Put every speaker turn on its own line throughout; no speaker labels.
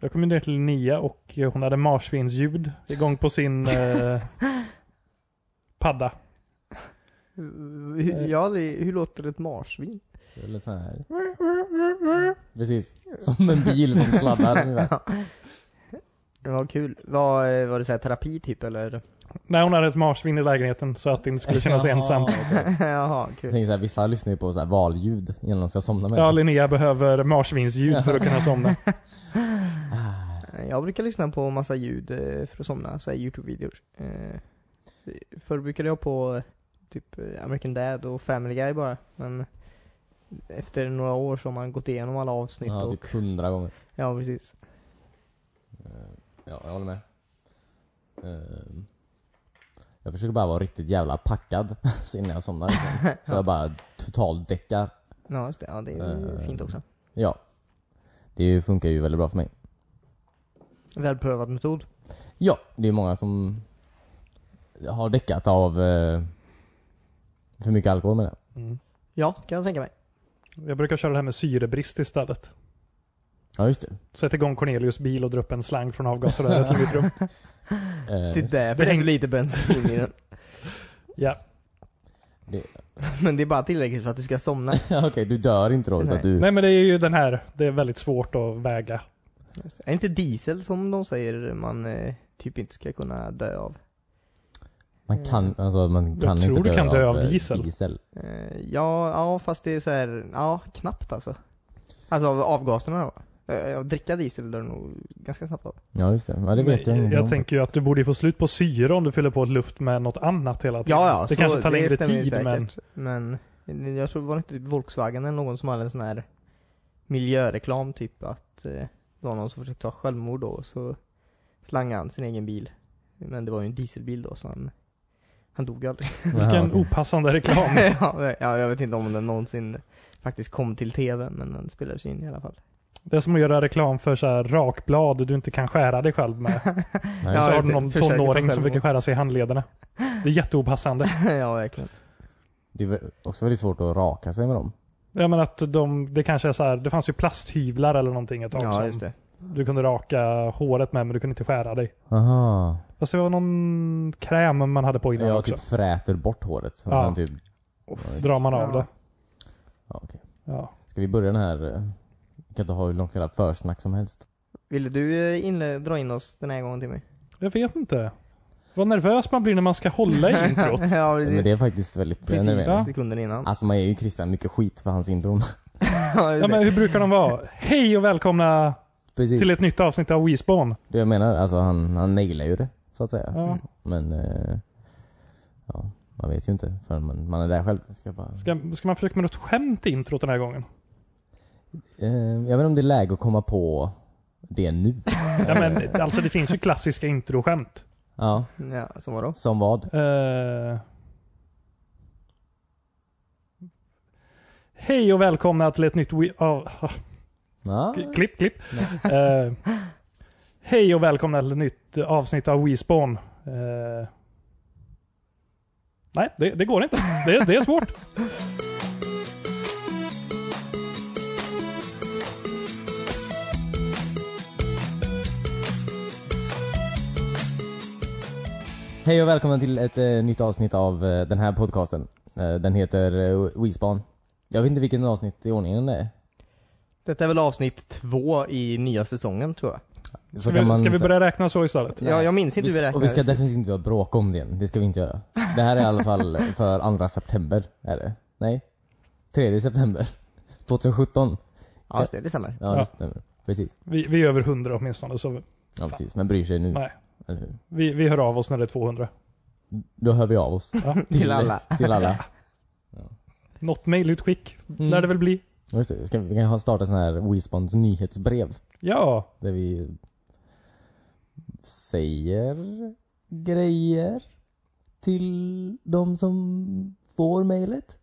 Jag kom ju ner till Nia och hon hade marsvinsljud igång på sin eh, padda.
Hur, jag har aldrig, hur låter ett marsvin?
Eller så här. Precis. Som en bil som sladdar ungefär.
Det var kul. Var, var det så här terapi typ eller?
Nej, hon hade ett marsvin i lägenheten så att det inte skulle kännas ensamt.
Jaha,
Jag
kul.
tänker så här, vissa lyssnar ju på så här valljud innan de ska somna med.
Ja, Linnea behöver marsvinsljud för att kunna somna.
Jag brukar lyssna på massa ljud eh, för att somna, så här youtube-videor. Eh, Förr brukade jag på eh, typ eh, American Dad och Family Guy bara, men efter några år så har man gått igenom alla avsnitt
ja,
och,
typ hundra gånger.
ja precis.
Ja, jag håller med. Ehm, Jag försöker bara vara riktigt jävla packad så innan jag somnar. liksom. Så jag bara totaldäckar.
Ja, just det. Ja, det är ju
Eh.
fint också.
Ja. Det funkar ju väldigt bra för mig.
Välprövad metod.
Ja, det är många som har däckat av eh, för mycket alkohol med det.
Ja, kan jag tänka mig.
Mm. Jag brukar köra det här med syrebrist istället.
Ja, just det.
Sätt igång Cornelius bil och dra upp en slang från avgasröret i mitt rum.
Eh,
Det är därför det är så lite bensin i den.
Ja.
Men det är bara tillräckligt för att du ska somna.
Okej, du dör inte då utan
Nej.
du...
Nej, men det är ju den här. Det är väldigt svårt att väga.
Är det inte diesel som de säger man eh, typ inte ska kunna dö av?
Man kan, alltså, man
Mm. Jag
kan
tror
inte
du
dö,
kan dö av
eh,
diesel.
Eh, ja, ja fast det är så här, ja knappt alltså. Alltså av avgaserna då. Eh, Att dricka diesel dör nog ganska snabbt av.
Ja, just det. Ja, det vet jag
jag,
ingenting om.
tänker ju att du borde ju få slut på syre om du fyller på luft med något annat hela tiden.
Ja, ja,
det
så
kanske tar
det
längre
stämmer ju
tid, men
säkert. men... Men jag tror det var inte typ Volkswagen eller någon som hade en sån här miljöreklam typ att eh, det var någon som försökte ta självmord då och så slangade han sin egen bil. Men det var ju en dieselbil då så han, han dog ju aldrig.
Jaha,
vilken
okej.
opassande reklam.
ja, ja, jag vet inte om den någonsin faktiskt kom till tv, men den spelades in i alla fall.
Det är som att göra reklam för så här rakblad du inte kan skära dig själv med.
Ja,
så
Ja,
har
just
du
det.
någon
Försöker ta
tonåring som
självmord.
försöker skära sig i handlederna. Det är jätteopassande.
ja, verkligen.
Det är väl också väldigt svårt att raka sig med dem.
Jag menar att de, det kanske är så här, det fanns ju plasthyvlar eller någonting ett tag
Ja, just
som
det.
du kunde raka håret med men du kunde inte skära dig.
Aha.
Fast det var någon kräm man hade på innan
Jag
också.
typ fräter bort håret. Och
Ja.
sen typ,
Drar man av
Ja.
det.
ja, okej.
Ja.
Ska vi börja den här... eh, Vi kan inte ha hur långt jävla försnack som helst.
Ville du eh, inle- dra in oss den här gången till mig?
Jag vet inte. Vad nervös man blir när man ska hålla i introt.
ja,
Men
precis.
det är faktiskt väldigt...
Precis
Ja.
sekunden innan.
Alltså man ger ju Christian mycket skit för hans intron.
Ja, just
Ja,
det.
men hur brukar de vara? Hej och välkomna
Precis.
till ett nytt avsnitt av WeSpawn.
Det jag menar, alltså han, han nailar ju det. Så att säga.
Mm.
Ja.
Men... Eh, ja, man vet ju inte förrän man, man är där själv. Ska jag bara,
Ska, ska man försöka med något skämt i introt den här gången?
eh, jag vet inte om det är läge att komma på det nu.
Ja, men, alltså det finns ju klassiska introskämt.
Ja.
Ja, som vadå?
Som vad?
Eh. Hej och välkomna till ett nytt... We- av- ah,
Ja.
klipp, klipp. Eh, hej och välkomna till ett nytt avsnitt av WeSpawn. Eh, nej, det, det går inte. Det, det är svårt.
Hej och välkomna till ett eh, nytt avsnitt av eh, den här podcasten. Eh, den heter eh, WeSpan. Jag vet inte vilken avsnitt i ordningen det är.
Detta är väl avsnitt två i nya säsongen tror jag.
Så
Ska vi, ska vi börja räkna så istället?
Ja, jag minns inte
vi
hur vi
ska,
räknade.
Och vi ska definitivt inte börja bråka om det än. Det ska vi inte göra. Det här är i alla fall för andra september, är det? Nej? Tredje september. 2017.
Ja, just det, det stämmer.
Ja,
Ja.
det stämmer. Precis.
Vi, vi är över 100 åtminstone, så
Ja, precis. Men bryr sig nu.
Nej.
Eller hur?
vi, vi hör av oss när det är 200.
Då hör vi av oss.
Ja.
Till alla.
Till alla.
Något mejlutskick
Mm.
lär det väl bli.
Ja, Just det. Ska, vi vi kan ha- starta sån här WeSpans nyhetsbrev.
Ja,
Där vi säger grejer till de som får mejlet.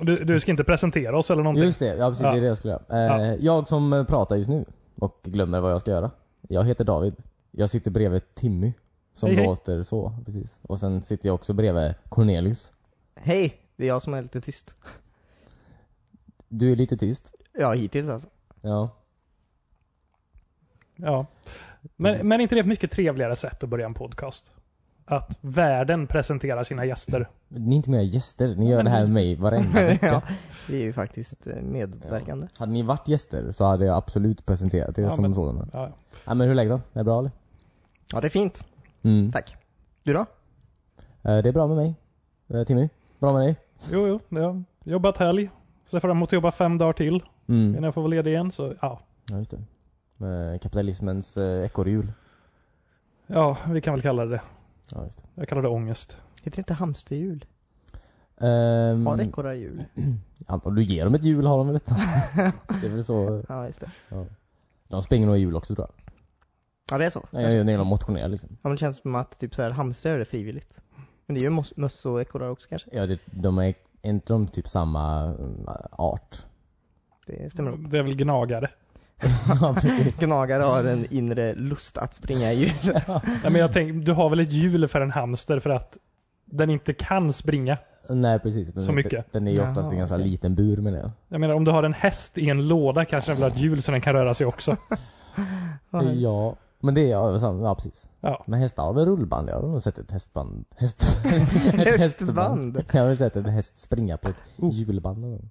du, du ska inte presentera oss eller någonting.
Just det, ja precis, det är det jag skulle göra. Eh, Jag som eh, pratar just nu och glömmer vad jag ska göra. Jag heter David. Jag sitter bredvid Timmy. Som
Hej, hej.
låter så, precis. Och sen sitter jag också bredvid Cornelius.
Hej! Det är jag som är lite tyst.
Du är lite tyst.
Ja, hittills alltså.
Ja.
Ja. Men, men inte det ett mycket trevligare sätt att börja en podcast? Att världen presenterar sina gäster.
Ni är inte mina gäster, ni gör det här med mig varenda vecka.
ja, vi är ju faktiskt eh, medverkande.
Hade ni varit gäster så hade jag absolut presenterat er
Ja,
som
men-
sådana.
Ja, ja.
Ja, men hur är läget då? Är det bra eller?
Ja, det är fint.
Mm.
Tack. Du då?
Eh, Det är bra med mig. Eh, Timmy, bra med dig?
Jo, jo. Jag har jobbat helg. Ser fram emot att jobba fem dagar till
Mm.
innan jag får vara ledig igen. Så ja.
Ja, just det. Eh, Kapitalismens eh, ekorrhjul.
ja, vi kan väl kalla det det.
Ja, just det.
Jag kallar det ångest.
Heter det inte hamsterhjul?
Ehm,
Har ekorrar hjul?
Anton, du ger dem ett hjul har de väl ett? det är väl så.
Ja, just det.
De springer nog i hjul också tror jag.
Ja, det är så.
Nej, jag gör när de motionerar liksom.
Ja, men det känns som att typ så här hamstrar gör det frivilligt. Men det är ju mos- möss och ekorrar också kanske.
Ja, det, de är, är inte de typ samma mm, art?
Det stämmer nog.
Det är väl gnagare.
ja, precis.
Gnagare har en inre lust att springa i hjul.
Nej, men jag tänk, du har väl ett hjul för en hamster för att den inte kan springa?
Nej, precis. Den,
Så mycket.
Den är ju oftast i en
Jaha,
ganska
okej.
liten bur menar jag.
Jag menar om du har en häst i en låda kanske den vill ha ett hjul så den kan röra sig också.
Ja, men det är ja, sam- ja precis.
Ja.
Men hästar har väl rullband? Jag har nog sett ett hästband. Häst, ett
Hästband.
Jag har väl sett en häst springa på ett
Oh.
hjulband någon gång.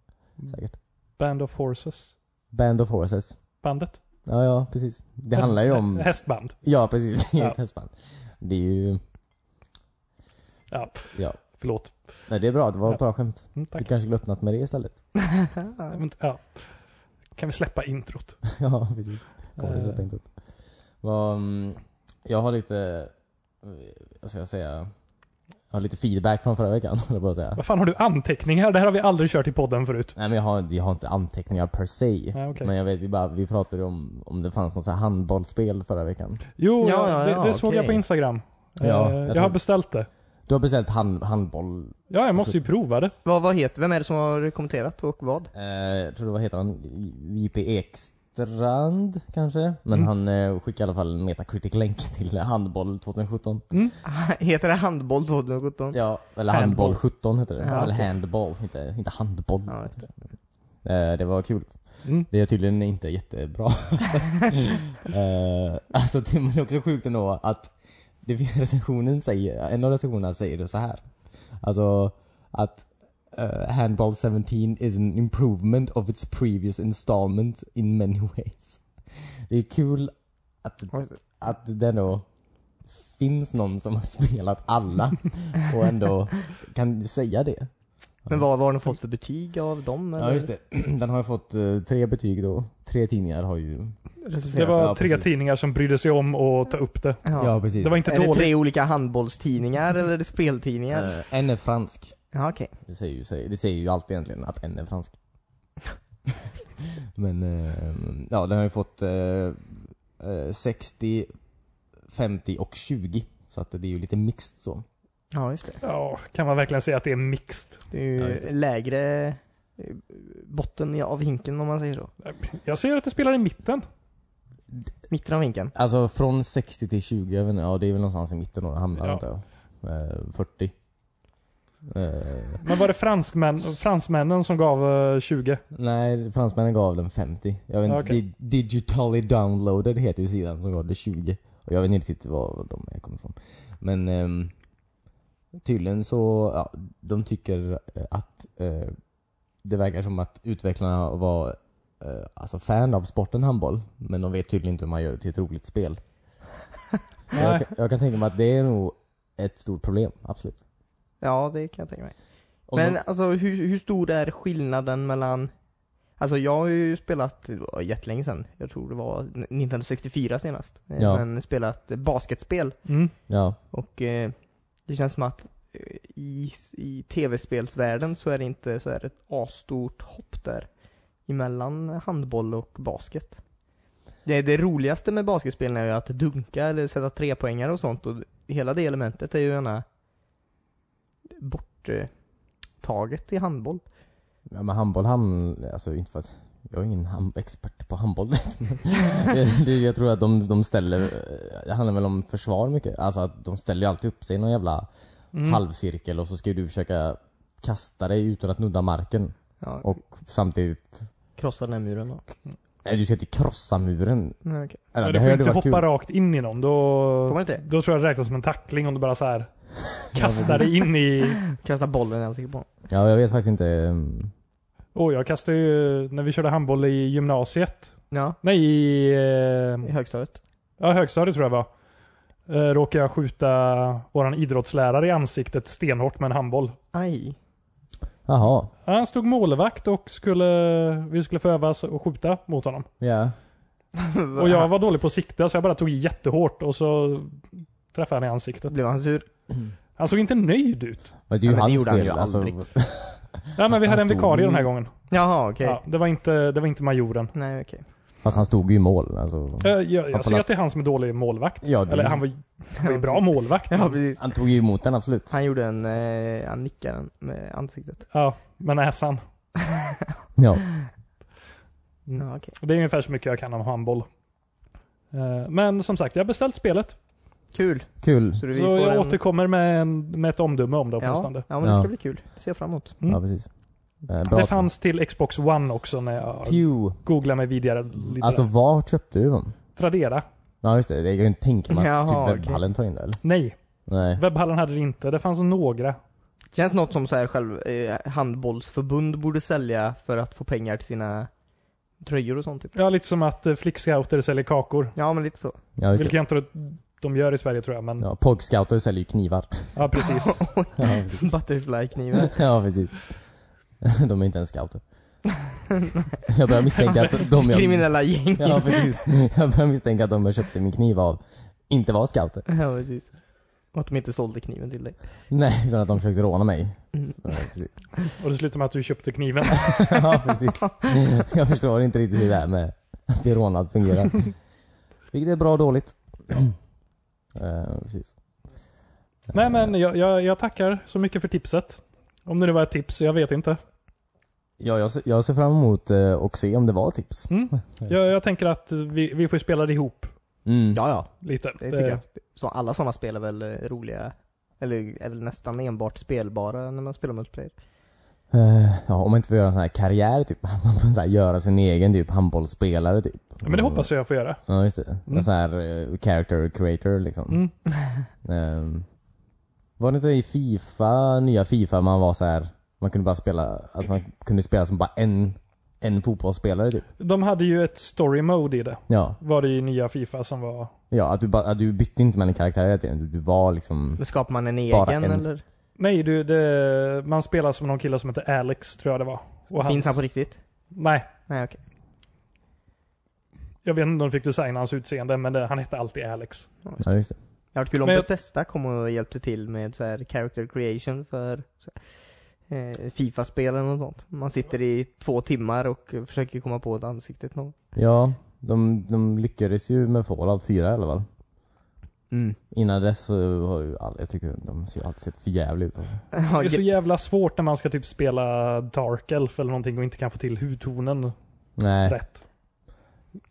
Säkert.
Band of Horses.
Band of Horses.
Bandet.
Ja, ja, precis. Det handlar ju om...
Hästband.
Ja, precis.
Ja.
Ett hästband. Det är ju...
Ja,
Ja.
förlåt.
Nej, det är bra. Det var
Ja.
ett bra skämt.
Mm, tack.
Du kanske skulle öppnat med det istället.
Men, ja. Kan vi släppa introt?
ja, precis. Kommer det
Eh.
släppa inte upp. Vad, mm, Jag har lite... eh, Vad ska jag säga? Jag har lite feedback från förra veckan, höll jag på att säga.
Vad fan har du anteckningar? Det här har vi aldrig kört i podden förut.
Nej men jag har, jag har inte anteckningar per se.
Nej, okej.
Men jag vet, vi, bara, vi pratade om om det fanns något så här handbollsspel förra veckan.
Jo,
Ja,
ja,
ja,
det, det
ja,
såg
okej.
jag på Instagram.
Ja,
Eh,
jag
jag,
tror-
har beställt det.
Du har beställt hand, handboll,
Ja, jag måste ju prova det.
Vad, vad heter, vem är det som har kommenterat och vad?
eh, jag tror det var heter han, JP Ekstrand kanske? Men
Mm.
han eh, skickade i alla fall en Metacritic-länk till handboll 2017.
Heter det handboll 2017?
Ja, eller
Handboll.
handboll 17 heter det.
Ja,
eller
okej.
handball, inte, inte handboll.
Ja, just det.
Eh, det var kul.
Mm.
Det är tydligen inte jättebra. eh, alltså ty- men det är också sjukt ändå att det, finns- recensionen säger, en av recensionerna säger det så här. Alltså att eh, Handball 17 is an improvement of its previous installment in many ways. Det är kul att, att det ändå finns någon som har spelat alla och ändå kan säga det.
Men vad, vad har de fått för betyg av dem?
Ja just det. Den har ju fått eh, tre betyg då. Tre tidningar har ju...
Det var
Ja,
tre
precis.
tidningar som brydde sig om att ta upp det.
Ja.
precis.
Det var inte
är det
dåligt.
tre olika handbollstidningar eller är det speltidningar?
Eh, en är fransk.
Ja, okej.
Det säger, ju, sig- det säger ju allt egentligen att en är fransk. Men eh, ja, den har ju fått eh, eh, 60, 50 och 20. Så att det är ju lite mixed så.
Ja, just det.
Ja, kan man verkligen säga att det är mixed?
Det är ju
Ja, just det.
lägre eh, botten av hinken om man säger så.
Jag ser att det spelar i mitten.
Mitten av hinken.
Alltså från 60 till 20, jag vet inte, ja det är väl någonstans i mitten då det hamnar
Ja.
antar jag. Eh, 40. Eh,
Men var det franskmän, fransmännen som gav eh, 20?
Nej, fransmännen gav den 50. Jag vet inte,
Okej.
di- digitally downloaded heter ju sidan som gav det 20. Och jag vet inte riktigt var de här kommer ifrån. Men ehm, tydligen så, ja, de tycker eh, att eh, det verkar som att utvecklarna var eh, alltså fan av sporten handboll. Men de vet tydligen inte hur man gör det till ett roligt spel. Jag,
Nej.
kan- jag kan tänka mig att det är nog ett stort problem, absolut.
Ja, det kan jag tänka mig.
Om
Men
de,
alltså hur, hur stor är skillnaden mellan Alltså jag har ju spelat, det var jättelänge sedan, jag tror det var Nintendo 64 senast. eh,
Ja.
Men spelat eh, basketspel
Mm.
ja,
och eh, det känns som att eh, i, i tv-spelsvärlden så är det inte så är det ett asstort hopp där emellan handboll och basket. Det, det roligaste med basketspelen är ju att dunka eller sätta trepoängare och sånt och hela det elementet är ju gärna borttaget i handboll.
Ja men handboll, han, alltså inte för att jag är ingen ham- expert på handboll men det, det, Jag tror att de, de ställer, eh, det handlar väl om försvar mycket, alltså att de ställer ju alltid upp sig i någon jävla
Mm.
halvcirkel och så ska ju du försöka kasta dig utan att nudda marken
Ja,
och samtidigt
krossa den här muren då.
Nej, du ska inte krossa muren.
Nej, okej.
Men
Eller,
du
det här
får
hade
inte
varit
hoppa
kul.
rakt in i dem.
Får man
Då,
inte det?
då tror jag det räknas som en tackling om du bara så här kastar dig in i...
Kasta bollen i ansiktet på honom.
Ja, jag vet faktiskt inte. ehm,
Åh, jag kastade ju när vi körde handboll i gymnasiet.
Ja,
Nej, i... Eh,
i högstadiet.
Ja, högstadiet tror jag det var. Eh, Råkade jag skjuta våran idrottslärare i ansiktet stenhårt med en handboll.
Aj.
Jaha.
Ja, Han stod målvakt och skulle, vi skulle få öva oss och skjuta mot honom.
Ja.
Och jag var dålig på att sikta så jag bara tog i jättehårt och så träffade han i ansiktet.
Blev han sur?
Han såg inte nöjd ut.
Men det
Ja,
är ju
men det
hans
gjorde han
fel.
ju
alltså.
aldrig.
Ja, men vi
Han
hade en
stod
vikarie
ju-
den här gången.
Jaha, okej.
Ja, det, var inte, det var inte majoren.
Nej, okej.
Fast han stod ju i mål. Alltså.
Eh, Jag,
Han
jag ser att det är han som är dålig målvakt.
Ja, det-
Eller han var, han var ju bra målvakt.
Ja, precis.
Han tog ju emot den absolut.
Han gjorde en, eh, han nickade den med ansiktet.
Ja, med näsan.
Ja.
Mm.
Ja, okej.
Det är ungefär så mycket jag kan om handboll. Eh, Men som sagt, jag har beställt spelet.
Kul.
Kul.
Så, vi
Så
får
jag
en...
återkommer med, en, med ett omdöme om det
ja.
åtminstone.
ja, men det
Ja.
ska bli kul. Ser jag fram emot.
Mm.
Ja, precis. Eh, bra.
Det fanns till Xbox One också när jag
Pew.
googlade mig vidare lite.
Alltså var köpte du dem?
Tradera?
Ja just det, jag kan ju inte tänka mig att
Jaha,
typ webbhallen tar in det eller?
Nej,
Nej.
webbhallen hade det inte. Det fanns några.
Känns något som så här själv, eh, handbollsförbund borde sälja för att få pengar till sina tröjor och sånt typ.
Ja, lite som att eh, flickscouter säljer kakor.
Ja, men lite så.
Ja just
Vilket
det.
jag inte tror att de gör i Sverige tror jag, men ja,
Ja, Pogscouter säljer ju knivar.
precis.
ja, precis.
Butterflyknivar.
ja precis. De är inte ens scouter. jag börjar misstänka att de jag...
Kriminella gäng.
Ja precis. Jag börjar misstänka att de jag köpte min kniv av inte var scouter.
Ja, precis. Och att de inte sålde kniven till dig.
Nej, utan att de försökte råna mig.
Mm.
Ja, precis.
Och det slutar med att du köpte kniven.
ja precis. Jag förstår inte riktigt hur det här med att bli rånad fungerar. Vilket är bra och dåligt. Eh, precis.
Nej men jag, jag, jag tackar så mycket för tipset. Om det nu var ett tips, jag vet inte.
Ja, jag ser, jag ser fram emot eh, och se om det var tips.
Mm. Jag, jag tänker att vi, vi får spela det ihop
Mm.
Ja, ja.
lite.
Det tycker
Eh,
jag. Så alla sådana spel är väl eh, roliga, eller, eller nästan enbart spelbara när man spelar multiplayer.
Eh, ja, om man inte får göra en sån här karriär typ. Att man får så här, göra sin egen typ handbollsspelare typ.
Men det hoppas jag jag får göra.
Ja, just det.
Mm.
En sån här eh, character creator liksom.
Mm.
Ehm, var det inte i Fifa, nya Fifa, man var så här man kunde bara spela, att man kunde spela som bara en, en fotbollsspelare typ?
De hade ju ett story mode i det.
Ja.
Var det ju nya Fifa som var...
Ja, att du, bara, att du bytte inte mellan karaktärer hela tiden. Du, du var
Mm.
liksom...
Men skapar man en egen
Bara en-
eller?
Nej, du, det, man spelar som någon kille som heter Alex, tror jag det var. Och
Finns han på riktigt?
Nej,
Nej okej.
jag vet inte om de fick designa hans utseende, men det, han hette alltid Alex.
Ja, just det.
Det hade varit kul om
Men jag-
Bethesda kom och hjälpte till med så här character creation för så här, eh, Fifa-spel eller något sånt. Man sitter i två timmar och eh, försöker komma på ett ansiktet någon.
Ja, de, de lyckades ju med Fallout 4 i alla fall.
Mm.
Innan dess så har ju alla, jag tycker de ser alltid sett för jävligt ut. Alltså.
Det
Ja,
är så
ge-
jävla svårt när man ska typ spela Dark Elf eller någonting och inte kan få till hudtonen
Nej,
rätt.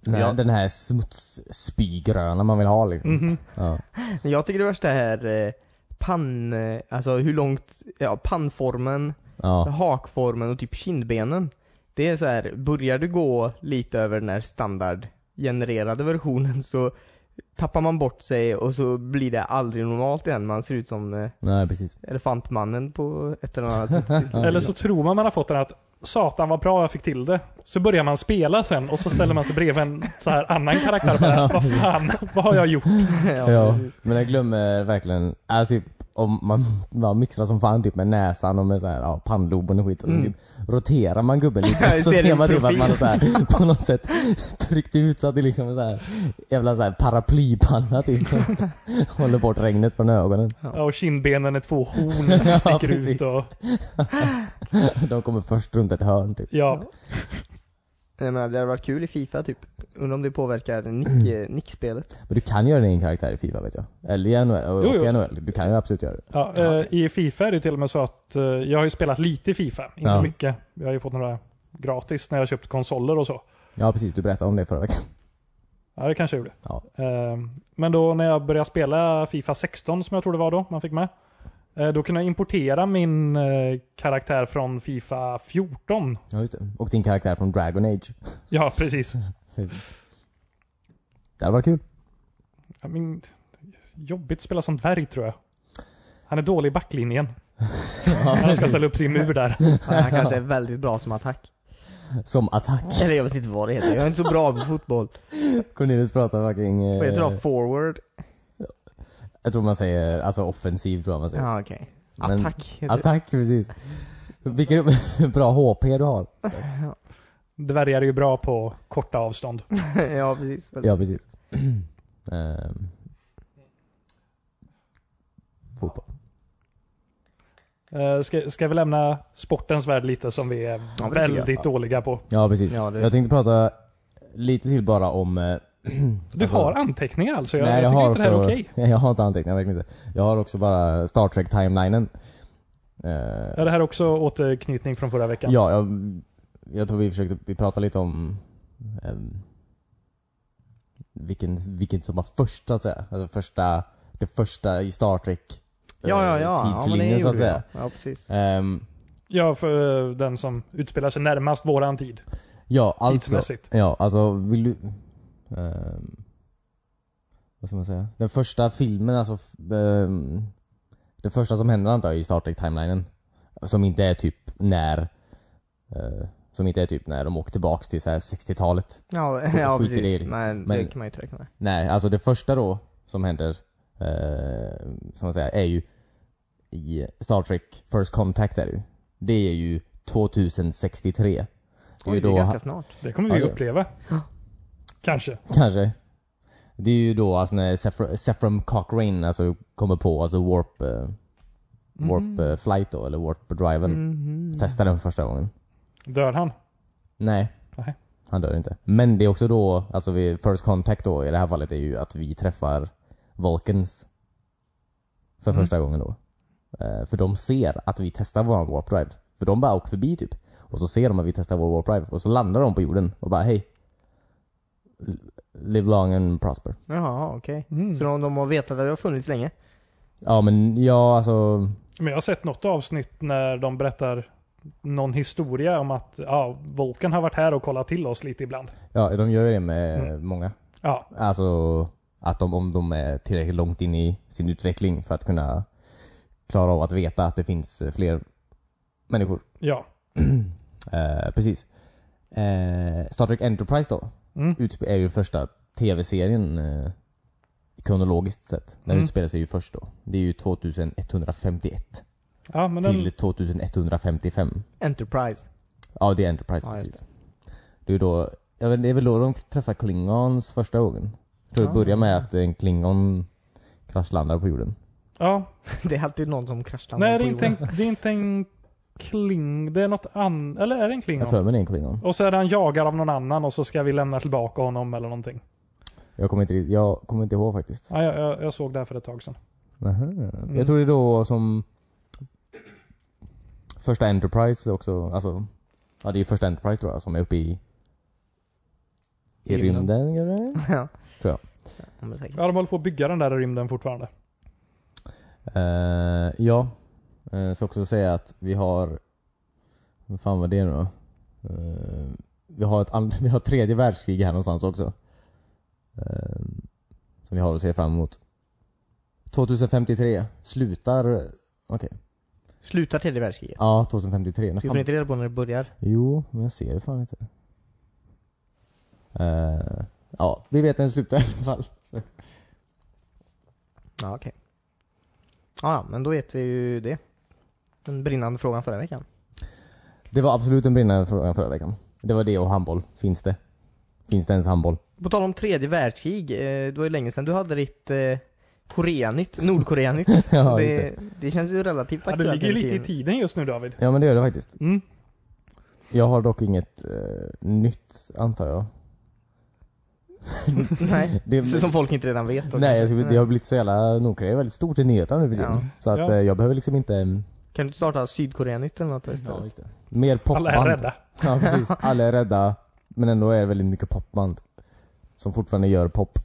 den här,
Ja. Mm-hmm.
den här smutsspygröna man vill ha liksom.
Mhm.
Ja.
jag tycker det värsta är eh, pann, eh, alltså hur långt, ja pannformen
ja.
hakformen och typ kindbenen. Det är så här, börjar du gå lite över den här standardgenererade versionen så tappar man bort sig och så blir det aldrig normalt igen. Man ser ut som eh,
Nej, precis.
elefantmannen på ett eller annat sätt till slut.
Ja.
Eller så tror man man har fått den att Satan vad bra jag fick till det. Så börjar man spela sen och så ställer man sig bredvid en så här annan karaktär. Bara, vad fan, vad har jag gjort?
ja,
Ja,
precis.
men jag glömmer verkligen, alltså typ om man, man mixar som fan typ med näsan och med så här, ja, pannloben och skit och så
Mm.
typ roterar man gubben
Ja,
lite så
ser
ser
din
man typ att
profil.
man har så här, på något sätt tryckt ut så att det liksom är så här jävla så här paraplypanna typ som håller bort regnet från ögonen.
Ja, och kindbenen är två horn som
Ja,
sticker ut.
precis.
Och,
De kommer först runt ett hörn typ.
ja.
Jag menar, det hade varit kul i Fifa typ. Undrar om det påverkar nick,
Mm.
eh, nickspelet.
Men du kan göra din egen karaktär i Fifa vet jag. Eller i NHL, och
Jo, jo.
i NHL. Du kan ju absolut göra det.
Ja, eh, I Fifa är det till och med så att eh, jag har ju spelat lite i Fifa, inte
Ja.
mycket. Jag har ju fått några gratis när jag köpt konsoler och så.
Ja precis, du berättade om det förra veckan.
Ja, det kanske jag gjorde.
Ja.
Eh, men då när jag började spela Fifa 16 som jag tror det var då man fick med. eh, Då kunde jag importera min eh, karaktär från Fifa 14.
Ja just det. Och din karaktär från Dragon Age.
Ja, precis.
Det hade varit kul.
Ja, men, jobbigt att spela som dvärg tror jag. Han är dålig i backlinjen. Han ska ställa upp sin mur där.
Han kanske är väldigt bra som attack.
Som attack.
Eller jag vet inte vad det heter, jag är inte så bra på fotboll.
Cornelius pratar fucking... eh,
Vad heter det? Forward?
jag tror man säger, alltså offensiv tror jag man säger.
Ja okej.
Men-
Attack heter det.
Attack, precis. Vilken bra HP du har.
Dvärgar är ju bra på korta avstånd.
Ja precis. Väldigt-
Ja, eh, precis. Ehm. Fotboll.
Eh, Ska, ska vi lämna sportens värld lite som vi är
Ja, det tycker
väldigt dåliga på.
Ja, precis.
Ja, det-
Jag tänkte prata lite till bara om... eh,
Du
alltså-
har anteckningar alltså? Jag,
Nej,
jag
jag
tycker
har
inte det här är
också-
okej.
Nej, jag har inte anteckningar, verkligen inte. Jag har också bara Star Trek-timelinen. Eh,
Är det här också återknytning från förra veckan?
Ja, jag, jag tror vi försökte, vi pratade lite om ehm, vilken, vilken som var först så att säga. Alltså första, det första i Star Trek eh,
Ja ja ja. ja men
tidslinjen
det
så att
gjorde
säga.
jag. Ja precis.
Ehm,
Ja, för eh, den som utspelar sig närmast våran tid.
ja, alltså.
Tidsmässigt.
Ja, alltså vill du... ehm, vad ska man säga? Den första filmen alltså... f- ehm, det första som händer antar jag i Star Trek-timelinen. Som inte är typ när... eh, som inte är typ när de åker tillbaks till så här 60-talet.
Ja, ja
skit i det,
precis.
liksom.
Men det
Men-
kan man ju inte räkna med.
Nej, alltså det första då som händer, eh, som man säger, är ju i Star Trek First Contact är det ju. Det är ju 2063. Det är
Oj,
ju
det är
då,
ganska snart.
Det kommer vi
Ja, det-
uppleva. Kanske.
kanske. Det är ju då alltså när Sephr- Sephram Cochrane alltså kommer på alltså warp, eh,
Mm-hmm.
warp eh, flight då, eller warp driven.
Mm.
Mhm.
Testar den för första gången.
Dör han?
Nej.
Nej.
Han dör inte. Men det är också då, alltså vid First Contact då i det här fallet är ju att vi träffar Vulcans. För
Mm.
första gången då. Eh, för de ser att vi testar vår Warp Drive. För de bara åker förbi typ. Och så ser de att vi testar vår Warp Drive. Och så landar de på jorden och bara hej. L- Live long and prosper.
Jaha okej.
Mm.
Så de, de har vetat att det har funnits länge?
Ja men ja alltså.
Men jag har sett något avsnitt när de berättar någon historia om att ja, Volkan har varit här och kollat till oss lite ibland.
Ja de gör ju det med
Mm.
många.
Ja,
Alltså att de, om de är tillräckligt långt in i sin utveckling för att kunna klara av att veta att det finns eh, fler människor.
ja.
Eh, precis. Eh, Star Trek Enterprise då,
Mm.
ut- är ju första tv-serien eh, kronologiskt sett. Den
Mm.
utspelar sig ju först då. Det är ju 2151
ja men
till
den,
2155.
Enterprise.
Ja, det är Enterprise
Ja,
precis. Det är ju då, jag vet, det är väl då de träffar Klingons första gången. Jag tror det
Ah.
börjar med att en Klingon kraschlandar på jorden.
ja.
Det är alltid någon som kraschar
Nej,
på
det är, inte en,
jorden.
det är inte en kling. Det är något annat. Eller är det en
Jag
klingon?
för mig det är en Klingon.
Och så är han jagad av någon annan och så ska vi lämna tillbaka honom eller någonting.
Jag kommer inte, jag kommer inte ihåg faktiskt.
Ja, jag, jag, jag såg det här för ett tag sedan.
Aha. Jag tror det är då som första Enterprise också, alltså ja det är ju första Enterprise tror jag som är uppe i i
Rymden.
rymden kanske?
ja.
Tror jag.
Ja, men säkert.
Ja, de håller på att bygga den där i rymden fortfarande.
Eh, ja. Uh, ska också säga att vi har, vad fan var det nu då? Eh, vi, har ett, and- vi har tredje världskrig här någonstans också. Eh, som vi har att se fram emot. 2053 slutar, okej.
Slutar tredje världskriget.
Ja, 2053. När
Vi
fan-
får inte reda på när det börjar.
Jo, men jag ser det fan inte. Eh, ja, vi vet när den slutar i alla fall. Så.
Ja okej. Ja, ja, men då vet vi ju det. Den brinnande frågan förra veckan.
Det var absolut en brinnande fråga förra veckan. Det var det och handboll. Finns det? Finns det ens handboll?
På tal om tredje världskrig, eh, det var ju länge sedan du hade ditt eh, Koreanytt, Nordkoreanytt.
Ja, just
det, det känns ju relativt
Ja, det
aktuellt.
ligger ju
nu för
lite i
tiden.
tiden just nu David.
Ja men det gör det faktiskt.
Mm.
Jag har dock inget eh, nytt antar jag.
Nej,
Det,
så som folk inte redan vet. då
nej, jag
kanske.
skulle, det har blivit så jävla, Nordkorea är väldigt stort i nyheterna nu för tiden.
Ja.
Så att
Ja.
eh, jag behöver liksom inte... mm,
Kan du inte starta Sydkoreanytt eller något
ja,
istället?
just det. Mer popband.
Alla är rädda.
Ja precis, alla är rädda. Men ändå är det väldigt mycket popband. Som fortfarande gör pop.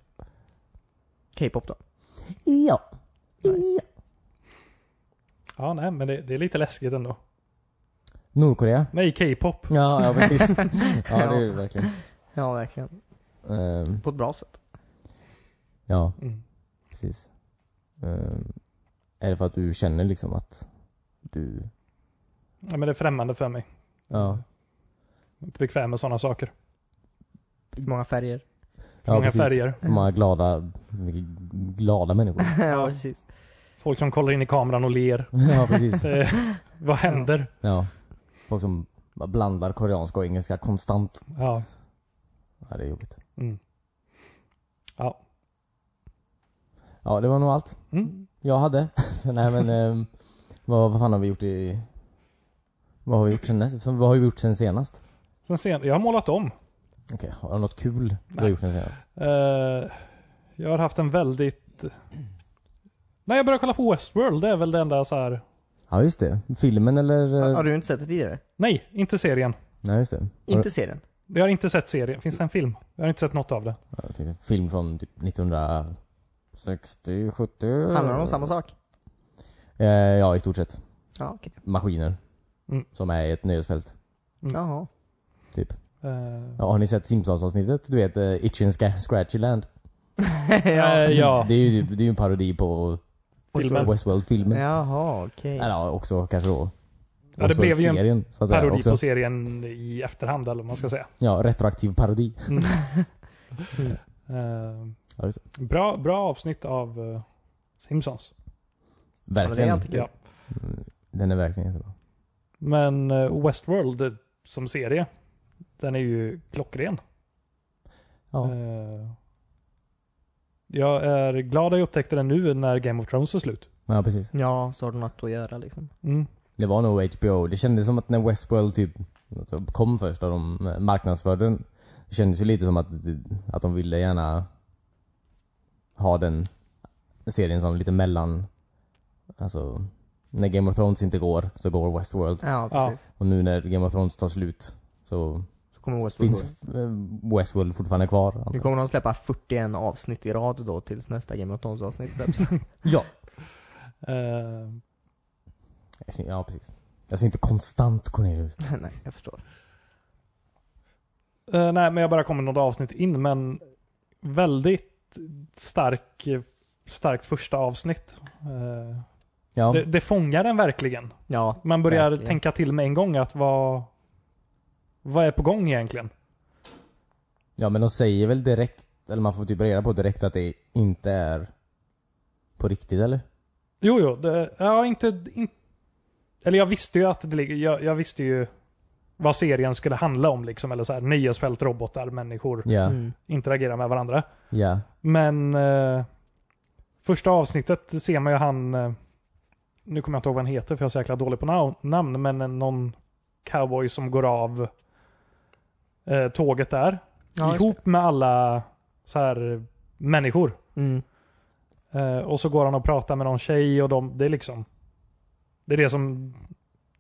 K-pop då?
Ja.
Nice.
Ja, nej, men det, det är lite läskigt ändå.
Nordkorea?
Nej, K-pop.
Ja, ja precis. ja det är det verkligen.
Ja, verkligen.
Ehm,
På ett bra sätt.
ja,
Mm.
precis. Ehm, är det för att du känner liksom att du,
Ja, men det är främmande för mig.
ja.
Inte bekväm med sådana saker.
För många färger.
För
ja,
många
precis.
färger.
För många glada, mycket glada människor.
ja, precis.
Folk som kollar in i kameran och ler.
ja, precis.
Eh, vad händer?
Ja. Folk som bara blandar koreanska och engelska konstant.
Ja.
Ja, det är jobbigt.
Mm. Ja.
Ja, det var nog allt
Mm.
jag hade. Så, nej men, ehm, vad, vad fan har vi gjort i... Vad har vi gjort sen, näst- vad har vi gjort sen senast?
Sen sen, jag har målat om.
Okej, har du något kul du har
Nej.
gjort sen senast?
Eh, jag har haft en väldigt... Nej, jag började kolla på Westworld. Det är väl det enda så här...
Ja, just det. Filmen eller? eh,
Har, har du inte sett det tidigare?
Nej, inte serien.
Nej, just det. Har
Inte serien?
Jag har inte sett serien. Finns det en film? Jag har inte sett något av det.
du- ja, jag tänkte, film från typ 1960, 70?
Handlar det om samma sak?
Eh, ja, i stort sett.
Ja, okej.
Maskiner.
Mm.
Som är i ett nöjesfält.
Jaha.
Typ.
Eh,
Ja, har ni sett Simpsons-avsnittet? Du vet, eh, Itchy and Scar- Scratchy Land?
eh,
ja.
ja.
Det är ju typ- det är ju en parodi på
Filmen.
Westworld-filmen.
Jaha, okej.
Eller ja, också kanske då
Ja, det blev ju en
serien, så att säga,
Parodi
också. Mm.
på serien i efterhand, eller vad man ska säga.
Ja, retroaktiv parodi.
Eh,
Ja, just
bra, bra avsnitt av eh, Simpsons.
Ja, det är
Verkligen.
alltid kul.
Ja.
Den är verkligen jättebra.
Men eh, Westworld eh, som serie, den är ju klockren.
Ja.
Eh, jag är glad att jag upptäckte den nu när Game of Thrones är slut.
ja, precis.
Ja, så har du något att göra liksom.
Mm.
Det var nog HBO. Det kändes som att när Westworld typ alltså, kom först och de eh, marknadsförde den. Det kändes ju lite som att, att de ville gärna ha den serien som lite mellan, alltså när Game of Thrones inte går så går Westworld.
Ja,
Ja.
precis.
Och nu när Game of Thrones tar slut så
Så kommer Westworld gå.
finns eh, Westworld fortfarande kvar. antar
Nu
jag.
kommer de släppa 41 avsnitt i rad då tills nästa Game of Thrones avsnitt släpps.
Ja.
Eh,
Jag ser- Ja, precis. Jag ser inte konstant Cornelius.
Nej, jag förstår.
Eh, nej, men jag bara kommer något avsnitt in, men väldigt stark, starkt första avsnitt. Eh,
Ja,
det, det fångar den verkligen.
Ja,
Man börjar
Verkligen.
tänka till med en gång att vad, vad är på gång egentligen?
ja, men de säger väl direkt, eller man får typ reda på direkt att det inte är på riktigt eller?
Jo, jo, det, ja, inte, in, eller jag visste ju att det ligger, jag, jag visste ju vad serien skulle handla om liksom, eller så här nöjesfält, robotar, människor
Ja,
Mm.
interagerar med varandra.
ja.
Men eh, första avsnittet ser man ju han, eh, nu kommer jag inte ihåg vad han heter för jag är så jäkla dålig på na- namn, men en- någon cowboy som går av eh, tåget där.
Ja, just
ihop med alla så här människor.
det. Mm.
Eh, och så går han och pratar med någon tjej och de, det är liksom, det är det som,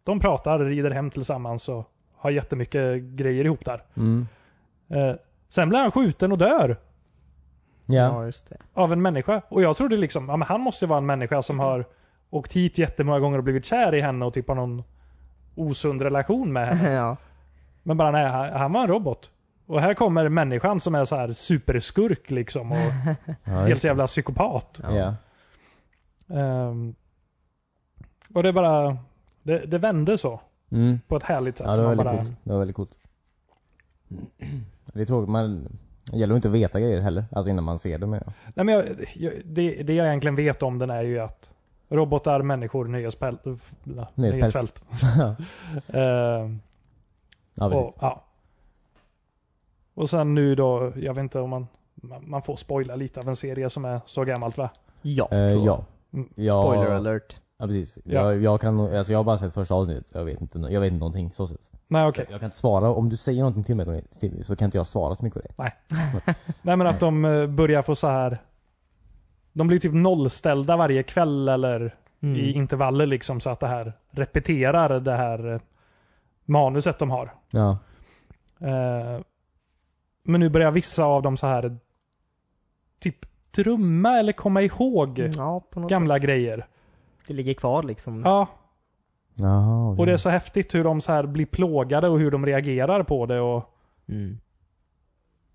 de pratar, rider hem tillsammans och har jättemycket grejer ihop där.
Mm.
Eh, sen blir han skjuten och dör
Ja,
ja, just det.
av en människa. Och jag trodde liksom, ja men han måste ju vara en människa som har åkt hit jättemånga gånger och blivit kär i henne och typ har någon osund relation med henne.
ja.
Men bara nej, han han var en robot. Och här kommer människan som är så här superskurk liksom och
ja, just
helt
det.
jävla psykopat.
Ja.
ja.
Ehm, och det bara, det, det vände så
Mm.
på ett härligt sätt.
ja det
Så
var
man
väldigt
bara,
coolt. Det var väldigt coolt. Det är tråkigt, man det gäller att inte veta grejer heller, alltså innan man ser det men ja.
nej men jag, jag, det, det jag egentligen vet om den är ju att robotar, människor, nöjespält. nöjesfält. Ehm,
ja precis.
Och, ja. och sen nu då, jag vet inte om man, man, man får spoila lite av en serie som är så gammalt va?
Ja,
Eh,
tror jag.
ja.
Mm.
ja.
Spoiler alert.
Ja precis.
Ja.
Jag, jag kan, alltså jag har bara sett första avsnittet, jag vet inte, jag vet inte någonting så sett.
Nej okej.
Jag kan inte svara, om du säger någonting till mig Cornelis, till- så kan inte jag svara så mycket på det.
Nej men att de eh, börjar få så här de blir typ nollställda varje kväll eller
Mm.
i intervaller liksom så att det här repeterar det här eh, manuset de har.
Ja.
Eh, Men nu börjar vissa av dem så här typ trumma eller komma ihåg
Mm, Ja, på något
gamla
sätt.
grejer.
Det ligger kvar liksom.
Ja,
Jaha, okej.
Och det är så häftigt hur de så
Mm.
här blir plågade och hur de reagerar på det. Och,
Mm.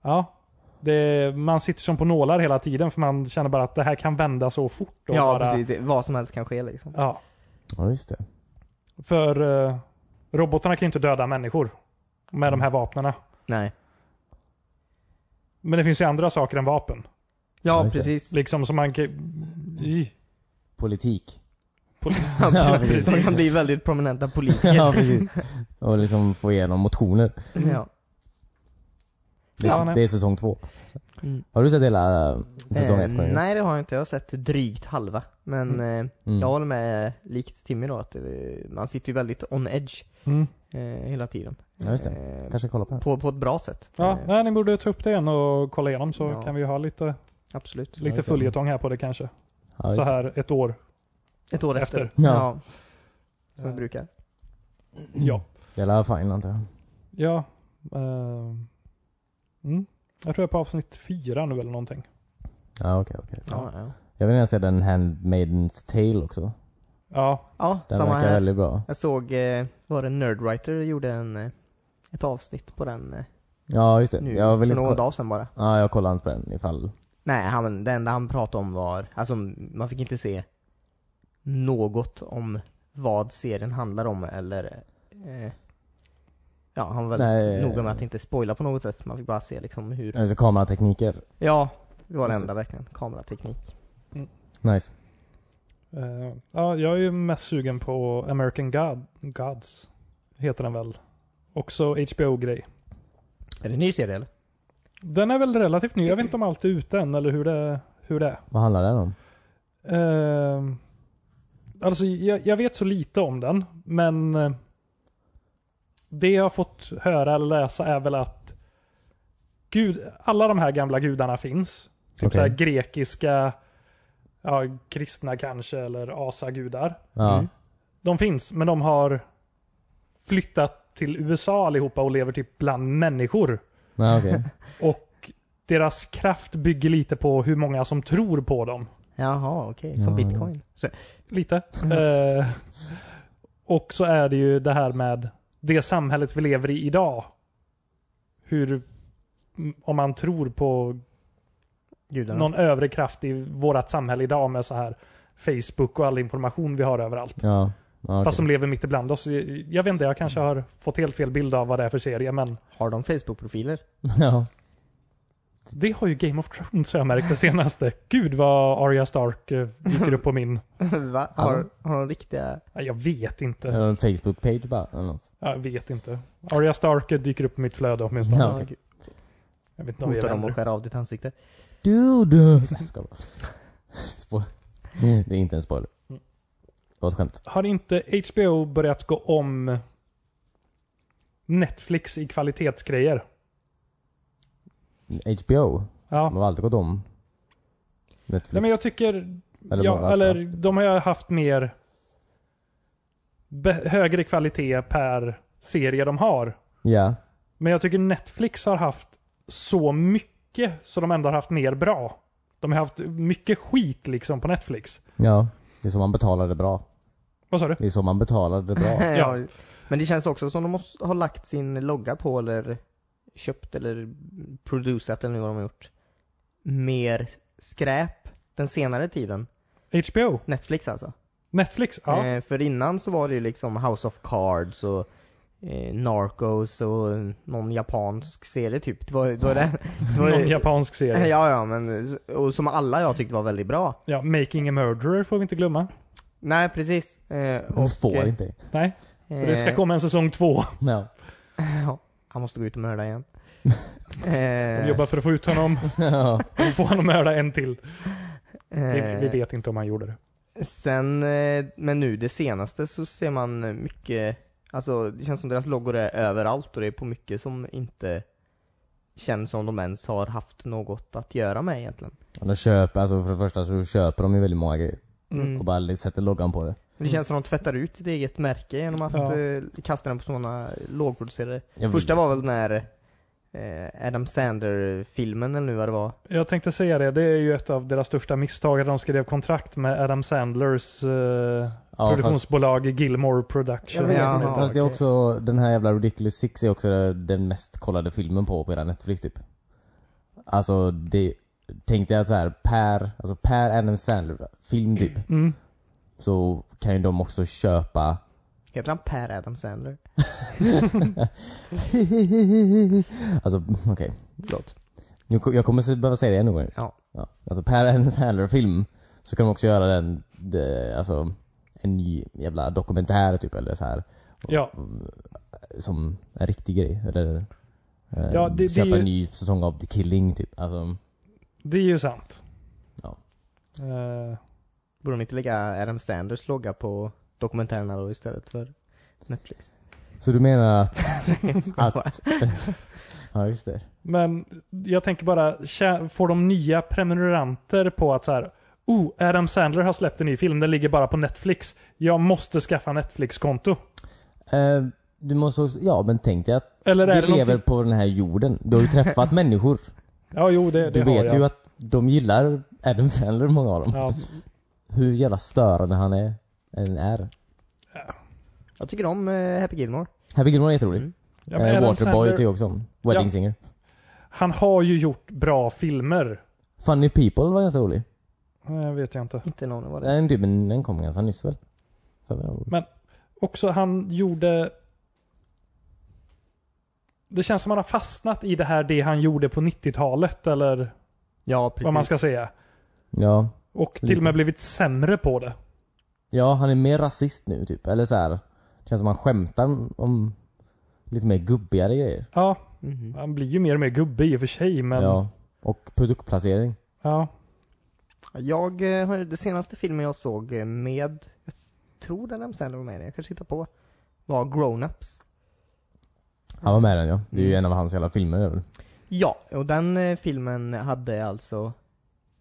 ja, Det, man sitter som på nålar hela tiden för man känner bara att det här kan vända så fort. och
Ja,
bara,
precis. Det, vad som helst kan ske liksom.
Ja,
Ja, just det.
för eh, robotarna kan ju inte döda människor med de här vapnena.
Nej.
Men det finns ju andra saker än vapen.
Ja,
just det.
precis.
Liksom som man kan... I,
Politik.
polis.
Ja,
precis.
precis.
De kan bli väldigt prominenta politiker.
ja, precis. Och liksom få igenom motioner.
ja.
Det är,
Ja, nej.
det är säsong två.
Mm.
Har du sett hela eh, säsong
Eh,
ett? Cornelius?
nej, det har jag inte. Jag har sett drygt halva. Men eh,
Mm.
jag håller med, likt Timmy då, att eh, man sitter ju väldigt on edge
Mm.
eh, hela tiden.
Ja, just det.
Eh,
Kanske kolla på den.
på, på ett bra sätt.
Ja,
Eh,
nej, ni borde ta upp det igen och kolla igenom så
Ja.
kan vi ha lite,
absolut.
lite
just det.
följetong här på det kanske.
Ja, just
så
det.
här ett år.
Ett år efter.
Efter.
Ja.
Som vi brukar.
Mm.
Ja.
Det är alla fine antar jag.
Ja. eh, mm. Jag tror jag är på avsnitt fyra nu eller någonting.
Ja, okej, okej.
Ja, ja.
Jag vill gärna se den Handmaidens Tale också.
Ja,
ja
Den
samma
verkar
här.
väldigt bra.
Jag såg, eh, var det Nerdwriter gjorde en, eh, ett avsnitt på den eh,
Ja, just det.
nu,
jag
för
vill inte
någon
kolla.
dag sedan bara.
Ja, jag kollar inte på den ifall.
Nej, han, det enda han pratade om var, alltså man fick inte se något om vad serien handlar om eller eh, Ja, han var väldigt
Nej.
noga med att inte spoila på något sätt. Man fick bara se liksom hur
Alltså kameratekniker.
Ja, det var det
Just
enda verkligen. Kamerateknik.
Nice.
Eh, ja, jag är ju mest sugen på American God, Gods. Heter den väl. Också HBO-grej.
Är det en ny serie eller?
Den är väl relativt ny. Jag vet inte om allt är ute än eller hur det, hur det är.
Vad handlar den om?
Eh, alltså, jag, jag vet så lite om den. Men eh, det jag har fått höra eller läsa är väl att gud, alla de här gamla gudarna finns. Typ
Okej.
så här grekiska, ja, kristna kanske eller asagudar.
Ja.
Mm.
De finns, men de har flyttat till USA allihopa och lever typ bland människor.
Nej, okej.
Och deras kraft bygger lite på hur många som tror på dem.
Jaha, okej. Som
Ja.
bitcoin. Så,
Lite.
Mm.
eh, och så är det ju det här med det samhället vi lever i idag. Hur, m- om man tror på
gudarna.
någon övre kraft i vårat samhälle idag med så här Facebook och all information vi har överallt.
Ja. ja okej.
Fast som lever mitt ibland oss. Jag vet inte, jag kanske
Mm.
har fått helt fel bild av vad det är för serie, men
Har de Facebook-profiler?
ja.
det har ju Game of Thrones har jag märkt det senaste. Gud vad Arya Stark eh, dyker upp på min.
Va? Har, har de riktiga...
Nej, Jag vet inte.
Eller en Facebook-page bara. Eller något.
Jag vet inte. Arya Stark eh, dyker upp på mitt flöde åtminstone.
Ja, okej.
Jag vet inte om vi är
Hotar de
vänner.
och skär av ditt ansikte?
Dude! Så jag ska bara. Spoil- Det är inte en spoiler.
Mm.
Det var ett skämt.
Har inte HBO börjat gå om Netflix i kvalitetsgrejer?
HBO. De
Ja.
har alltid gått om. Netflix.
Nej, men jag tycker
Eller
ja,
bara-
eller de har ju haft mer be- högre kvalitet per serie de har.
Ja.
Men jag tycker Netflix har haft så mycket så de ändå har haft mer bra. De har haft mycket skit liksom på Netflix.
Ja. Det är så man betalar det bra.
Vad sa du?
Det är så man betalar det bra.
Ja.
Eh, Men det känns också som de måste ha lagt sin logga på eller köpt eller producerat eller vad de har gjort. Mer skräp den senare tiden.
HBO?
Netflix alltså.
Netflix? Ja.
Eh, för innan så var det ju liksom House of Cards och eh, Narcos och någon japansk serie typ. Det var, det var det, det var,
Någon japansk serie.
eh, Ja, ja, men och som alla jag tyckte var väldigt bra.
Ja, Making a Murderer får vi inte glömma.
Nej, precis. Eh,
Hon får
eh,
inte det.
Nej, för det ska
eh,
komma en säsong två.
Ja.
Ja, han måste gå ut och mörda igen.
De
eh,
jobbar för att få ut honom. Få honom att mörda en till. Vi,
eh,
vi vet inte om han gjorde det.
Sen, eh, men nu det senaste så ser man eh, mycket, alltså det känns som deras loggor är överallt och det är på mycket som inte känns som de ens har haft något att göra med egentligen.
De köper, alltså för det första så köper de ju väldigt många grejer.
Mm.
Och bara li- sätter loggan på det.
Det känns som de tvättar ut sitt eget märke genom att
Ja.
eh, kasta den på sådana lågproducerade.
Jag
Första
vill-
var väl den här eh, Adam Sander-filmen eller nu vad det var.
Jag tänkte säga det, det är ju ett av deras största misstag att de skrev kontrakt med Adam Sandlers eh,
Ja,
produktionsbolag Gilmore
Jag
Production.
vet
Ja,
inte.
ja,
Fast det är
okej.
också, den här jävla Ridiculous Six är också den mest kollade filmen på, på hela Netflix typ. Alltså det, tänkte jag så här, per, alltså per Adam Sandler film typ,
Mm.
så kan ju de också köpa
Heter han Per Adam Sandler?
Alltså okej,
Förlåt.
Nu ko- jag kommer se- behöva säga det ännu en gång.
Ja.
ja. Alltså Per Adam Sandler film, så kan de också göra den, de, alltså en ny jävla dokumentär typ eller så här
Ja.
eh, som en riktig grej. Eller eh,
Ja, det- det är
köpa
ju-
en ny säsong av The Killing typ. Alltså,
Det är ju sant.
Ja.
Eh,
Borde de inte lägga Adam Sanders logga på dokumentärerna då istället för Netflix?
så du menar att,
Jag skojar bara.
ja just det.
men jag tänker bara, tjä- får de nya prenumeranter på att så här, oh, Adam Sandler har släppt en ny film, den ligger bara på Netflix. Jag måste skaffa Netflix-konto.
Eh, du måste också, ja men tänk dig att
Eller är
vi
det
lever
någonting-
på den här jorden. Du har ju träffat människor.
Ja, jo, det, det
Du
har
vet
jag.
ju att de gillar Adam Sandler, många av dem.
Ja.
Hur jävla störande han är. än är.
Jag tycker om eh, Happy Gilmore.
Happy Gilmore är jätterolig.
Mm.
Ja, men
Eh,
Adam
Waterboy
Sandler,
tycker jag också om. Wedding
Ja.
Singer.
han har ju gjort bra filmer.
Funny People var ganska rolig.
Eh, vet jag inte.
Inte någon vad det är.
Den, typ, en- den kom ganska nyss väl? För mig.
Också han gjorde... Det känns som han har fastnat i det här det han gjorde på 90-talet eller
Ja, precis.
vad man ska säga.
Ja.
Och till
Lite.
och med blivit sämre på det.
Ja, han är mer rasist nu typ. Eller så här. Det känns som han skämtar om lite mer gubbigare grejer.
Ja,
Mhm.
han blir ju mer och mer gubbe i och för sig men...
Ja. Och produktplacering.
ja.
Jag eh, har, det senaste filmen jag såg eh, med, jag tror den nämns eller var med i den, jag kanske hittar på, var Grown-Ups.
Han var med i den ja. Det är
Mm.
ju en av hans jävla filmer det är väl.
Ja, och den eh, filmen hade alltså,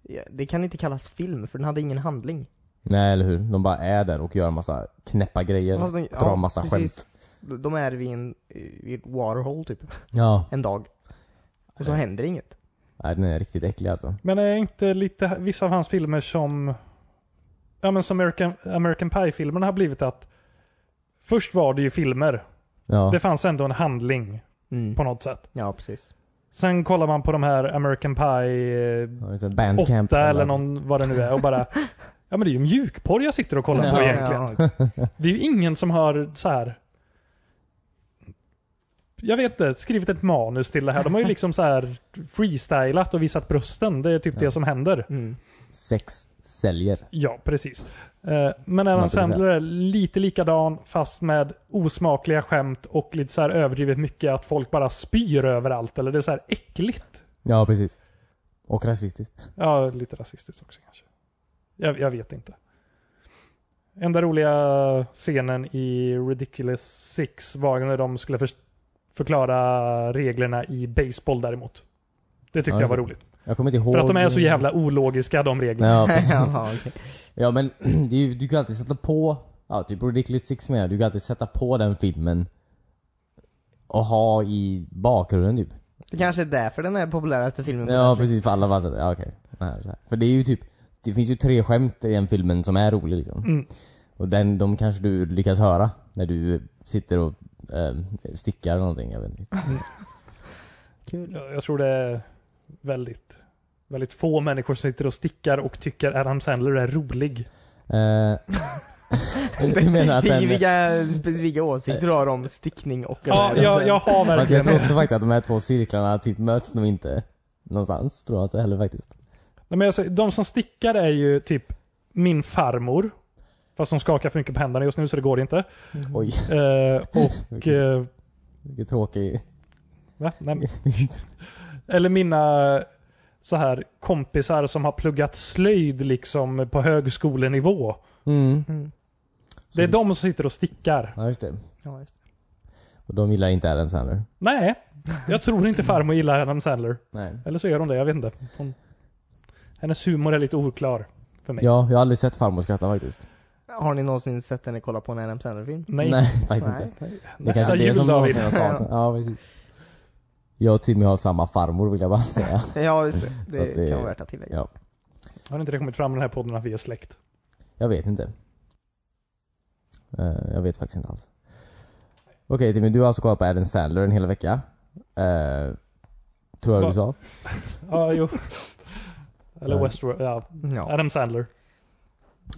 ja, det kan inte kallas film för den hade ingen handling.
Nej eller hur. De bara är där och gör en massa knäppa grejer.
Fast den-
drar massa skämt.
De de är vid en, vid ett waterhole typ,
Ja.
en dag. Och så
Nej.
händer inget.
Nej, den är riktigt äcklig alltså.
Men är inte lite vissa av hans filmer som... Ja men som American, American Pie-filmerna har blivit att... Först var det ju filmer.
Ja.
Det fanns ändå en handling
Mm.
på något sätt.
Ja, precis.
Sen kollar man på de här American Pie eh,
Ja, just det,
8
Bandcamp.
eller någon, vad det nu är och bara Ja men det är ju mjukporr jag sitter och kollar på
Ja,
egentligen.
Ja,
Det är ju ingen som har så här. Jag vet inte, skrivit ett manus till det här. De har ju liksom så här freestylat och visat brösten. Det är typ det som händer.
mm.
Sex säljer.
Ja, precis. Eh, Men
Som
Adam
att det är så här.
Sandler är lite likadan fast med osmakliga skämt och lite så här överdrivet mycket att folk bara spyr överallt. Eller det är så här äckligt.
Ja, precis. Och rasistiskt.
Ja, lite rasistiskt också kanske. Jag, jag vet inte. Enda roliga scenen i Ridiculous Six var när de skulle för, förklara reglerna i baseball däremot. Det tyckte
Ja,
jag var
just
roligt.
Jag kommer inte ihåg...
För att de är så jävla ologiska de reglerna.
Ja, precis.
ja, okej.
ja men det är, ju- du kan alltid sätta på... Ja, typ Ridiculous Six med. Du kan alltid sätta på den filmen och ha i bakgrunden typ.
Det kanske är därför den är populäraste filmen på
Mm.
Ja,
Netflix.
precis. För alla bara sätter... Ja, okej. Den här, så här. För det är ju typ... Det finns ju tre skämt i den filmen som är rolig liksom.
Mm.
Och den, de kanske du lyckas höra när du sitter och eh, stickar eller någonting. Jag vet inte.
Kul.
Jag, jag tror det är väldigt, väldigt få människor som sitter och stickar och tycker Adam Sandler är rolig.
Eh, du menar att den...
Vilka specifika åsikter du har om stickning och
Ja, jag, jag har
Fast jag
verkligen
tror också faktiskt att de här två cirklarna typ möts nog inte någonstans, tror jag inte heller faktiskt.
Nej, men jag säger, de som stickar är ju typ min farmor. Fast hon skakar för mycket på händerna just nu så det går inte.
Oj,
Eh, och...
Vilken-
Eh,
vilken tråkig...
va? Nej, men- eller mina så här kompisar som har pluggat slöjd liksom på högskolenivå.
Mm,
Mm.
Det är de som sitter och stickar.
ja just det.
Ja, just det.
Och de gillar inte Adam Sandler.
Nej, jag tror inte farmor gillar Adam Sandler.
Nej.
Eller så gör hon det, jag vet inte. Hon, hennes humor är lite oklar för mig.
Ja, jag har aldrig sett farmor skratta faktiskt.
Har ni någonsin sett henne kolla på en Adam Sandler-film?
Nej,
faktiskt
Nej.
inte. Det är
nästa
kanske är det
jul
som
David.
någonsin har saknat. Ja, precis. Jag och Timmy har samma farmor vill jag bara säga.
Ja, just det.
Så
Det,
att det-
kan vara värt att tillägga.
Ja,
Har inte det kommit fram i den här podden att vi är släkt?
jag vet inte. Eh, jag vet faktiskt inte alls. Okej Timmy, du har alltså kollat på Adam Sandler en hel vecka. Eh, tror jag
Va?
du sa.
Ja, jo. Eller
Nej.
Westworld. Ja.
Ja.
Adam Sandler.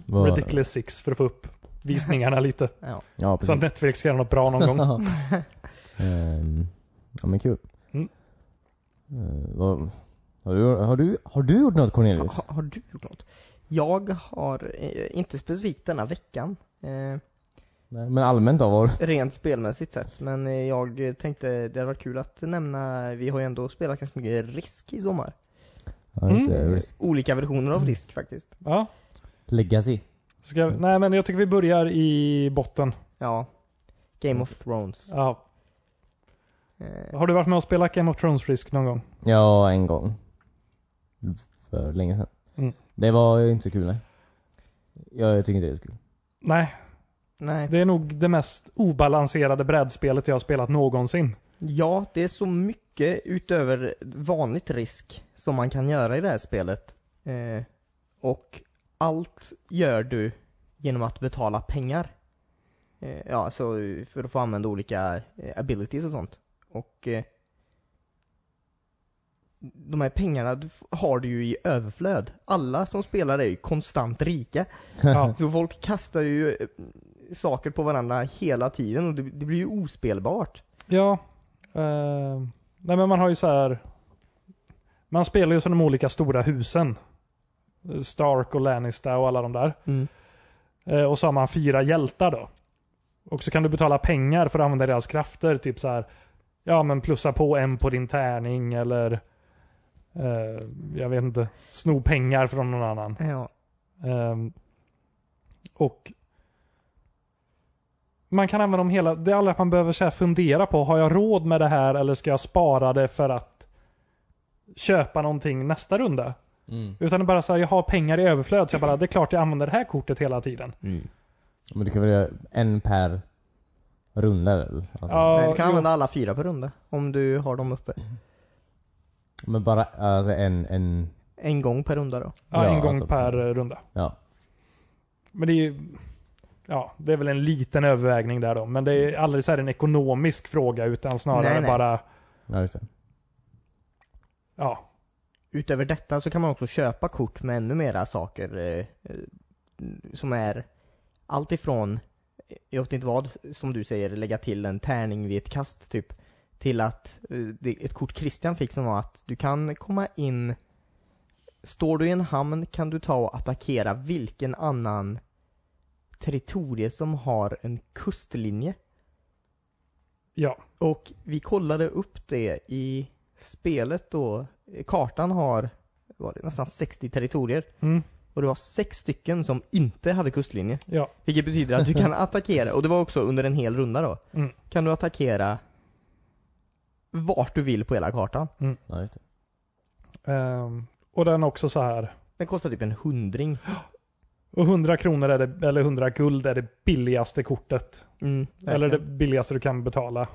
Vad-
Ridiculous Six för att få upp visningarna lite.
ja.
Ja,
Så att
precis.
Netflix ska göra något bra någon gång.
Ehm, ja men kul.
Mm.
Eh, vad, har, du, har, du, har du gjort något Cornelius?
Ha, har du gjort något? Jag har, eh, inte specifikt denna veckan, eh,
Nej, men allmänt då? Var,
rent spelmässigt sett, men eh, jag tänkte det hade varit kul att nämna, vi har ju ändå spelat ganska mycket risk i sommar.
ja, just det,
Eh,
risk- Mm.
Olika versioner av risk faktiskt.
Ja.
Legacy.
Ska, nej, men jag tycker vi börjar i botten.
Ja. Game of Thrones.
Ja.
Eh,
Har du varit med och spelat Game of Thrones Risk någon gång?
Ja, en gång. För länge sedan.
Mm.
Det var ju inte så kul nej. Jag tycker inte det är så kul.
Nej,
nej.
det är nog det mest obalanserade brädspelet jag har spelat någonsin.
Ja, det är så mycket utöver vanligt risk som man kan göra i det här spelet. Eh, och allt gör du genom att betala pengar. Eh, ja, så för att få använda olika eh, abilities och sånt. Och eh, de här pengarna du f- har du ju i överflöd. Alla som spelar är ju konstant rika.
Ja.
Så folk kastar ju eh, saker på varandra hela tiden och det, det blir ju ospelbart.
Ja. Eh, nej men man har ju så här. Man spelar ju som de olika stora husen. Stark och Lannister och alla de där. Eh, och så har man fyra hjältar då. Och så kan du betala pengar för att använda deras krafter. Typ så här. Ja men plussa på en på din tärning eller eh, jag vet inte. Sno pengar från någon annan.
Eh, Ja.
Ehm, och man kan använda dem hela, det är alla man behöver så här fundera på, har jag råd med det här eller ska jag spara det för att köpa någonting nästa runda?
Mm.
Utan det är bara så här, jag har pengar i överflöd så jag bara, det är klart jag använder det här kortet hela tiden.
Men du kan väl göra en per runda eller? Alltså,
Ja,
Nej, du kan
jo.
använda alla fyra per runda om du har dem uppe.
Men bara alltså, en, en,
En gång per runda då.
Ja,
Ja,
en gång
alltså-
per eh, runda.
ja.
Men det är ju, ja, det är väl en liten övervägning där då. Men det
Mm.
är aldrig så här en ekonomisk fråga utan snarare
Nej, nej.
bara,
Ja, just det.
ja,
Utöver detta så kan man också köpa kort med ännu mera saker eh, eh, som är allt ifrån, eh, jag vet inte vad, som du säger, lägga till en tärning vid ett kast typ. Till att, eh, det, ett kort Christian fick som var att du kan komma in, står du i en hamn kan du ta och attackera vilken annan territorie som har en kustlinje.
ja.
Och vi kollade upp det i spelet då. Kartan har var det, nästan 60 territorier.
Mm,
Och det var sex stycken som inte hade kustlinje.
ja.
Vilket betyder att du kan attackera, och det var också under en hel runda då.
Mm.
Kan du attackera vart du vill på hela kartan.
Ja, just det.
Ehm, och den också så här.
Den kostar typ en hundring.
Och 100 kronor är det, eller 100 guld är det billigaste kortet.
Mm,
Eller det
verkligen.
billigaste du kan betala.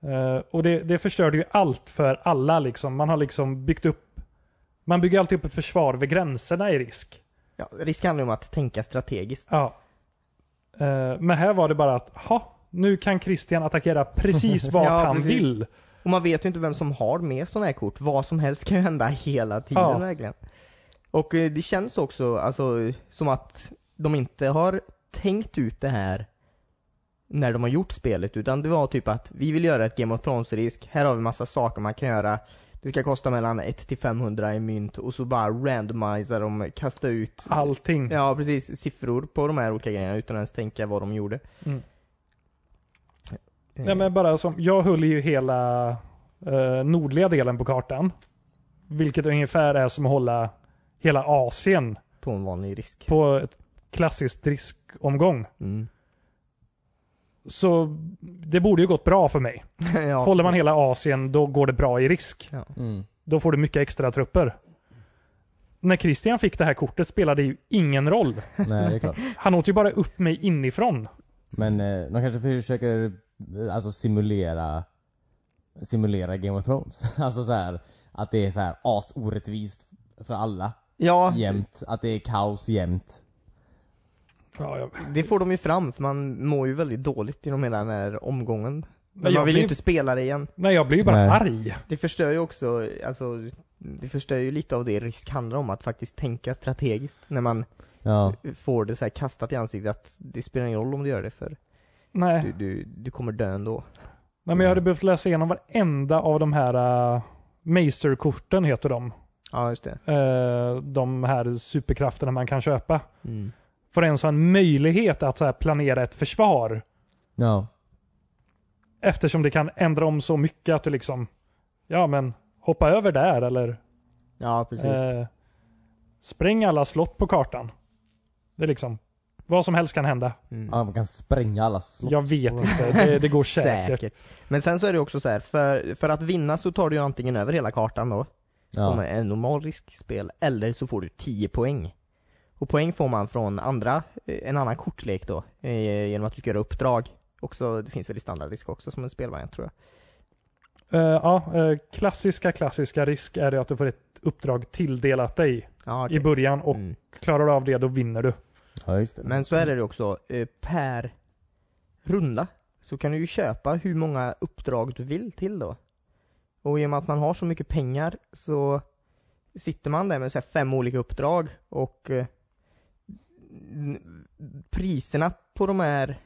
Eh, och det, det förstörde ju allt för alla liksom. Man har liksom byggt upp man bygger alltid upp ett försvar vid gränserna i risk.
ja, risk handlar ju om att tänka strategiskt.
Ja. Eh, men här var det bara att, ha, nu kan Christian attackera precis vart
Ja,
han
precis.
vill.
Och man vet ju inte vem som har med sådana här kort. Vad som helst kan ju hända hela tiden
Ja.
verkligen. Och eh, det känns också alltså, som att de inte har tänkt ut det här när de har gjort spelet. Utan det var typ att vi vill göra ett Game of Thrones-risk. Här har vi massa saker man kan göra. Det ska kosta mellan 1 till 500 i mynt och så bara randomisar de, kasta ut
Ah. Allting.
Ja, precis. Siffror på de här olika grejerna utan ens tänka vad de gjorde.
Mm.
Eh,
Nej, men bara som, jag höll ju hela eh, nordliga delen på kartan. Vilket ungefär är som att hålla hela Asien
På en vanlig risk.
på ett klassiskt riskomgång.
Mm.
Så det borde ju gått bra för mig.
ja,
Håller man
precis.
hela Asien då går det bra i risk.
Mm.
Då får du mycket extra trupper. När Christian fick det här kortet spelade det ju ingen roll.
Nej, det är klart.
Han åt ju bara upp mig inifrån.
Men eh, de kanske försöker eh, alltså simulera simulera Game of Thrones. alltså så här att det är så här asorättvist för alla
Ja,
jämt. Att det är kaos jämt.
Ja, jag,
det får de ju fram för man mår ju väldigt dåligt genom hela den här omgången. Men
jag
man vill ju
blir-
inte spela det igen.
Nej, jag blir ju bara
Nej.
arg.
Det förstör ju också, alltså, det förstör ju lite av det risk handlar om, att faktiskt tänka strategiskt när man
Ja.
får det så här kastat i ansiktet att det spelar ingen roll om du gör det för
Nej.
du, du, du kommer dö ändå.
Nej, men jag hade behövt läsa igenom varenda av de här uh, Master-korten heter de.
Ja, just det.
Eh, de här superkrafterna man kan köpa.
Mm.
För ens ha en möjlighet att så här, planera ett försvar.
Ja.
Eftersom det kan ändra om så mycket att du liksom, ja men hoppa över där eller
Ja, precis.
eh, spräng alla slott på kartan. Det är liksom, vad som helst kan hända.
Mm.
ja. Man kan spränga alla slott.
Jag vet inte, det, det går säkert.
Men sen så är det också så här, för, för att vinna så tar du ju antingen över hela kartan då, som
Ja.
är en normal riskspel, eller så får du 10 poäng. Och poäng får man från andra, eh, en annan kortlek då, eh, genom att du ska göra uppdrag. Också, det finns väl i standardrisk också som en spelvariant tror jag.
Eh, ja, eh, klassiska, klassiska risk är det att du får ett uppdrag tilldelat dig
Ja, okej.
i början och
Mm.
klarar du av det då vinner du.
ja, just det.
Men så är det ju också, eh, per runda så kan du ju köpa hur många uppdrag du vill till då. Och i och med att man har så mycket pengar så sitter man där med så här fem olika uppdrag och eh, n- priserna på de här,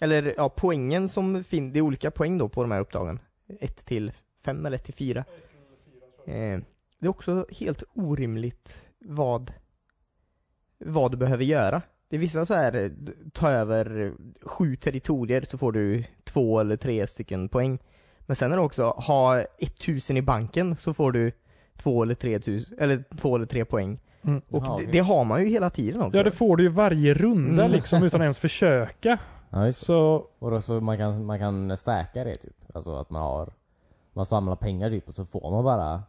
eller ja poängen som finns, det är olika poäng då på de här uppdragen. 1 till 5 eller 1 till 4. Eh, det är också helt orimligt vad, vad du behöver göra. Det är vissa så här, eh, d- ta över eh, sju territorier så får du två eller tre stycken poäng. Men sen är det också, ha 1000 i banken så får du två eller tre, tus, eller två eller tre poäng.
Mm.
Och
Ja,
det,
okej.
det har man ju hela tiden också.
Ja, det får du ju varje runda
Mm.
liksom utan ens försöka.
Ja, just det.
Så
Och då så man kan, man kan stärka det typ. Alltså att man har, man samlar pengar typ och så får man bara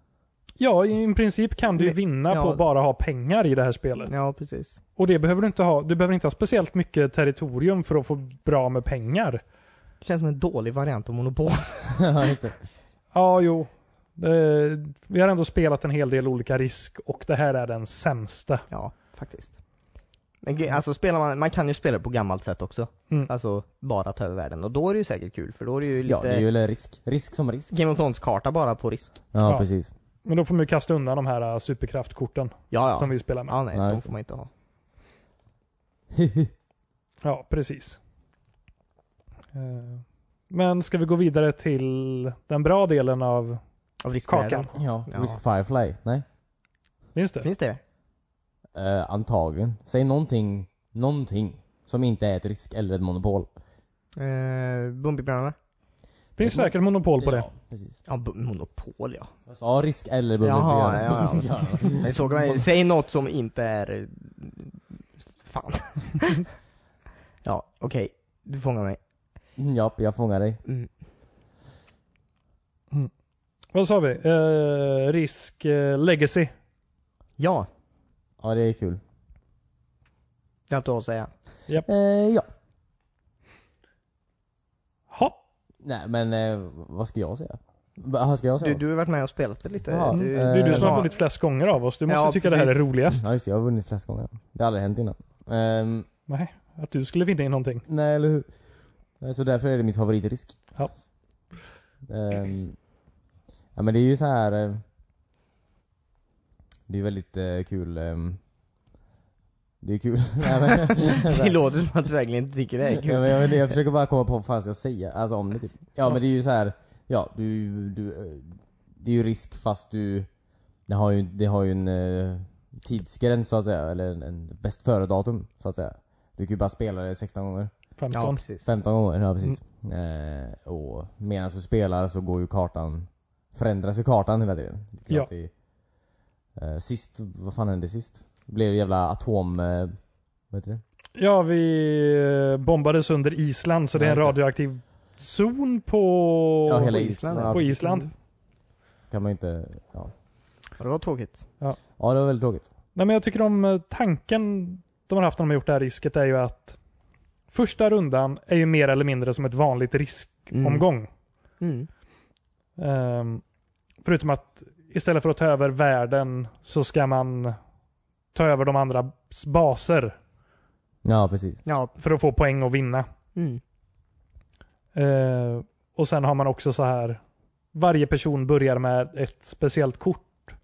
ja, i i princip kan du ju
Men-
vinna
Mm. ja.
på att bara ha pengar i det här spelet.
Ja, precis.
Och det behöver du inte ha. Du behöver inte ha speciellt mycket territorium för att få bra med pengar.
Det känns som en dålig variant av Monopol.
Ja, just det.
Ja, jo. Eh, Vi har ändå spelat en hel del olika risk och det här är den sämsta.
Ja, faktiskt. Men ge- alltså spelar man, man kan ju spela det på gammalt sätt också.
Mm.
Alltså bara ta över världen och då är det ju säkert kul för då är det ju lite
Ja, det är ju en risk. Risk som risk.
Game of Thrones-karta bara på risk.
Ja,
Ja.
precis.
Men då får man ju kasta undan de här eh, superkraftkorten
Ja, ja.
som vi spelar med.
Ja, nej,
Ja,
de
just
får man inte ha.
Ja, precis. Eh, Men ska vi gå vidare till den bra delen av
Av riskvärden.
kakan?
ja.
Ja.
Risk Firefly. Nej.
Finns det?
Finns det?
Eh, antagligen. Säg någonting, någonting som inte är ett risk eller ett monopol.
Eh, Bumbibjörnarna?
Finns säkert monopol på det.
Ja, precis.
Ja, bu- Monopol ja.
Jag sa risk eller bubbel.
Jaha, ja, ja.
Mm.
Men såg man, säg något som inte är... eh, Fan. ja, okej. Du fångar mig.
Japp, jag fångar dig.
Mm.
Vad sa vi? Eh, risk eh, Legacy.
Ja,
Ja, det är kul.
det är allt du har att säga.
Eh, ja.
Ha.
Nej, men eh, vad ska jag säga? Vad ska jag säga?
Du, du har varit med och spelat det lite.
Ja,
du, eh,
Det är du som
Ja.
har vunnit flest gånger av oss. Du måste
Ja,
tycka det här är
precis.
roligast.
Ja, just det, jag har vunnit flest gånger. Det har aldrig hänt innan. Ehm,
Nej, att du skulle vinna in någonting.
nej, eller hur? Eh, Så därför är det mitt favoritrisk.
Ja.
Ehm, ja, men det är ju så här. eh, det är ju väldigt eh, kul. ehm, det är kul. nej, men,
Det låter som att du verkligen inte tycker det är
Ja,
kul.
men jag, vet inte, jag försöker bara komma på vad fan ska jag säga, alltså om det typ. Ja men det är ju så här. ja du, du, eh, det är ju risk fast du, det har ju, det har ju en eh, tidsgräns så att säga, eller en, en bäst före datum så att säga. Du kan ju bara spela det 16 gånger.
Ja,
15.
precis.
15 gånger, ja precis.
Mm.
Eh, och medan du spelar så går ju kartan, förändras ju kartan hela tiden. Du kan
Ja.
alltid, eh, sist, vad fan hände sist? Det blev jävla atom, eh, vad heter det?
Ja, vi eh, bombades under Island så det är en
Ja, just det.
radioaktiv zon på,
Ja,
på
hela
Island,
Island.
ja.
Ja,
på
precis.
Island.
kan man inte, ja.
Ja, det var tråkigt.
Ja det var väldigt tråkigt.
Nej, men jag tycker om eh, tanken de har haft när de har gjort det här risket är ju att första rundan är ju mer eller mindre som ett vanligt riskomgång.
Mm.
Ehm, förutom att istället för att ta över världen så ska man ta över de andra baser
Ja precis.
Ja.
för att få poäng och vinna.
Mm.
Eh, och sen har man också så här. Varje person börjar med ett speciellt kort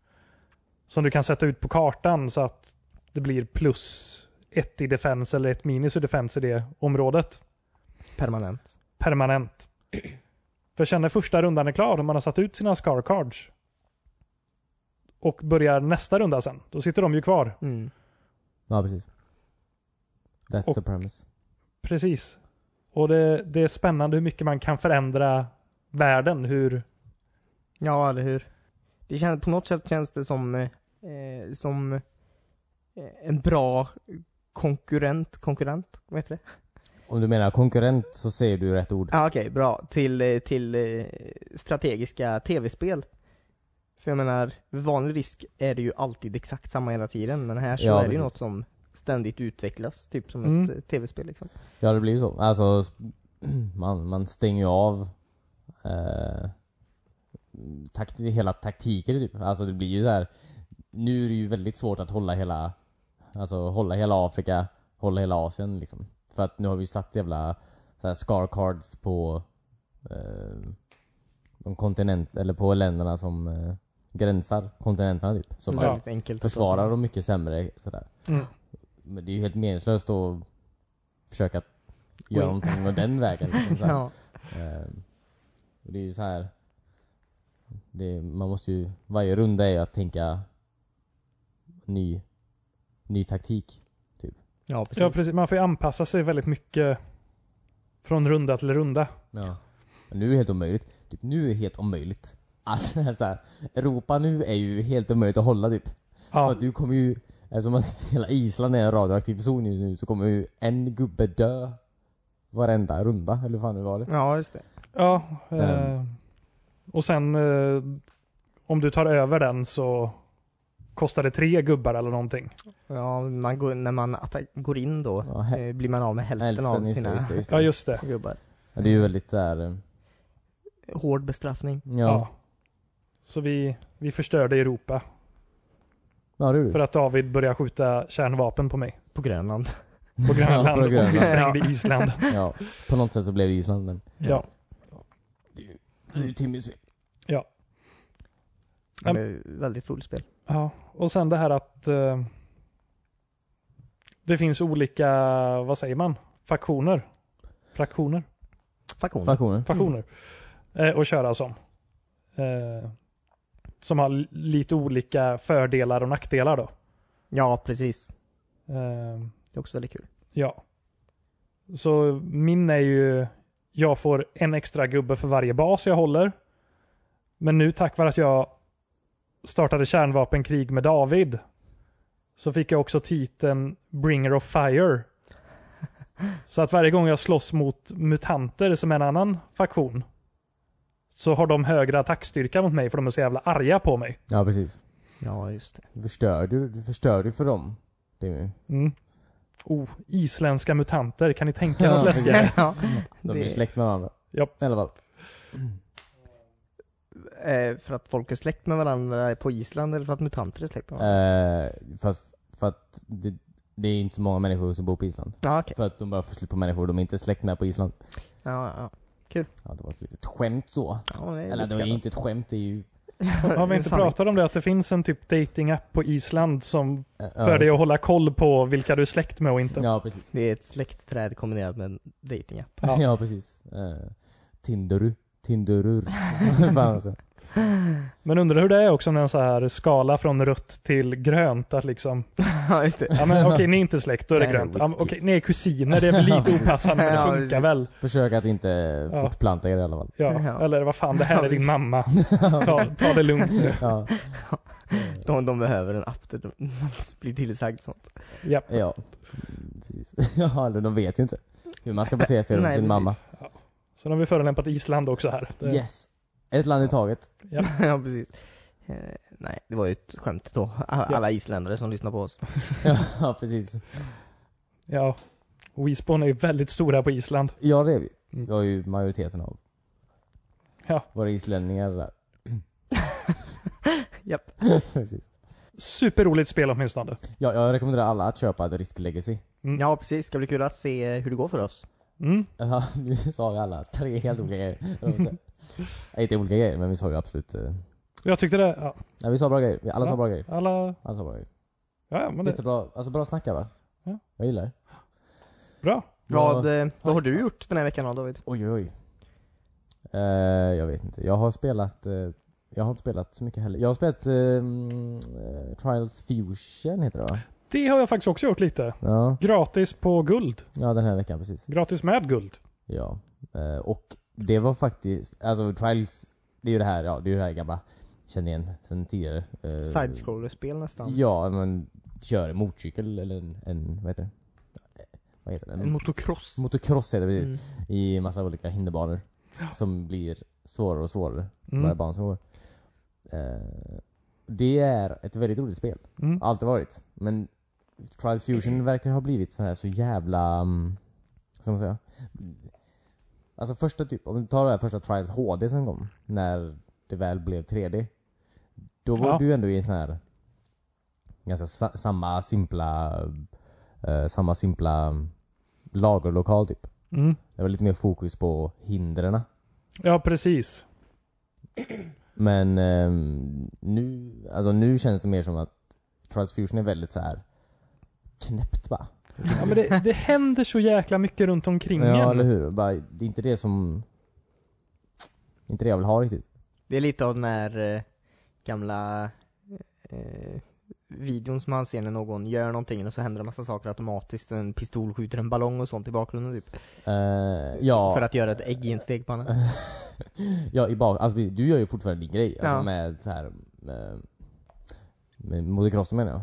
som du kan sätta ut på kartan så att det blir plus ett i defens eller ett minus i defens i det området
Permanent.
permanent. För sen när första rundan är klar och man har satt ut sina scar cards och börjar nästa runda sen, då sitter de ju kvar.
Mm.
Ja, precis. That's
Och-
the premise.
Precis. Och det, det är spännande hur mycket man kan förändra världen. Hur,
Ja, eller hur? Det känns, på något sätt känns det som, eh, eh, som eh, en bra konkurrent, konkurrent, vad heter det?
Om du menar konkurrent så säger du rätt ord.
Ja okej, bra. Till, eh, till eh, strategiska tv-spel. För jag menar, vid vanlig risk är det ju alltid exakt samma hela tiden men här så
Ja,
är det ju
precis.
något som ständigt utvecklas, typ som
Mm.
ett eh, tv-spel liksom.
Ja, det blir ju så. Alltså, man, man stänger ju av eh, takt, hela taktiken typ. Alltså det blir ju så här. Nu är det ju väldigt svårt att hålla hela, alltså hålla hela Afrika, hålla hela Asien liksom. För att nu har vi satt jävla så här, scar cards på eh, de kontinent, eller på länderna som eh, gränsar kontinenterna typ. Så man
Väldigt enkelt. att ta sig
försvarar
an.
dem mycket sämre sådär.
Mm.
Men det är ju helt meningslöst att försöka
Win.
göra någonting med den vägen. Liksom, så här.
Ja,
Ehm, och det är ju så här. Det, man måste ju, varje runda är ju att tänka ny, ny taktik.
ja
ja,
precis.
precis, man får ju anpassa sig väldigt mycket från runda till runda.
Ja. Nu är det helt omöjligt. Typ, nu är det helt omöjligt. Alltså, så här, Europa nu är ju helt omöjligt att hålla typ. För
Ja,
att du kommer ju, eftersom att hela Island är en radioaktiv zon just nu så kommer ju en gubbe dö varenda runda, eller hur fan det var det?
Ja, just det.
ja eh,
Ehm.
och sen eh, om du tar över den så kostar det tre gubbar eller någonting.
Ja, man går, när man attack, går in då
Ja, he-
eh, blir man av med hälften, av
just det,
sina
just det, just det.
Ja, just det.
gubbar.
Ja, det är ju väldigt där. eh,
Hård bestraffning.
Ja,
Ja.
ja.
Så vi, vi förstörde Europa
det är du.
för att David började skjuta kärnvapen på mig
På Grönland.
på
Ja, på
Grönland och vi
Grönland.
sprängde Island.
Ja, på något sätt så blev det Island men.
Ja.
Det är ju Timmys
Ja, det är väldigt roligt spel.
ja. Och sen det här att eh, det finns olika, vad säger man, faktioner. Fraktioner.
Faktion.
faktioner.
Faktioner. Eh, att köra som. Eh, som har li- lite olika fördelar och nackdelar då.
Ja, precis.
Eh,
Det är också väldigt kul.
Ja. Så min är ju, jag får en extra gubbe för varje bas jag håller. Men nu tack vare att jag startade kärnvapenkrig med David så fick jag också titeln Bringer of Fire. Så att varje gång jag slåss mot mutanter som är en annan faktion så har de högre attackstyrka mot mig för de är så jävla arga på mig.
Ja precis.
Ja, just det.
Du förstörde ju, du förstörde ju för dem. Det är ju,
Mm. Oh, isländska mutanter, kan ni tänka er
Ja,
något läskigare?
ja.
de är
Det-
ju släkt med varandra.
Japp.
I alla fall.
Eh, för att folk är släkt med varandra på Island eller för att mutanter är släkt med varandra?
Eh, för, att- för att det, det är inte så många människor som bor på Island.
Ja, okej.
För att de bara får slut på människor, de är inte släkt med på Island.
Ja, ja.
Ja, det var ett litet skämt så.
ja det är
Eller det var
lite
ju inte ett skämt, det är ju...
Har vi inte
Sanning.
pratat om det? Att det finns en typ dating-app på Island som
Ja,
för dig
just-
att hålla koll på vilka du är släkt med och inte.
eh, Ja, precis.
Det är ett släktträd kombinerat med en datingapp.
Ja.
Ja, precis. Eh, Tinderu. Tinderur. Fan, alltså.
Men undrar hur det är också med en så här skala från rött till grönt. Att liksom,
ja, just det.
ja men okej ni är inte släkt, då är det
Nej,
grönt. Ja, men
whisky.
okej ni är kusiner, det är väl lite opassande men
Ja,
det funkar
precis.
väl.
Försök att inte
Ja.
fortplanta er i alla fall.
Ja.
Ja.
Eller vad fan, det här
Ja,
är din
visst.
mamma. Ta, ta det lugnt nu.
Ja.
De, de behöver en app där de blir tillsagd sånt.
Ja.
ja. Mm, Precis. Ja, eller de vet ju inte hur man ska bete sig runt
Nej,
sin
precis.
mamma.
Så nu har vi förolämpat Island också här. Det,
Yes. Ett land i taget.
ja, precis. Eh, nej, det var ju ett skämt då. Alla,
Ja.
alla isländare som lyssnar på oss.
Ja, precis.
Ja. Wisbon är ju väldigt stora på Island.
Ja, det är vi.
Mm.
Vi har ju majoriteten av
Ja.
våra islänningar där.
Japp.
precis.
Superroligt spel åtminstone.
Ja, jag rekommenderar alla att köpa The Risk Legacy.
Ja, precis. Ska bli kul att se hur det går för oss.
Mm.
Ja, nu sa vi alla tre helt olika grejer. Nej, inte olika grejer, men vi sa ju absolut... eh,
Jag tyckte det. Ja,
Nej, vi sa bra grejer. Vi- Alla sa
Ja.
bra grejer.
alla,
Alla sa bra grejer.
ja ja, men det,
Jättebra, alltså bra snacka va?
Ja.
Jag gillar det.
bra.
Vad, eh, vad har du gjort den här veckan då David?
Oj, oj. Eh, jag vet inte. Jag har spelat... eh, jag har inte spelat så mycket heller. Jag har spelat eh, mm, eh, Trials Fusion heter det va?
Det har jag faktiskt också gjort lite.
Ja,
Gratis på guld.
ja den här veckan precis.
Gratis med guld.
Ja. Eh, och det var faktiskt, alltså Trials, det är ju det här, ja det är ju det här gamla, känner igen sen tidigare. Eh,
Sidescroller-spel nästan.
Ja, men kör en motorcykel eller en, en vad heter det? Vad heter det?
En
En
motocross.
motocross heter det precis.
Mm.
I massa olika hinderbanor. Som blir svårare och svårare
Mm.
varje bana som går. Eh, det är ett väldigt roligt spel.
Mm.
Alltid varit. Men Trials Fusion verkar ha blivit så här så jävla... mm, vad ska man säga? Alltså första typ, om du tar det här första Trials HD som kom. När det väl blev 3D. Då var
Ja.
du ändå i en sån här... Ganska sa, samma simpla... eh, samma simpla mm, lagerlokal typ.
Mm.
Det var lite mer fokus på hindren.
Ja, precis.
Men ehm, nu, alltså nu känns det mer som att Transfusion är väldigt så här knäppt bara.
Ja, men det, det händer så jäkla mycket runt omkring
Ja,
en.
eller hur? Bara, det är inte det som... Inte det jag vill ha riktigt.
Det är lite av den här eh, gamla eh, videon som man ser när någon gör någonting och så händer det massa saker automatiskt. En pistol skjuter en ballong och sånt i bakgrunden typ.
Eh, ja,
För att göra ett ägginsteg på henne.
ja, i bak, alltså, du gör ju fortfarande din grej. Alltså
Ja.
med så här... eh, med motocrossen menar jag.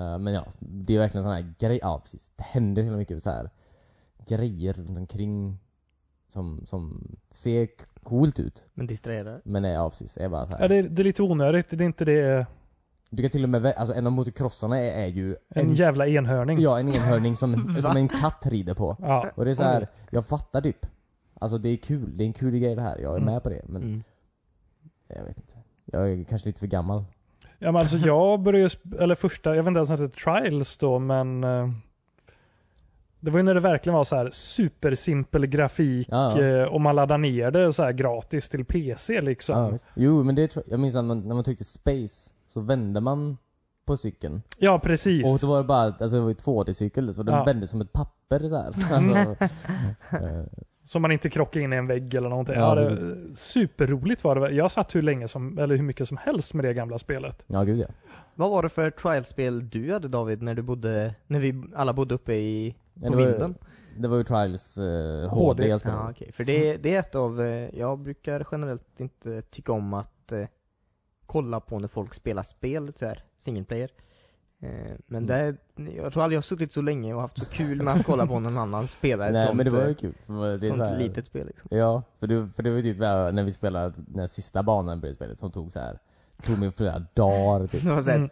Eh, men ja, det är verkligen sån här grej. Ja, precis. Det händer så jävla mycket så här grejer runt omkring som, som ser coolt ut.
Men distraherar.
Men nej, ja precis. Det är bara så här.
Ja, det, är- det är lite onödigt. Det är inte det. eh,
Du kan till och med vä- alltså en av motocrossarna är, är ju
En jävla enhörning.
ja, en enhörning som, som en katt rider på.
Ja.
Och det är så här, jag fattar typ. Alltså det är kul, det är en kul grej det här. Jag är
Mm.
med på det. Men
Mm.
jag vet inte. Jag är kanske lite för gammal.
Ja, men alltså jag började ju sp- eller första, jag vet inte ens om det heter trials då, men eh, det var ju när det verkligen var så här supersimpel grafik
Ja, ja.
eh, och man laddade ner det så här gratis till PC liksom.
Ja, visst. jo men det tror jag, jag minns när man, när man tryckte space så vände man på cykeln.
Ja, precis.
Och så var det bara, alltså det var ju 2D-cykel så den
Ja.
vände som ett papper så här.
Mm.
Alltså, eh,
Så man inte krockar in i en vägg eller någonting. Ja,
Ja,
det, superroligt var det. Jag satt hur länge som, eller hur mycket som helst med det gamla spelet.
ja gud ja.
Vad var det för trialspel du hade David när du bodde, när vi alla bodde uppe i,
Ja,
på
det, var,
vinden?
det var ju Trials
HD.
eh, HD jag spelade.
Ja okej, för det, det är ett av, eh, jag brukar generellt inte tycka om att eh, kolla på när folk spelar spel tyvärr, single player. Eh, men
Mm.
det, jag tror aldrig jag har suttit så länge och haft så kul med att kolla på någon annan spela ett
Nej
sånt,
men det var
eh,
ju kul. För det är
sånt
så här,
litet spel liksom.
Ja, för det, för det var ju typ där när vi spelade den här sista banan på det spelet som tog så här tog mig flera dagar typ.
Det var såhär,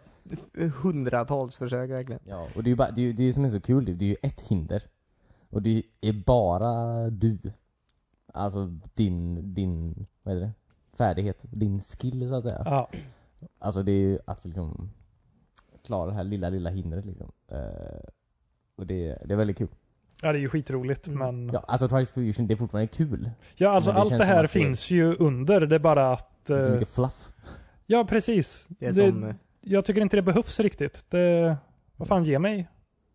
Mm.
hundratals försök verkligen.
Ja, och det är ju bara, det, är, ju- det som är så kul, det är- det är ju ett hinder. Och det är bara du. Alltså din, din, vad heter det? Färdighet, din skill så att säga.
Ja.
Alltså det är ju att liksom klara det här lilla, lilla hindret liksom. Eh, och det, det är väldigt kul.
Ja, det är ju skitroligt,
Mm.
men... Ja,
Ja, alltså Trials Fusion, det är fortfarande kul.
alltså
men det
allt
känns
det
som
här
att det-
finns ju under, det är bara att...
Det är så
eh,
mycket fluff.
Ja, precis.
Det är
Det-
som, eh,
Jag tycker inte det behövs riktigt. Det... Vad fan, ge mig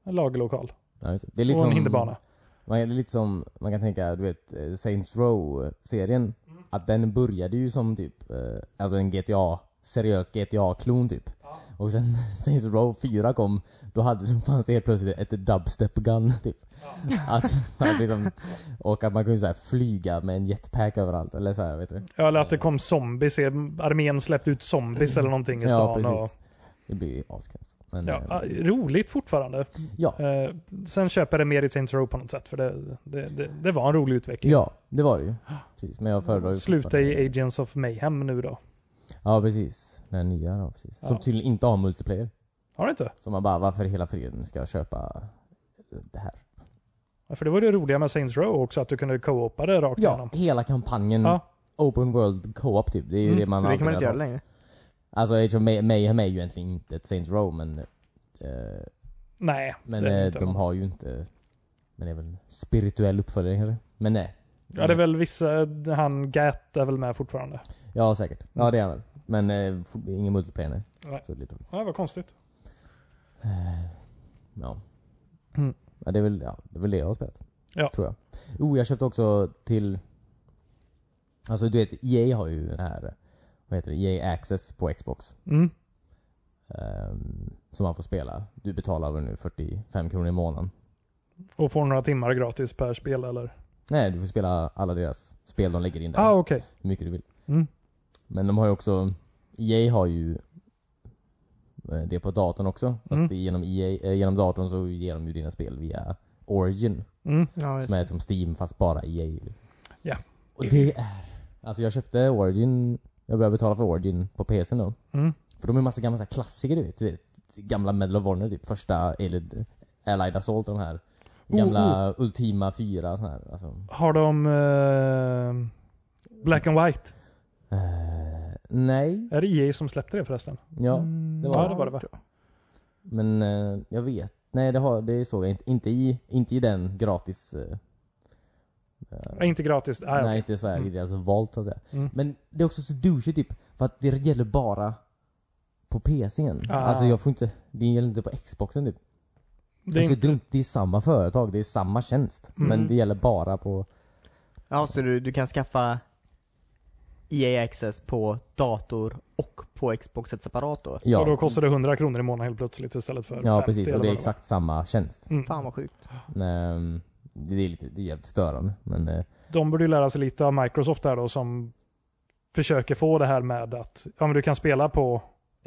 en lagerlokal
Ja, just det. det är liksom- lite
och en
som,
hinderbana.
Man, det är lite som, man kan tänka, du vet, eh, Saints Row-serien.
Mm.
Att den började ju som typ, eh, alltså en GTA, seriös GTA-klon typ. Och sen Saints Row 4 kom, då hade, fanns det helt plötsligt ett dubstep-gun typ. Att, att liksom, och att man kunde så här flyga med en jetpack överallt, eller så här, vet du.
Ja, eller att det kom zombies, eh, armén släppte ut zombies eller någonting i
Mm. Ja,
stan. och...
precis. Det blir ju askrämt. Men,
ja, ah,
eh,
roligt fortfarande.
ja.
Eh, sen köper jag det mer i Saints Row på något sätt, för det, det, det, det var en rolig utveckling.
Ja, det var det ju. Precis, men jag föredrar ju
Sluta
fortfarande-
i Agents of Mayhem nu då.
Ja, precis. Den nya då, precis. Som
Ja.
tydligen inte har multiplayer.
Har du inte?
Så man bara, varför i hela friden ska jag köpa eh, det här?
Ja, För det var det roliga med Saints Row också, att du kunde co-opa det rakt igenom.
hela kampanjen
Ja.
Open World Co-op typ. Det är ju
Mm,
det man
så det kan man
alltid
inte
har-
göra längre.
Alltså Age of May- Mayhem är ju egentligen inte ett Saints Row men eh,
Nej,
Men
det är
eh,
inte
de
någon.
har ju inte Men det är väl en spirituell uppföljare kanske? Men nej.
Ja, det är väl vissa, han Gat är väl med fortfarande.
Ja, säkert. Ja, det är han väl. Men eh, fort- ingen multiplayer nu.
Nej.
Så det är lite
Ja, vad konstigt.
Ja.
Mm.
ja, det är väl, ja, det är väl det jag har spelat.
Ja.
Tror jag. Oh, jag köpte också till... Alltså du vet, EA har ju den här... Vad heter det? EA Access på Xbox.
Mm.
ehm, som man får spela. Du betalar väl nu 45 kronor i månaden.
Och får några timmar gratis per spel eller?
Nej, du får spela alla deras spel de lägger in där.
Ah, okej.
Hur mycket du vill.
Mm.
Men de har ju också... EA har ju eh, det på datorn också. Fast
Mm.
det är genom, EA, eh, genom datorn så ger de ju dina spel via Origin.
Mm.
Ja, just
Som är
det.
som Steam fast bara EA. Liksom.
Ja.
Och det är... Alltså jag köpte Origin, jag började betala för Origin på PCn då.
Mm.
För de är massa gamla så här klassiker du vet, du vet. Gamla Medal of Honor typ, första Allied, Allied Assault de här.
Oh,
Gamla Ultima 4 sån här. Alltså,
Har de eh, Black and White?
eh, nej,
Är det EA som släppte det förresten?
ja.
Mm,
det var
Ja, det var det va?
Men eh, jag vet. Nej det, har, det såg jag inte. Inte i, inte i den gratis... eh, eh,
Ja, Inte gratis. Ah,
Nej,
okej.
inte så här
Mm.
i deras valt så att säga.
Mm.
Men det är också så douchigt typ, för att det gäller bara på PCn.
Ah.
Alltså jag får inte, det gäller inte på Xboxen typ. Alltså,
Det
Det
är
är, så
inte,
dumt, det är samma företag, det är samma tjänst.
Mm.
Men det gäller bara på,
Ja, så du, du kan skaffa EA Access på dator och på Xboxet separat då?
Och då
ja.
kostar det 100 kronor i månaden helt plötsligt istället för
Ja
50
precis,
eller
och det
vad var.
är exakt samma tjänst.
Mm.
Fan vad sjukt.
Ehm, Det är lite, det är jävligt störande. Men eh,
De borde ju lära sig lite av Microsoft här då som försöker få det här med att ja, men du kan spela på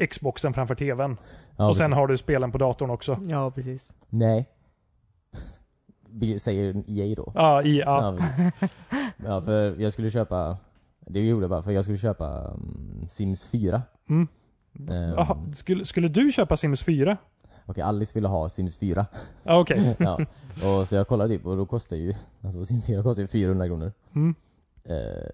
Xboxen framför TVn.
ja,
och sen
precis.
har du spelen på datorn också.
Ja, precis.
Nej. Vi säger EA då.
Ja, i, ja.
Ja. ja, för jag skulle köpa, det gjorde jag bara för jag skulle köpa mm, Sims 4.
Mm.
Ehm,
Jaha, skulle, skulle du köpa Sims 4?
Okej, Alice ville ha Sims 4.
Ja, Okej.
ja. Och så jag kollade typ och då kostar ju, alltså Sims 4 kostar ju 400 kronor.
Mm.
Eh,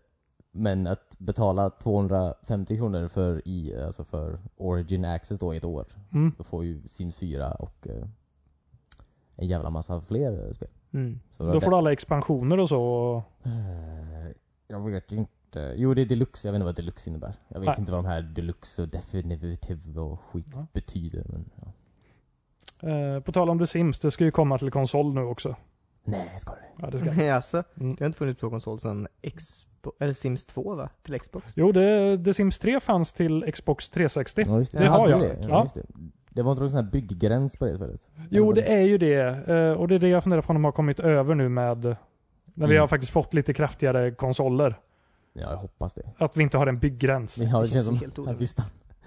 men att betala 250 kronor för, i, alltså för Origin Access då i ett år.
Mm.
Då får ju Sims 4 och eh, en jävla massa fler eh, spel.
Mm.
Så
Då får du alla expansioner och så.
Eh, Jag vet inte. Jo det är deluxe, jag vet inte vad deluxe innebär. Jag vet
Nej. Mm.
inte vad de här deluxe och definitive och skit
Ja.
betyder. Men, ja.
Eh, på tal om The Sims, det ska ju komma till konsol nu också.
Nej, ska det?
Ja, det ska.
alltså,
Mm.
det har inte funnits på konsol sedan Xbox, eller Sims 2 va? Till Xbox?
Jo, det, The Sims 3 fanns till Xbox 360.
Ja, just det.
Det har
Hade
jag.
du Det. Ja,
Ja.
Just det. det var inte någon sån här bygggräns på det spelet?
Jo,
Eller-
det är ju det. Eh, Och det är det jag funderar på om de har kommit över nu med när vi
Mm.
har faktiskt fått lite kraftigare konsoler.
Ja, jag hoppas det.
Att vi inte har en byggräns.
Men ja, det känns
känns
som
helt
att vi stann...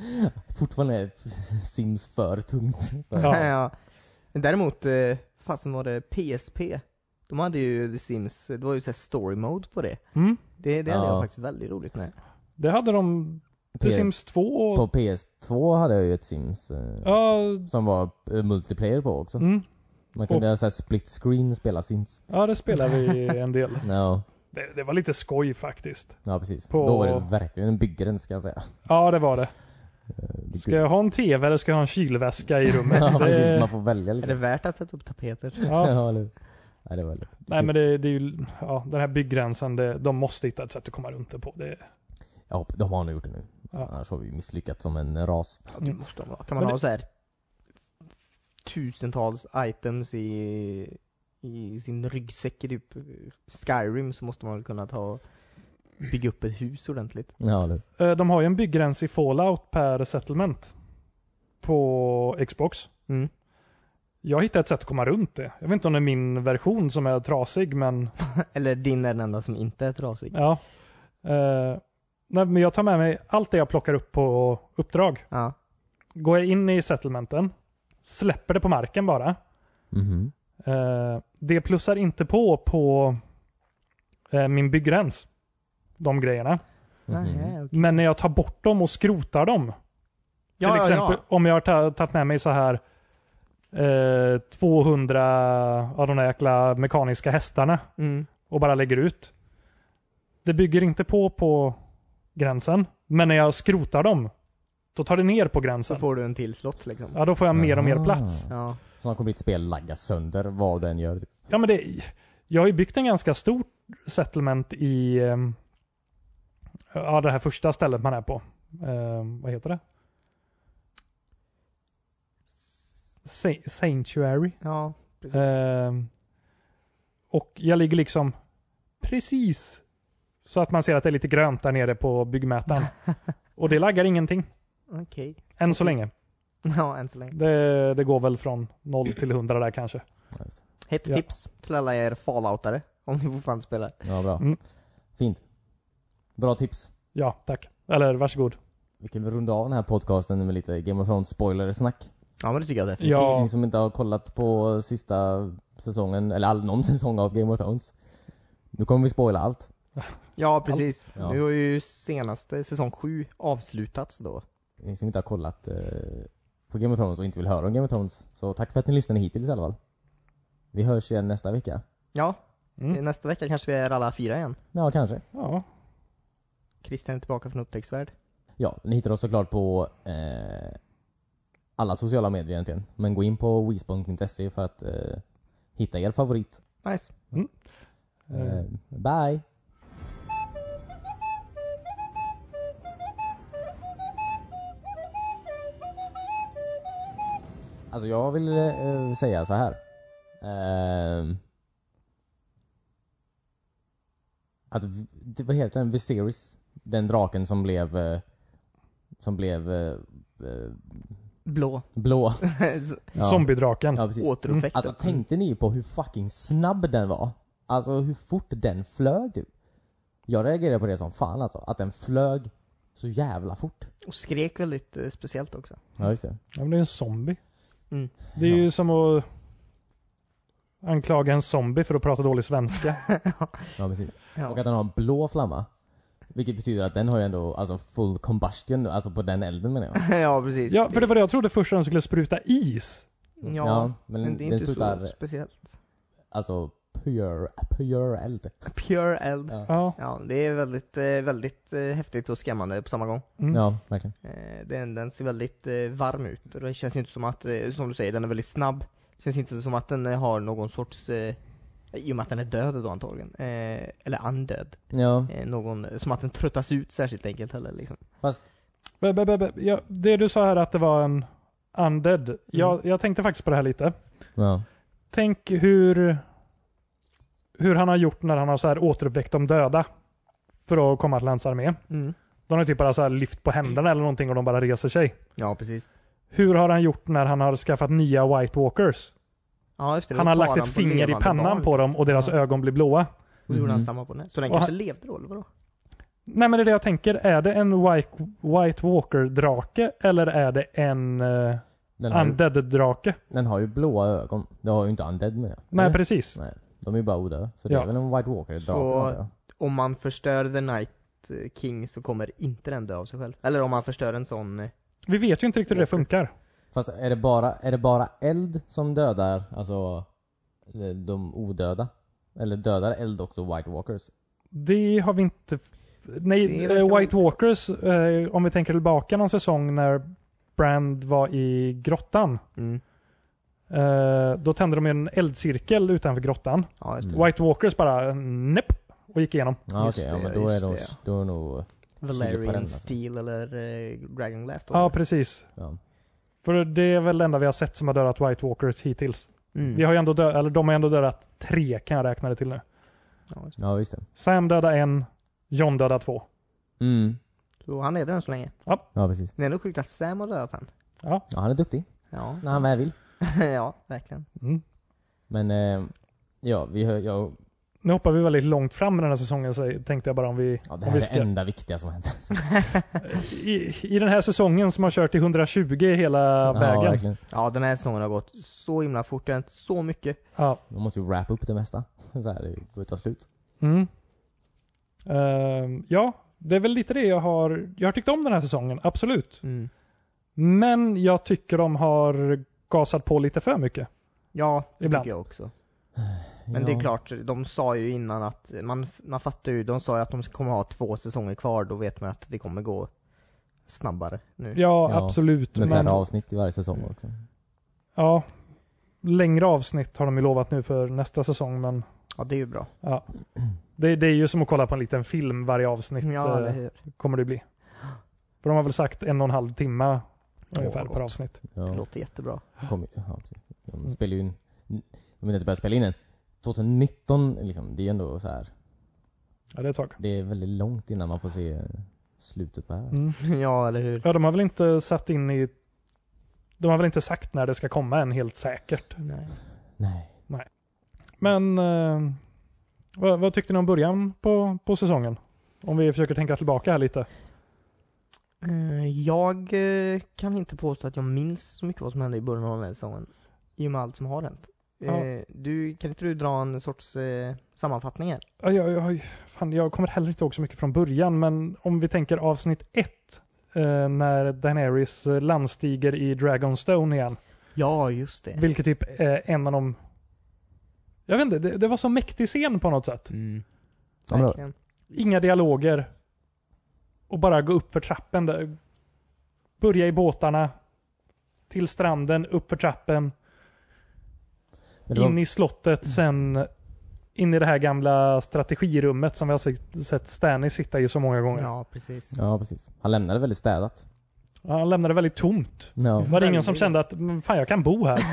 Fortfarande är Sims för tungt. Så.
Ja.
Men däremot, eh, fasen var det PSP? De hade ju The Sims, det var ju såhär story mode på det.
Mm.
Det, det hade
Ja.
jag faktiskt väldigt roligt med.
Det hade de The
P-
Sims 2 och...
På PS2 hade jag ju ett Sims eh,
Ja,
som var eh, multiplayer på också.
mm.
Man kunde göra så här split screen spela Sims.
ja, det spelar vi en del.
Ja,
Det, det var lite skoj faktiskt.
ja precis.
På-
Då var det verkligen en bygggräns ska jag säga.
Ja, det var det.
Eh, det är
Ska
kul.
jag ha en TV eller ska jag ha en kylväska i rummet?
ja, precis. Man
det,
får välja
Är det
liksom.
värt att sätta upp tapeter?
ja.
eller hur? Nej, det var det.
Nej, men det, det är ju... Ja, den här bygggränsen, det, de måste hitta ett sätt att komma runt det på. Det,
Jag hoppas, de har nog gjort det nu.
Ja.
Annars har vi misslyckats som en ras.
Ja, det
Mm.
måste de ha. Kan man
Men
ha så här tusentals items i, i sin ryggsäck i typ Skyrim så måste man väl kunna ta och bygga upp ett hus ordentligt.
Ja, eller hur?
Eh, De har ju en bygggräns i Fallout per settlement på Xbox.
Mm.
Jag hittade ett sätt att komma runt det. Jag vet inte om det är min version som är trasig, men
Eller din är den enda som inte är trasig. Ja.
ja. Eh, nej, men jag tar med mig allt det jag plockar upp på uppdrag. Går jag in i settlementen, släpper det på marken bara.
Mhm.
Eh, det plussar inte på på eh, min bygggräns. De grejerna.
Mhm.
Nej, okej.
Men när jag tar bort dem och skrotar dem, Till exempel om jag har ta- tagit med mig så här eh, 200 av de där jäkla mekaniska hästarna
ja. Mm.
och bara lägger ut. Det bygger inte på på gränsen, men när jag skrotar dem, då tar det ner på
Så
gränsen.
får du en till slott liksom.
Ja, då får jag mer och mer plats.
Ah.
Ja.
som kommer ditt spel lagga sönder vad den gör. Typ.
Ja, men det, jag har ju byggt en ganska stor settlement i ehm, ja, det här första stället man är på. Ehm, vad heter det? Sa- Sanctuary.
Ja, precis.
Ehm, och jag ligger liksom precis så att man ser att det är lite grönt där nere på byggmätaren. och det laggar ingenting,
Okej.
än så länge.
Ja, än så länge.
Det, det går väl från 0 till 100 där kanske.
Hett
Ja.
tips till alla er falloutare. Om ni fortfarande spelar.
Ja, bra.
Mm.
Fint. Bra tips.
Ja, tack. Eller varsågod.
Vi kan väl runda av den här podcasten med lite Game of Thrones spoilersnack.
Ja, men det tycker jag definitivt.
Ja.
Ni som inte har kollat på sista säsongen, eller all, någon säsong av Game of Thrones. Nu kommer vi spoila allt.
Ja, precis.
Ja.
Nu har ju senaste säsong 7 avslutats då.
Ni som inte har kollat eh, på Game of Thrones och inte vill höra om Game of Thrones. Så tack för att ni lyssnade hittills i alla fall. Vi hörs igen nästa vecka.
Ja,
Mm.
nästa vecka kanske vi är alla fyra igen.
Ja, kanske.
Ja,
Christian är tillbaka från upptäcktsvärd.
Ja, ni hittar oss såklart på eh, alla sociala medier egentligen. Men gå in på wisbon.se för att eh, hitta er favorit.
Nice.
Eh,
Eh, bye! Alltså jag vill eh, säga så här. Ehm, att, v- det- vad heter den? Viserys? Den draken som blev, eh, som blev eh, eh,
Blå. Mm.
blå. Ja.
Zombiedraken.
Ja, precis.
Återuppväckta.
Alltså tänkte ni på hur fucking snabb den var? Alltså hur fort den flög du? Jag reagerade på det som fan alltså, att den flög så jävla fort.
Och skrek väldigt eh, speciellt också.
Ja just det.
Ja, men det är en zombie.
Mm.
Det är ju som att anklaga en zombie för att prata dålig svenska.
Ja precis.
Ja.
Och att den har en blå flamma. Vilket betyder att den har ju ändå alltså full combustion, alltså på den elden menar jag.
ja, precis.
ja, för det var det jag trodde först att de skulle spruta is.
Ja,
men,
men det är
den
inte så
sprutar
speciellt.
alltså pure, pure eld.
Pure eld.
Ja.
Ja,
Ja, det är väldigt, eh, väldigt eh, häftigt och skrämmande på samma gång.
mm.
Ja, verkligen.
Eh, Den, den ser väldigt eh, varm ut och det känns inte som att, eh, som du säger, den är väldigt snabb. Det känns inte som att den eh, har någon sorts, eh, i och med att den är död då antagligen, eh, eller undead.
Ja,
Eh, någon, som att den tröttas ut särskilt enkelt heller liksom.
fast
Be, be, be, be. Ja, det du sa här att det var en undead.
Mm.
Jag, jag tänkte faktiskt på det här lite.
ja.
Tänk hur, hur han har gjort när han har så här återuppväckt de döda för att komma till hans armé. De har typ bara så här lyft på händerna eller någonting och de bara reser sig.
Ja, precis.
Hur har han gjort när han har skaffat nya White Walkers?
Ja, just det,
Han
då
har
tar
lagt
han
ett
på
finger i
levande
pannan
barn.
på dem och deras
Ja.
ögon blir blåa.
Och gjorde han
Mhm.
samma på den. Så den
Och
kanske levde då, eller vadå?
Nej men det är det jag tänker. Är det en White, White Walker-drake eller är det en uh,
Den har, ju,
Undead-drake?
den har ju blåa ögon. Det har ju inte undead menar jag.
Nej
Eller?
precis.
Nej, de är ju bara odöda. Så det
Ja.
är väl en White Walker
Så-
drake
Om man förstör The Night eh, King så kommer inte den dö av sig själv. Eller om man förstör en sån... eh,
Vi vet ju inte riktigt hur det funkar.
Fast är det, bara, är det bara eld som dödar, alltså eh, de odöda? Eller dödar eld också White Walkers?
Det har vi inte... Nej,
Det verkar
eh, White Walkers, eh, om vi tänker tillbaka någon säsong när Brand var i grottan.
Mm.
eh, Då tände de en eldcirkel utanför grottan.
Ja, just det.
Mm.
White Walkers bara nepp och gick igenom.
Ja
Just
okej, ja,
det,
men då är
just
de,
det, ja.
då är nog, Sug på den,
Valerian
alltså.
Steel eller eh, Dragon Glass då?
Ja, precis.
ja.
För det är väl det enda vi har sett som har dödat White Walkers hittills.
Mm.
Vi har ju ändå dö- eller de har ju ändå dödat tre kan jag räkna det till nu.
Ja, just det.
ja visst det.
Sam dödade en, John dödade två.
Mm.
Så han är den så länge.
Ja precis.
Det är ändå sjukt att Sam har dödat han.
Ja han är duktig,
Ja,
när han väl vill.
ja verkligen.
Mm.
Men eh, ja, vi hör, ja,
Nu hoppar vi väldigt långt fram i den här säsongen så tänkte jag bara om vi...
ja, det
om
här
vi
är det enda viktiga som hänt.
I, I den här säsongen som har kört i 120 hela
ja
vägen.
verkligen.
Ja, den här säsongen har gått så himla fort. Det har hänt så mycket.
Ja.
Man måste ju wrap upp det mesta. Så här, det går ju att ta slut.
Mm. Ehm, ja, det är väl lite det jag har... Jag har tyckt om den här säsongen, absolut.
Mm.
Men jag tycker de har gasat på lite för mycket.
Ja, det
Ibland.
tycker jag också. Men det
Ja.
är klart, de sa ju innan att, man, man fattar ju, de sa ju att de kommer ha två säsonger kvar, då vet man att det kommer gå snabbare nu.
Ja,
Ja,
absolut.
Med flera
Men,
avsnitt i varje säsong också.
ja, längre avsnitt har de ju lovat nu för nästa säsong. Men
Ja, det är ju bra.
det, det är ju som att kolla på en liten film varje avsnitt
Ja,
eh,
eller hur.
kommer det bli. För de har väl sagt en och en halv timme ungefär
Åh,
per
gott.
avsnitt.
Det
Ja,
låter jättebra.
kom, ja precis. De spelar ju in, de vet inte började spela in än. 2019 liksom, det är ändå så här.
Ja, det är ett tag.
Det är väldigt långt innan man får se slutet på det här.
Mm.
ja, eller hur.
Ja, de har väl inte satt in i... De har väl inte sagt när det ska komma än helt säkert.
Nej.
Nej.
Men eh, vad, vad tyckte ni om början på, på säsongen? Om vi försöker tänka tillbaka här lite.
Eh, Jag eh, kan inte påstå att jag minns så mycket vad som hände i början av den här säsongen. I och med allt som har hänt.
Ja.
Eh, Du, kan inte du dra en sorts eh, sammanfattning här?
Ja, Jag, jag, fan, jag kommer heller inte ihåg så mycket från början, men om vi tänker avsnitt ett eh, när Daenerys eh, landstiger i Dragonstone igen,
Ja, just det.
vilket typ är en av de... Jag vet inte, det, det var så mäktig scen på något sätt.
Mm.
Ja, men-
Verkligen.
Inga dialoger. Och bara gå upp för trappen. Där. Börja i båtarna. Till stranden, upp för trappen,
Men det var-
in i
Mm.
slottet, sen in i det här gamla strategirummet som vi har sett- sett Stanley sitta i så många gånger.
Ja, precis.
Ja, precis. Han lämnade väldigt städat.
Ja, Han lämnade väldigt tomt.
Ja.
Var det ingen som
Väldigt.
kände att "Men fan jag kan bo här?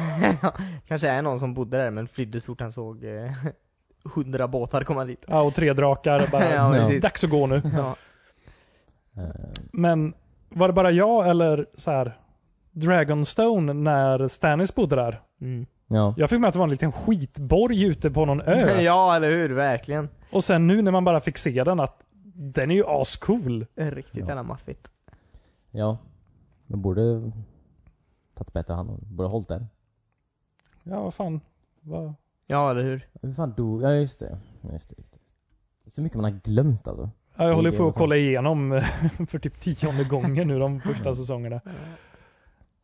Kanske är någon som bodde där men flydde så fort han såg eh, hundra båtar komma dit.
Ja, och tre drakar. Bara,
Ja, precis.
Dags att gå nu.
Ja.
Eh,
Men var det bara jag eller så här Dragonstone när Stannis bodde där?
Mm.
ja.
Jag fick med att det var en liten skitborg ute på någon ö.
ja, eller hur? Verkligen.
Och sen nu när man bara fick se den att den är ju ascool.
Riktigt
Ja.
jävla maffigt.
Ja. De borde tagit bättre hand om det. Borde hållit den.
Ja, vad fan. Vad-
Ja, eller hur?
Hur fan dog... Ja, just det. Ja, just det. Just det. Det är så mycket man har glömt alltså.
Ja, jag
Det
håller
är
på att
vad fan.
kolla igenom för typ tionde gången nu de
Mm.
första säsongerna.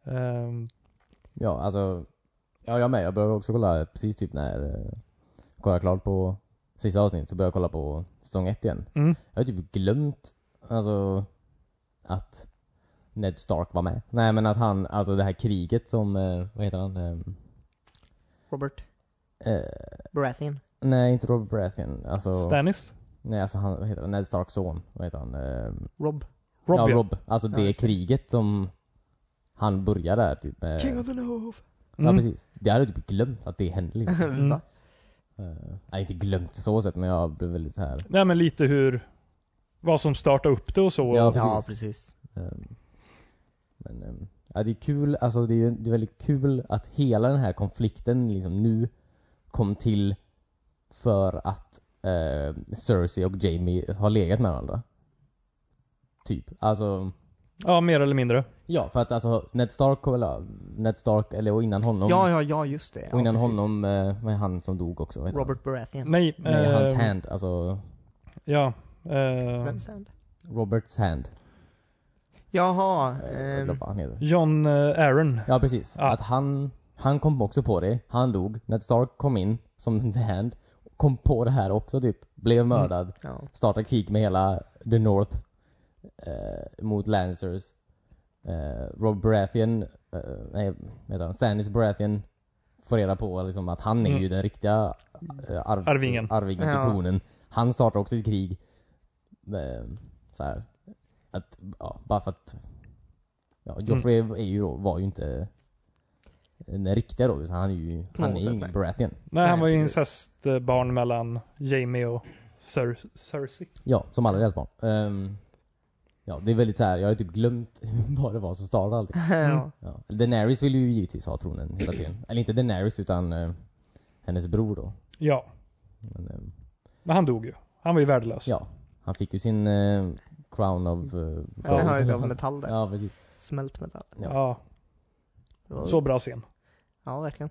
Ehm,
Ja, alltså. Ja, jag med. Jag började också kolla precis typ när eh, kolla klart på sista avsnittet så började jag kolla på säsong ett igen.
Mm.
Jag har typ glömt, alltså, att Ned Stark var med. Nej men att han, alltså det här kriget som, eh, vad heter han? Eh,
Robert
Eh,
Baratheon.
nej, inte Robert Baratheon. Alltså,
Stannis?
nej alltså han, vad heter han? Ned Starks son. Vad heter han? Eh,
Rob.
Rob,
ja,
ja.
Rob. Alltså
Ja,
det
just det.
kriget som han började där typ med.
King of the North.
Ja
Mm.
precis. Det hade jag typ glömt att det hände liksom.
Mm.
Va?
Eh, nej, inte glömt så sätt men jag blev väldigt så här.
Nej men lite hur, vad som startade upp det och så.
Ja, precis.
Ja, precis.
Ehm, Men ehm, ja, det är kul, alltså det är, det är väldigt kul att hela den här konflikten liksom nu kom till för att eh, Cersei och Jamie har legat med varandra. Typ. Alltså,
ja, mer eller mindre.
ja för att alltså Ned Stark, eller ja, Ned Stark, eller och innan honom,
Ja, ja, ja, just det.
och
Ja,
innan
precis.
honom, eh, vad är han som dog också? Vad heter
Robert Baratheon.
Nej,
Han? Nej, hans
ehm,
hand, alltså
Ja. ehm,
Vem sen?
Roberts hand.
Jaha.
Eh, Jag
ehm,
glömmer vad han heter.
John eh, Aaron.
Ja precis.
Ja.
Att han, han kom också på det. Han dog. Ned Stark kom in som The Hand. Kom på det här också typ. Blev mördad.
ja.
Startade krig med hela The North. Eh, mot Lancers. Eh, Rob Baratheon, eh, nej vad heter han? Stannis Baratheon. Får reda på liksom, att han är
Mm.
ju den riktiga eh, arvs,
Arvingen.
arvingen
Ja.
till tronen. Han startar också ett krig. Eh, så här. Att, ja, bara för att Ja, Joffrey
Mm.
är ju då, var ju inte eh, den riktiga då, utan han är ju, han är
något
ju
sätt,
ingen
nej.
Baratheon.
Nej, han
Nej,
var ju
precis.
incestbarn mellan Jamie och Cer Cersei.
Ja, som alla deras barn. Ehm, ja, det är väldigt så här. jag har typ glömt vad det var som startade allting.
ja.
Ja. Daenerys vill ju givetvis ha tronen hela tiden. Eller inte Daenerys utan eh, hennes bror då.
Ja,
Men, ehm,
men han dog ju. Han var ju värdelös.
ja, han fick ju sin eh, crown of eh, gold.
Ja, han har ju
i alla
av
fall.
metall där.
Ja, precis.
Smält metall.
Ja,
Det var-
så bra scen.
Ja, verkligen.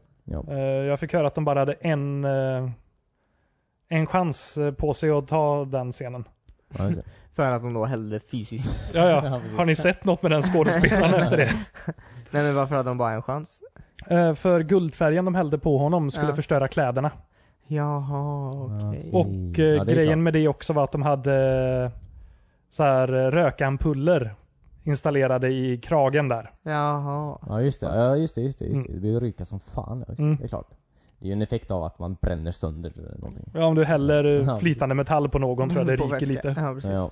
Eh, Jag fick höra att de bara hade en, eh, en chans eh, på sig att ta den scenen.
Ja, just det.
För att de då hällde fysiskt.
Ja, ja.
Ja, precis.
Har ni sett något med den skådespelaren efter det?
Nej men varför hade de bara en chans?
Eh, För guldfärgen de hällde på honom skulle
Ja.
förstöra kläderna.
Jaha, okej.
Ja,
Och
Mm.
eh,
Ja, det är
grejen
klart.
med det också var att de hade eh, så här eh, rökampuller installerade i kragen där.
Jaha.
Ja just det, ja, just det, just det.
Mm.
Just det. det blir ju ryka som fan. Ja, just det.
Mm.
det är klart. Det är ju en effekt av att man bränner sönder eh, någonting.
Ja, om du häller eh,
Ja,
flytande metall på någon tror jag det
Mm, På
ryker
vätska.
lite.
Ja, precis.
Ja.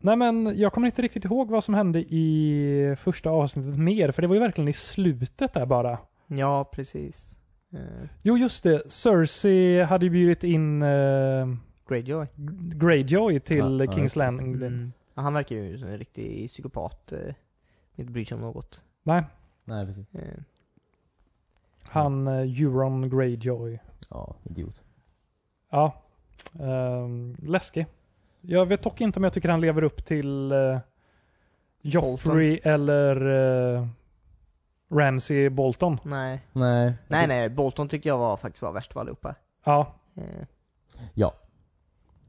Nej men jag kommer inte riktigt ihåg vad som hände i första avsnittet mer, för det var ju verkligen i slutet där bara.
Ja, precis. Eh,
Jo just det, Cersei hade ju bjudit in eh,
Greyjoy.
Greyjoy till
Ja, ja,
Kings
det är
Landing.
Mm. Ja, han verkar ju som en riktig psykopat. eh, Inte bryr sig om något.
Nej,
Nej precis.
Eh,
han eh, Euron Greyjoy.
Ja, idiot.
Ja, ehm, läskig. Jag vet dock inte om jag tycker han lever upp till eh, Joffrey eller eh, Ramsey Bolton.
Nej.
Nej.
Nej, nej. Bolton tycker jag var, faktiskt var värst av allihopa.
Ja,
Eh,
Ja,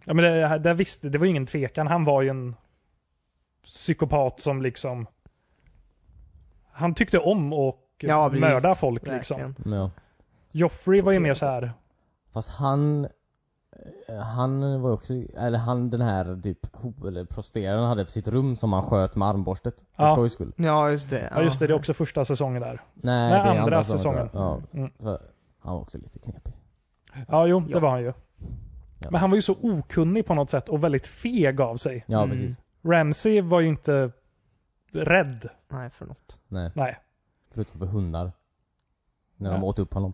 men det, det, visste, det var ju ingen tvekan. Han var ju en psykopat som liksom... Han tyckte om och
Ja, precis.
mörda folk liksom.
verkligen.
Ja.
Joffrey var ju mer så här.
Fast han eh, han var också, eller han den här typ ho- eller prosteraren hade på sitt rum som han sköt med armborstet. För
Ja.
skojs skull.
Ja, just det.
Ja just det, det är också första säsongen där. Nej,
Nej, det är
andra,
som-
säsongen.
Ja,
Mm.
så han var också lite knepig.
Ja, jo,
Ja.
det var han ju.
Ja.
Men han var ju så okunnig på något sätt och väldigt feg av sig.
Ja
Mm.
precis.
Ramsey var ju inte rädd.
Nej, för något.
Nej.
Nej.
Förutom för hundar. När de
Ja.
åt upp honom.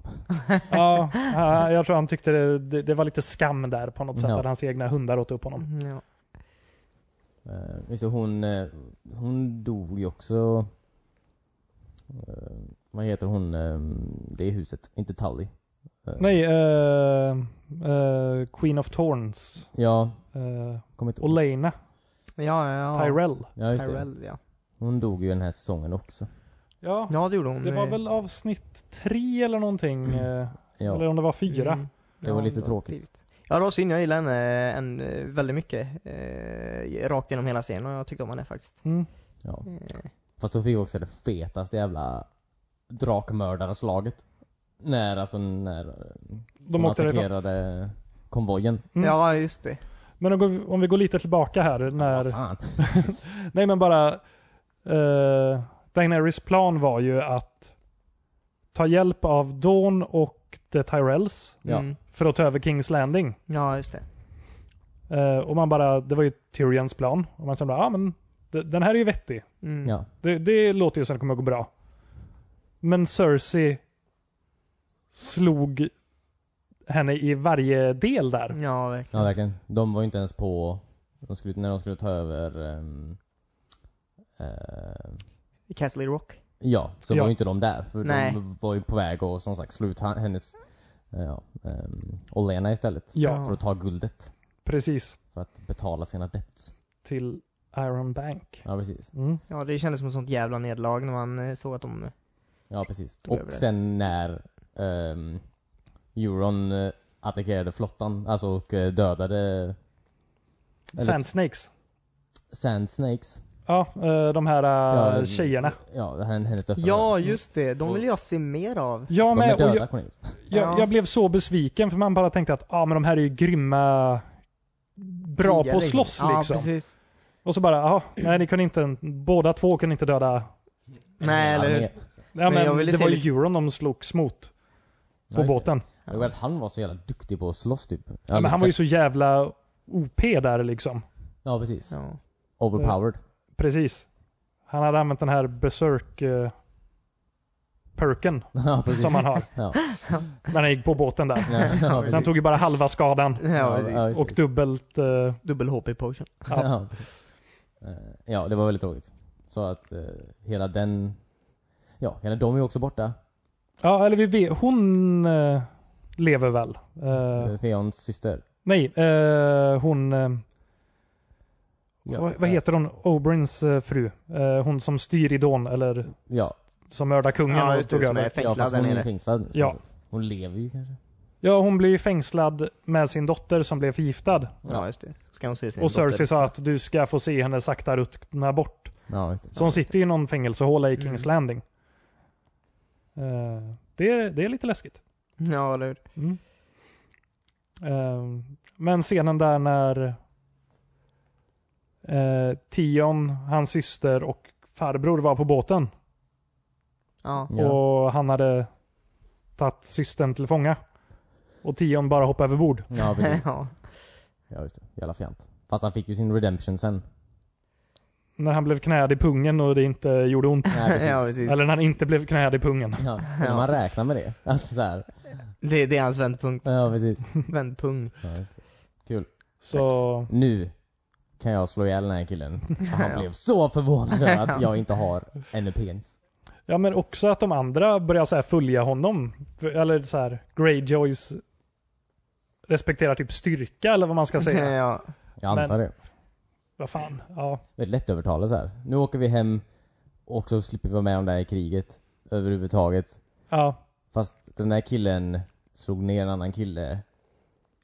Ja, ja, jag tror han tyckte det, det, det var lite skam där på något sätt.
Ja.
Att hans egna hundar åt upp honom.
Mm, Ja.
Eh, Just det, hon, eh, hon dog ju också... Eh, Vad heter hon? eh, Det är huset, inte Tully. Eh,
Nej, eh, eh, Queen of Thorns.
Ja,
eh,
kommer inte ihåg.
Olena
Ja, ja, ja.
Tyrell.
Ja just det.
Tyrell, ja.
Hon dog ju den här säsongen också.
Ja,
Ja, det gjorde hon.
det var
eh,
väl avsnitt tre eller någonting. eh, Eller
Ja.
om det var fyra.
Mm.
Det var lite tråkigt.
tidigt. Ja, det var synd. Jag gillade henne eh, en, eh, väldigt mycket. Eh, rakt genom hela scenen och jag tyckte om henne faktiskt.
Mm.
ja.
Eh,
Fast hon fick också det fetaste jävla drakmördarslaget. När alltså när eh,
De
hon
åkte därifrån.
attackerade konvojen.
Mm.
Ja, just det.
Men om, vi- om vi går lite tillbaka här.
Vad
När,
fan.
nej men bara. Eh, Daenerys plan var ju att ta hjälp av Dawn och The Tyrells
Ja.
Mm.
för att ta över Kings Landing.
Ja, just det.
Eh, och man bara, det var ju Tyrions plan. Och man kände, ja ah, men d- den här är ju vettig.
Mm.
Ja.
Det, det låter ju som det kommer att gå bra. Men Cersei slog henne i varje del
Mm.
där.
Ja, verkligen.
Ja verkligen. De var ju inte ens på, de skulle, när de skulle ta över ehm, eh,
Castle Rock.
Ja, så
Ja.
var ju inte de där. För
Nej.
de var ju på väg att som sagt slå ut han- hennes eh, ja, ehm, Olena istället.
Ja,
Ja.
För att ta guldet.
precis.
För att betala sina debts.
Till Iron Bank.
Ja precis.
Mm.
Ja, det kändes som ett sånt jävla nederlag när man eh, såg att de...
Ja precis.
Tog över
Och
det.
sen när um, Euron eh, attackerade flottan, alltså och eh, dödade Eller-
Sand Snakes.
Sand Snakes.
Ja, eh, de här eh,
Ja,
tjejerna.
Ja, hen- hennes döttrar.
Ja, just det. De
Och-
vill jag se mer av.
Jag,
De är
med, och
döda
jag,
Cornelius.
jag,
Ja.
jag blev så besviken för man bara tänkte att ah, men de här är ju grymma bra
Krigar
på att slåss
Ja,
liksom.
precis.
Och så bara, ah, nej ni kunde inte, båda två kunde inte döda.
Nej,
En
eller hur?
armé.
Ja, men
Men jag ville
det
se
var
lite-
ju Euron de slogs mot
Ja,
på
just det.
båten.
Det var att han var så jävla duktig på att slåss typ.
Ja, men han var ju så jävla OP där liksom.
Ja precis.
Ja.
Overpowered.
Precis. Han hade använt den här berserk eh, perken
Ja precis.
som han har
Ja.
när han gick på båten där.
Ja, ja,
Så han
precis.
tog ju bara halva skadan
Ja, precis.
ja, just
och
det.
dubbelt. Eh,
Dubbel HP potion.
ja.
Ja. Eh, ja, det var väldigt tråkigt. Så att eh, hela den... Ja, hela de är ju också borta.
ja, eller vi vet, hon eh, lever väl? Eh,
Eh, Theons syster.
nej, eh, hon, eh,
Ja,
vad, vad heter hon, Oberins eh, fru? Eh, hon som styr i Dawn eller
eh, Ja,
som mördar kungen
Ja,
och
just det,
tog
som
över.
är
ja
fängslad
fast
där
hon är
nere.
ju fängslad. nu, så
Ja.
att- Hon lever ju kanske.
Ja, hon blev ju fängslad med sin dotter som blev förgiftad.
Ja, just det. Ska hon se sin
Och
dotter.
Cersei sa att du ska få se henne sakta ruttna bort.
Ja, just det.
Så hon sitter ju i någon fängelsehåla i Kings
Mm.
Landing. Eh, det, är, det är lite läskigt.
Ja, eller hur?
Mm. Eh, men scenen där när eh, Tion, hans syster och farbror var på båten.
Ja.
Ja.
Och han hade tagit systern till fånga. Och Tion bara hoppade över bord.
Ja, precis.
ja.
Ja, just det. Jävla fjant. Fast han fick ju sin redemption sen.
När han blev knäad i pungen och det inte gjorde ont.
Nej, precis.
ja, precis.
Eller när han inte blev knäad i pungen.
Ja, men
Ja.
man räknar med det. Alltså så här.
Det, det är hans vändpunkt.
Ja, precis.
Vändpunkt.
Ja, just det.
Så
Nu kan jag slå ihjäl den här killen. Han
Ja.
blev så förvånad över att jag inte har en penis.
Ja men också att de andra börjar så här följa honom. Eller så här, Greyjoys respekterar typ styrka eller vad man ska säga.
ja.
Jag antar det.
vad fan. Ja.
Väldigt lättövertalat så här. Nu åker vi hem och så slipper vi vara med om det här kriget överhuvudtaget.
ja.
Fast den där killen slog ner en annan kille.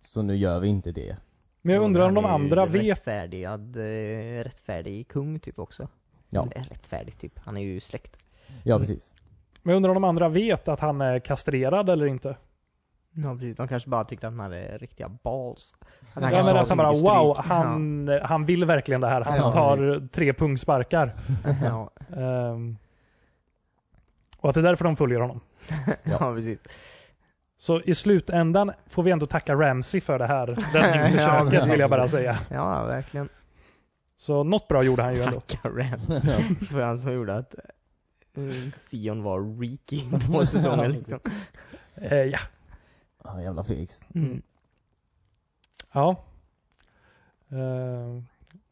Så nu gör vi inte det.
Men jag undrar om de
Han är ju
andra vet.
Rättfärdigad, eh, rättfärdig kung typ också.
Ja.
Eller Rättfärdig typ. Han är ju släkt.
Ja, precis.
Men jag undrar om de andra vet att han är kastrerad eller inte.
Ja precis, de kanske bara tyckte att han hade riktiga balls. Att
Jag
kan
menar
ta
att
så
han alltså, bara
mycket stryk.
wow, han, han vill verkligen det här. Han
Ja,
tar tre pungsparkar.
Ja, ja,
Ehm. och att det är därför de följer honom.
ja precis.
Så i slutändan får vi ändå tacka Ramsey för det här
Ja,
räddningsförsöket
precis.
vill jag bara säga.
Ja, verkligen.
Så något bra gjorde han ju ändå.
Tacka Rams. Det var han som gjorde att eh, Theon var reek i två säsonger liksom.
Eh, ja.
Ja, jävla fegis.
Mm. Ja. Eh,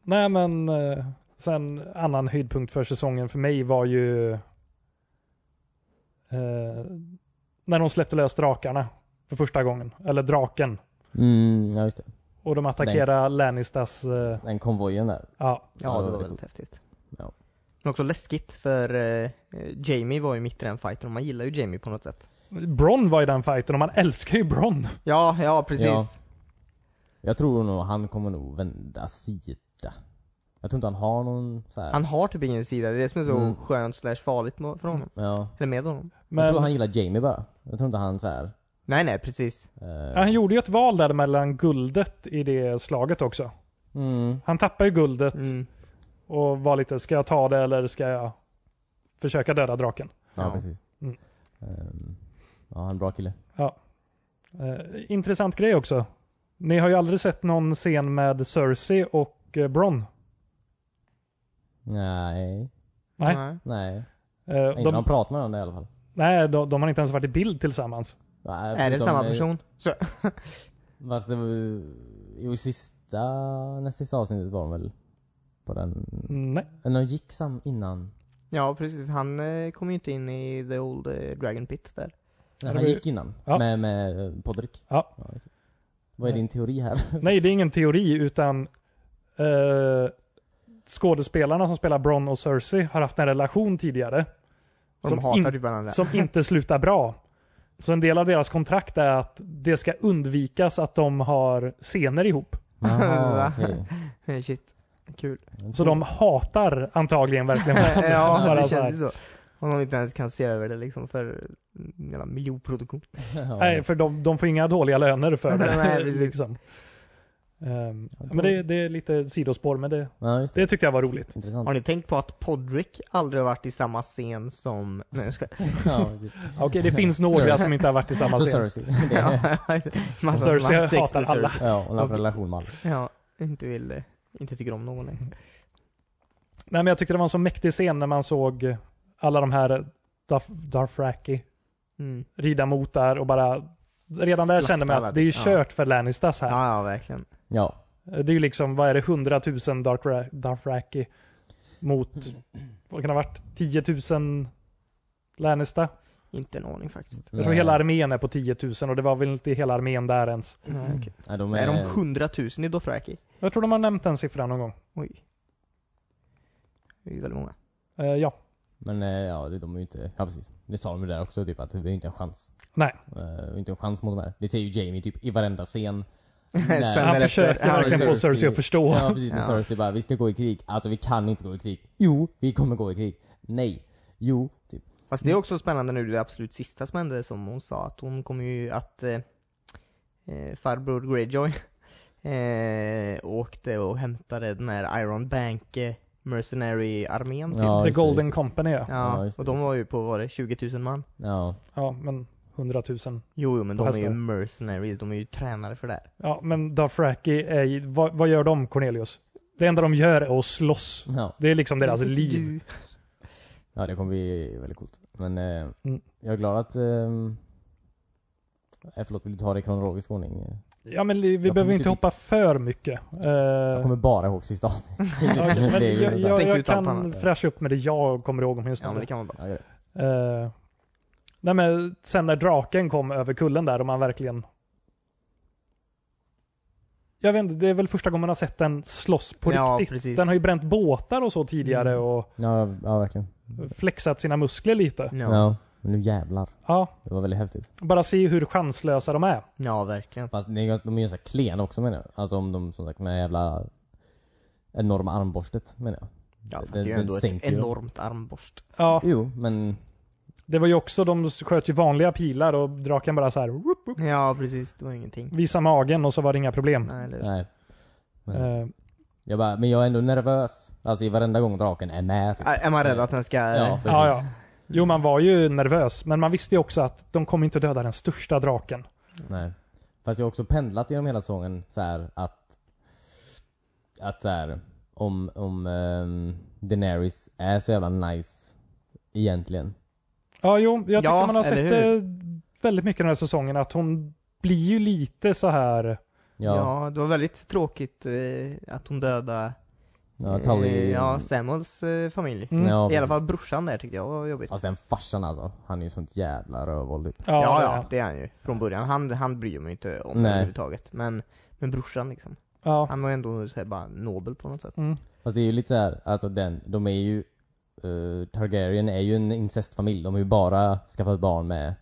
nej men eh, sen annan höjdpunkt för säsongen för mig var ju eh, när de släppte lös drakarna för första gången. Eller draken.
Mm, ja just det.
Och de attackerade Lannisters... eh,
Den konvojen där.
ja,
Ja, det var
det-
väldigt häftigt.
Ja.
Men också läskigt för eh, Jamie var ju mitt i den fighten och man gillar ju Jamie på något sätt.
Bronn var i den fighten och man älskar ju Bronn.
Ja, ja precis.
Ja. Jag tror nog han kommer nog vända sida. Jag tror inte han har någon så här.
Han har typ ingen sida, det är det som är så
Mm.
skönt slash farligt mo- för
Mm.
honom.
Ja.
Eller med honom.
Men
Jag tror
han,
han gillar Jamie bara. Jag tror inte han så här.
Nej nej, precis.
eh,
han gjorde ju ett val där mellan guldet i det slaget också.
mm,
Han tappade ju guldet
Mm.
och var lite, ska jag ta det eller ska jag försöka döda draken?
ja,
Ja.
precis.
Mm.
Ehm, ja, han är en bra kille.
Eh, intressant grej också. Ni har ju aldrig sett någon scen med Cersei och eh, Bronn.
Nej.
Nej.
Nej.
Eh,
Inte de
de,
pratar med varandra i alla fall.
nej, de, de har inte ens varit i bild tillsammans.
Nej,
Är det
förutom,
samma
eh,
person? Så,
Fast det var ju... Jo, i sista... Näst sista avsnittet var de väl på den...
Mm, Nej.
Men de gick sam innan.
ja precis, han eh, kom ju inte in i the old eh, dragon pit där.
Nej,
det
han
var ju-
gick innan.
Ja.
Med, med eh, Podrick.
Ja.
just det. Vad är din teori här?
nej, det är ingen teori utan eh, skådespelarna som spelar Bronn och Cersei har haft en relation tidigare
Och
Som
de hatar
in-
typ varandra.
som inte slutar bra. Så en del av deras kontrakt är att det ska undvikas att de har scener ihop.
Jaha,
Va?
okej.
Shit, kul.
Så de hatar antagligen verkligen varandra.
Mm. ja,
Bara
det
så här.
känns ju så. Om de inte ens kan se över det liksom för en jävla miljonproduktion.
Ja.
Nej, för de, de får inga dåliga löner för det.
Nej, precis.
liksom. Ehm, men det, det är lite sidospår, men det,
Ja, just det.
det tyckte jag var roligt.
Intressant.
Har ni tänkt på att Podrick aldrig har varit i samma scen som... Nej, jag skojar.
Ja, precis.
Okej, det finns några som inte har varit i samma
Så
scen.
Cersei. Det är,
Massa
Cersei
som har haft sex
Alltså, hatar
med
alla.
Cersei.
ja, hon har en relation med alla.
Ja, inte vill... eh, Inte tycker om någon längre.
Nej, men jag tyckte det var en så mäktig scen när man såg alla de här Darf, Darfraki
Mm.
rida mot där och bara Redan där
Slakta
kände man
alla.
att det är ju
Ja.
kört för Lannisters här.
Ja, ja, verkligen.
Ja.
Det är ju liksom, vad är det, 100 000 Dark Ra- Dothraki mot, vad kan det ha varit, 10 000 Lannister?
Inte en aning faktiskt.
Jag tror
Eh,
hela armén är på 10 000 och det var väl inte hela armén där ens.
Nej, okej.
Nej, de är...
Är de hundratusen i Dothraki?
Jag tror de har nämnt den siffran någon gång.
Oj. Det är ju väldigt många.
Eh, ja,
Men eh, ja, det- de är ju inte... Ja, precis. Det sa de ju där också, typ att vi har ju inte en chans.
Nej.
Eh, inte en chans mot de här. Det säger ju Jamie typ i varenda scen.
Sen
han
därefter-
försöker
ja,
verkligen få
precis.
Cersei att förstå.
Ja, precis. När
Ja.
Cersei bara, vi ska gå i krig. Alltså vi kan inte gå i krig. Jo, vi kommer gå i krig. Nej. Jo, typ.
Fast det är också spännande nu det absolut sista som hände som hon sa att hon kommer ju att eh, eh, farbror Greyjoy eh, åkte och hämtade den här Iron Bank eh, Mercenary-armén typ.
Ja,
The
just det,
Golden
just det.
Company ja.
Ja,
Ja, just det,
och de
just
var ju på, vad var det, 20 000 man?
Ja.
Ja, men 100 000.
Jo, jo men
På
de är
hästar.
ju mercenaries, de är ju tränade för det här.
Ja, men Dothraki är ju, vad, vad gör de Cornelius? Det enda de gör är att slåss.
ja.
Det är liksom deras
Vilket
liv.
ju-
Ja, det kommer bli väldigt coolt. Men eh,
Mm.
jag är glad att... Eh, eh, förlåt, vill du ta det i kronologisk ordning? Eh,
Ja, men li- vi
Jag
behöver
kommer
inte
inte
hoppa för mycket. Eh,
Jag kommer bara ihåg sista
ja,
avsnittet.
men
Det är ju
jag,
så-
jag,
Stängt
jag
ut allt
kan
annat.
fräscha upp med det jag kommer ihåg
Ja,
åtminstone.
men det kan vara bra.
Ja, det-
Eh, nej men sen när draken kom över kullen där och man verkligen... Jag vet inte, det är väl första gången man har sett den slåss på
ja,
riktigt.
precis.
Den har ju bränt båtar och så tidigare
Mm.
och
ja, ja, verkligen.
flexat sina muskler lite.
Ja.
Ja.
Men nu jävlar.
Ja,
Det var väldigt häftigt.
bara se hur chanslösa de är.
ja, verkligen.
Fast det är ju- de är ju så här klena också menar jag. Alltså om de som sagt med jävla enorma armborstet menar jag.
Ja, fast det
Den-
är ju
den
ändå ett
sänker ju.
enormt armborst.
Ja,
Jo, men
det var ju också, de sköt ju vanliga pilar och draken bara så här whoop, whoop,
Ja, precis. Det var ingenting.
visa magen och så var det inga problem.
Nej, eller...
nej. Men,
Eh,
jag bara, men jag är ändå nervös. Alltså i varenda gång draken är med typ.
Ä- Äh, Är man rädd att den ska...
Ja, precis.
ja, ja. Jo, man var ju nervös, men man visste ju också att de kommer inte döda den största draken.
Nej. Fast jag har också pendlat genom hela säsongen så här att... Att så här, om, om ehm, Daenerys är så jävla nice egentligen.
Ja, jo, jag tycker
Ja,
man har
eller
sett
hur?
eh, väldigt mycket den här säsongen att hon blir ju lite så här.
Ja,
Ja.
ja,
det var väldigt tråkigt eh, att hon dödade
Tully.
eh, ja, Samuels eh, familj.
Mm.
ja,
I alla
precis.
fall brorsan där tyckte jag var jobbigt.
Fast den farsan alltså, han är ju sånt jävla rövvåld ut.
Ja,
Ja, ja,
ja.
det är han ju. Från början. Han, han bryr mig inte om
Nej.
överhuvudtaget. Men, men brorsan liksom.
ja.
Han var ändå så här, bara nobel på något sätt.
Fast det är ju lite så här, alltså den, de är ju eh, Targaryen är ju en incestfamilj, de har ju bara skaffat barn med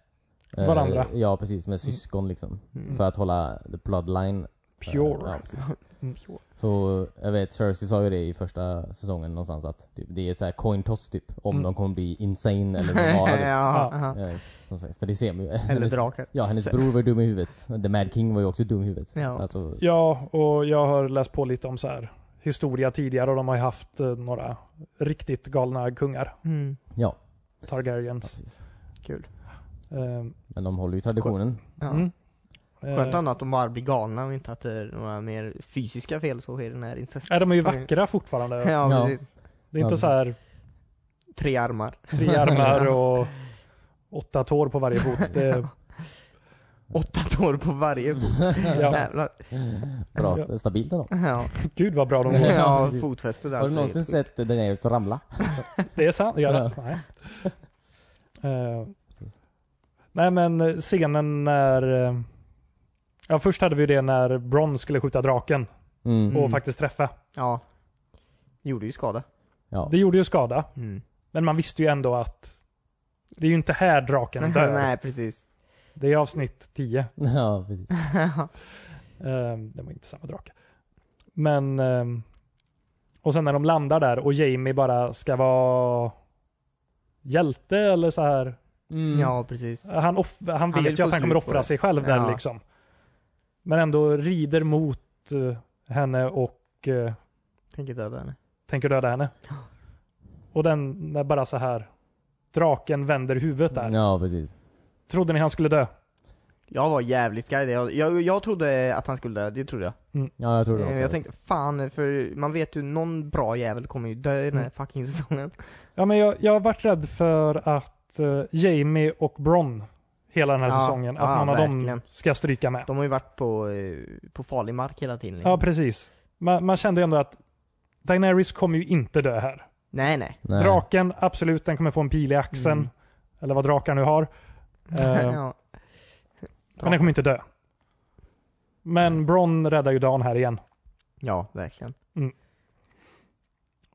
eh,
Varandra.
Ja precis, med syskon liksom.
Mm.
För att hålla the bloodline eh,
Pure.
ja, precis.
Mm.
Så jag vet, Cersei sa ju det i första säsongen någonstans att typ, det är så här coin toss typ, om
Mm.
de kommer bli insane eller normala typ.
ja, aha.
Eh, som sagt, För det ser man ju.
Eller
Hennes,
drakar.
ja, hennes bror var ju dum i huvudet. The Mad King var ju också dum i huvudet.
Ja.
Alltså,
Ja, och jag har läst på lite om så här historia tidigare och de har ju haft eh, några riktigt galna kungar.
Mm.
ja.
Targaryens.
precis.
Kul.
Eh,
Men de håller ju traditionen.
Ja.
mm. Eh,
Skönt ändå att de bara blir galna och inte att det är några mer fysiska fel så i den här incesten.
Nej, de är ju vackra fortfarande.
Ja,
Ja.
precis.
Det är inte så här
Tre armar.
tre armar och åtta tår på varje fot. Det,
Åtta tår på varje fot.
ja,
Jävlar.
Bra,
Ja.
st- stabilt ändå.
Ja,
gud vad bra de går.
Ja,
ja
precis.
fotfästet
Har du
alltså.
någonsin sett Daenerys ramla?
Det är sant. Ja,
Ja.
Nej. Eh, nej men scenen när... eh, ja först hade vi ju det när Bron skulle skjuta draken
Mm.
och faktiskt träffa.
Ja. Gjorde ju skada.
Ja.
Det gjorde ju skada.
Mm.
Men man visste ju ändå att det är ju inte här draken dör.
Nej, precis.
Det är avsnitt 10.
ja, precis.
Eh, det var inte samma drake. Men... eh, och sen när de landar där och Jamie bara ska vara hjälte eller så här.
Mm.
Ja, precis.
Han, off- han
vill
vet ju
få
att han
slut
kommer
på
offra
det.
sig själv där
Ja.
liksom. Men ändå rider mot eh, henne och eh,
Tänker döda henne.
tänker döda henne. Och den är bara så här. Draken vänder huvudet där.
Ja, precis.
Trodde ni han skulle dö?
Jag var jävligt skraj. Jag, jag, jag trodde att han skulle dö, det trodde jag.
Ja, jag tror det också.
Eh, jag tänkte fan, för man vet ju någon bra jävel kommer ju dö i den här
Mm.
fucking säsongen.
Ja, men jag, jag har varit rädd för att eh, Jamie och Bron hela den här
Ja,
säsongen, att
ja,
någon av dem
verkligen.
ska stryka med.
De har ju varit på, eh, på farlig mark hela tiden. liksom.
Ja, precis. Man, man kände ju ändå att Daenerys kommer ju inte dö här.
Nej, nej.
Nej.
Draken, absolut, den kommer få en pil i axeln.
Mm.
Eller vad drakar nu har. Eh,
ja.
Men den kommer inte dö. Men Bron räddar ju dagen här igen.
ja, verkligen.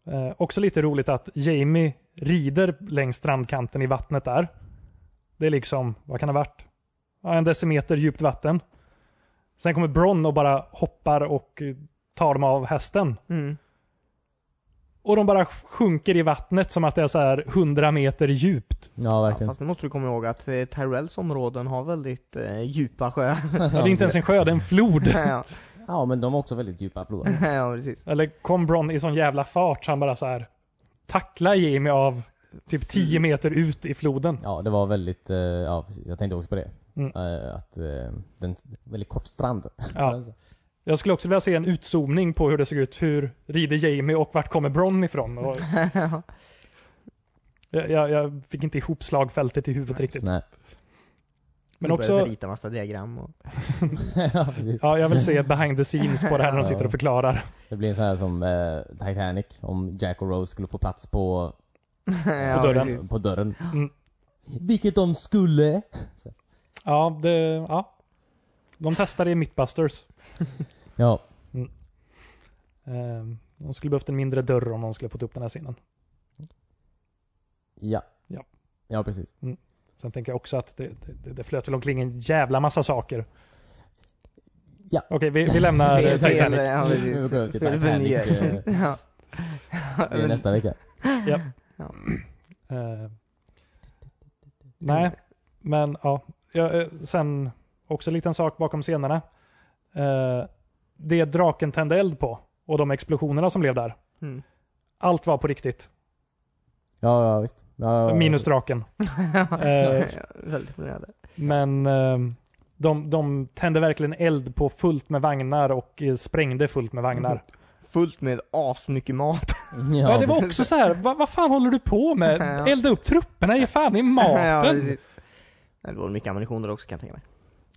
Eh, också lite roligt att Jamie rider längs strandkanten i vattnet där. Det är liksom, vad kan det ha varit? Ja, en decimeter djupt vatten. Sen kommer Bron och bara hoppar och eh, tar dem av hästen.
Mm.
Och de bara sjunker i vattnet som att det är så här 100 meter djupt.
Ja,
Ja,
verkligen.
fast nu måste du komma ihåg att eh, Tyrells områden har väldigt eh, djupa sjöar.
det är inte ens en sjö, det är en flod.
ja.
Ja, men de har också väldigt djupa floder.
ja, precis.
Eller kom Bron i sån jävla fart så han bara så här tacklar Jamie av typ 10 meter ut i floden.
Ja, det var väldigt, eh, ja precis. Jag tänkte också på det.
Mm.
Eh, att eh, den, väldigt kort strand.
Ja. Jag skulle också vilja se en utzoomning på hur det såg ut. Hur rider Jamie och vart kommer Bron ifrån? Och jag, jag, jag fick inte ihop slagfältet i huvudet riktigt.
Nej.
Men
Vi
också-
började rita massa diagram och...
ja, precis.
Ja, jag vill se behind the scenes på det här när de sitter och förklarar.
Det blir så här som eh, Titanic, om Jack och Rose skulle få plats på,
ja,
På dörren.
precis.
på dörren.
Mm.
Vilket de skulle!
Ja, det, ja. De testade i Mythbusters.
Ja,
Eh, De skulle behövt en mindre dörr om de skulle fått upp den här scenen.
ja.
Ja.
Ja, precis.
Sen tänker jag också att det, det, det flöt väl omkring en jävla massa saker.
Ja.
Okej, vi, vi lämnar eh,
Fel, fel,
Titanic.
ja,
Nu
precis.
går jag till
Fel
Titanic,
vyer.
eh,
Ja.
Det är nästa vecka.
Eh, nej, men ja. Jag, eh, sen också en liten sak bakom scenerna. Eh, det draken tände eld på och de explosionerna som blev där.
Mm.
Allt var på riktigt.
Ja, ja visst. Ja, ja,
Minus draken. Eh,
Väldigt imponerande.
Men eh, de, de tände verkligen eld på fullt med vagnar och eh, sprängde fullt med vagnar.
Fullt med asmycket mat.
Ja,
Ja,
det var också så här, vad vad fan håller du på med?
Ja.
Elda upp trupperna, ge fan i
ja,
maten.
precis. Nej, Det var mycket ammunition där också kan jag tänka mig.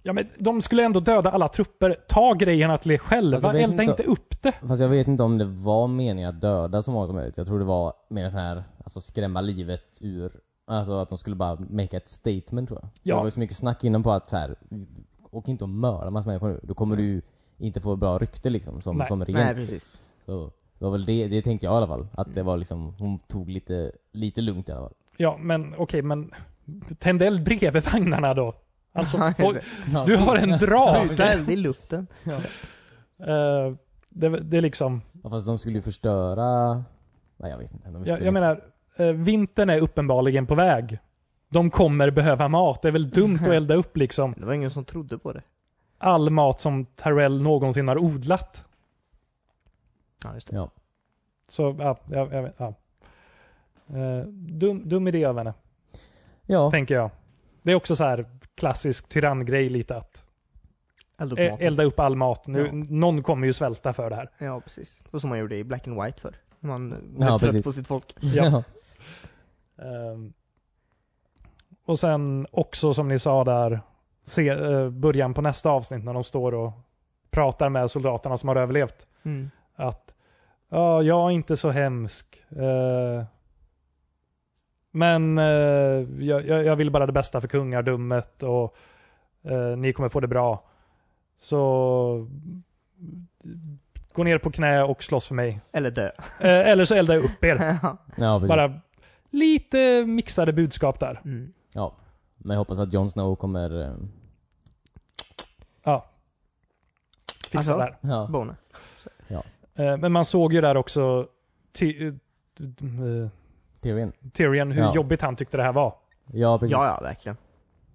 Ja, men de skulle ändå döda alla trupper. Ta grejerna till er
Alltså, jag
själva,
vet
elda inte
inte-
upp det.
Fast jag vet inte om det var meningen att döda så många som möjligt. Jag tror det var mer en sån här, alltså skrämma livet ur, alltså att de skulle bara make ett statement tror jag.
Ja.
Det var ju så mycket snack innan på att så här, åk inte och mörda massa människor nu. Då kommer du inte få bra rykte liksom som,
Nej.
som
Nej,
regent.
precis.
så det var väl det, det tänkte jag i alla fall. Att det var liksom, hon tog lite, lite lugnt i alla fall.
Ja, men okej, men tänd eld bredvid vagnarna då. Alltså,
Ja,
oj, du har en drake.
Skjuta eld i luften.
Eh, det, det är liksom,
Ja, fast de skulle ju förstöra, nej jag vet inte. De
jag,
skulle-
jag menar, eh, vintern är uppenbarligen på väg. De kommer behöva mat. Det är väl dumt att elda upp liksom
Det var ingen som trodde på det.
all mat som Tyrell någonsin har odlat.
Ja, just
Ja.
Så, ja, jag, jag, vet- ja. Eh, dum, dum idé av henne,
Ja.
tänker jag. Det är också så här klassisk tyranngrej lite att
Eld upp
eh,
maten.
elda upp all mat. Nu,
Ja.
Någon kommer ju svälta för det här.
Ja, precis. Det var som man gjorde i Black and White förr. När Man
Ja,
blev trött
precis.
på sitt folk.
Ja. Ehm, och sen också som ni sa där, se, eh, början på nästa avsnitt när de står och pratar med soldaterna som har överlevt.
Mm.
att ja, jag är inte så hemsk. Eh, men eh, jag, jag jag vill bara det bästa för kungadummet och eh, ni kommer få det bra. Så gå ner på knä och slåss för mig.
Eller dö.
Eh, eller så eldar jag upp er.
Ja.
ja, precis.
Bara lite mixade budskap där.
Mm.
Ja. Men jag hoppas att Jon Snow kommer, eh,
Fixa
Alltså?
det där.
ja.
Bona.
Eh, men man såg ju där också Ty- eh,
Tyrion.
Tyrion hur
Ja.
jobbigt han tyckte det här var.
Ja, precis.
Ja, ja, verkligen.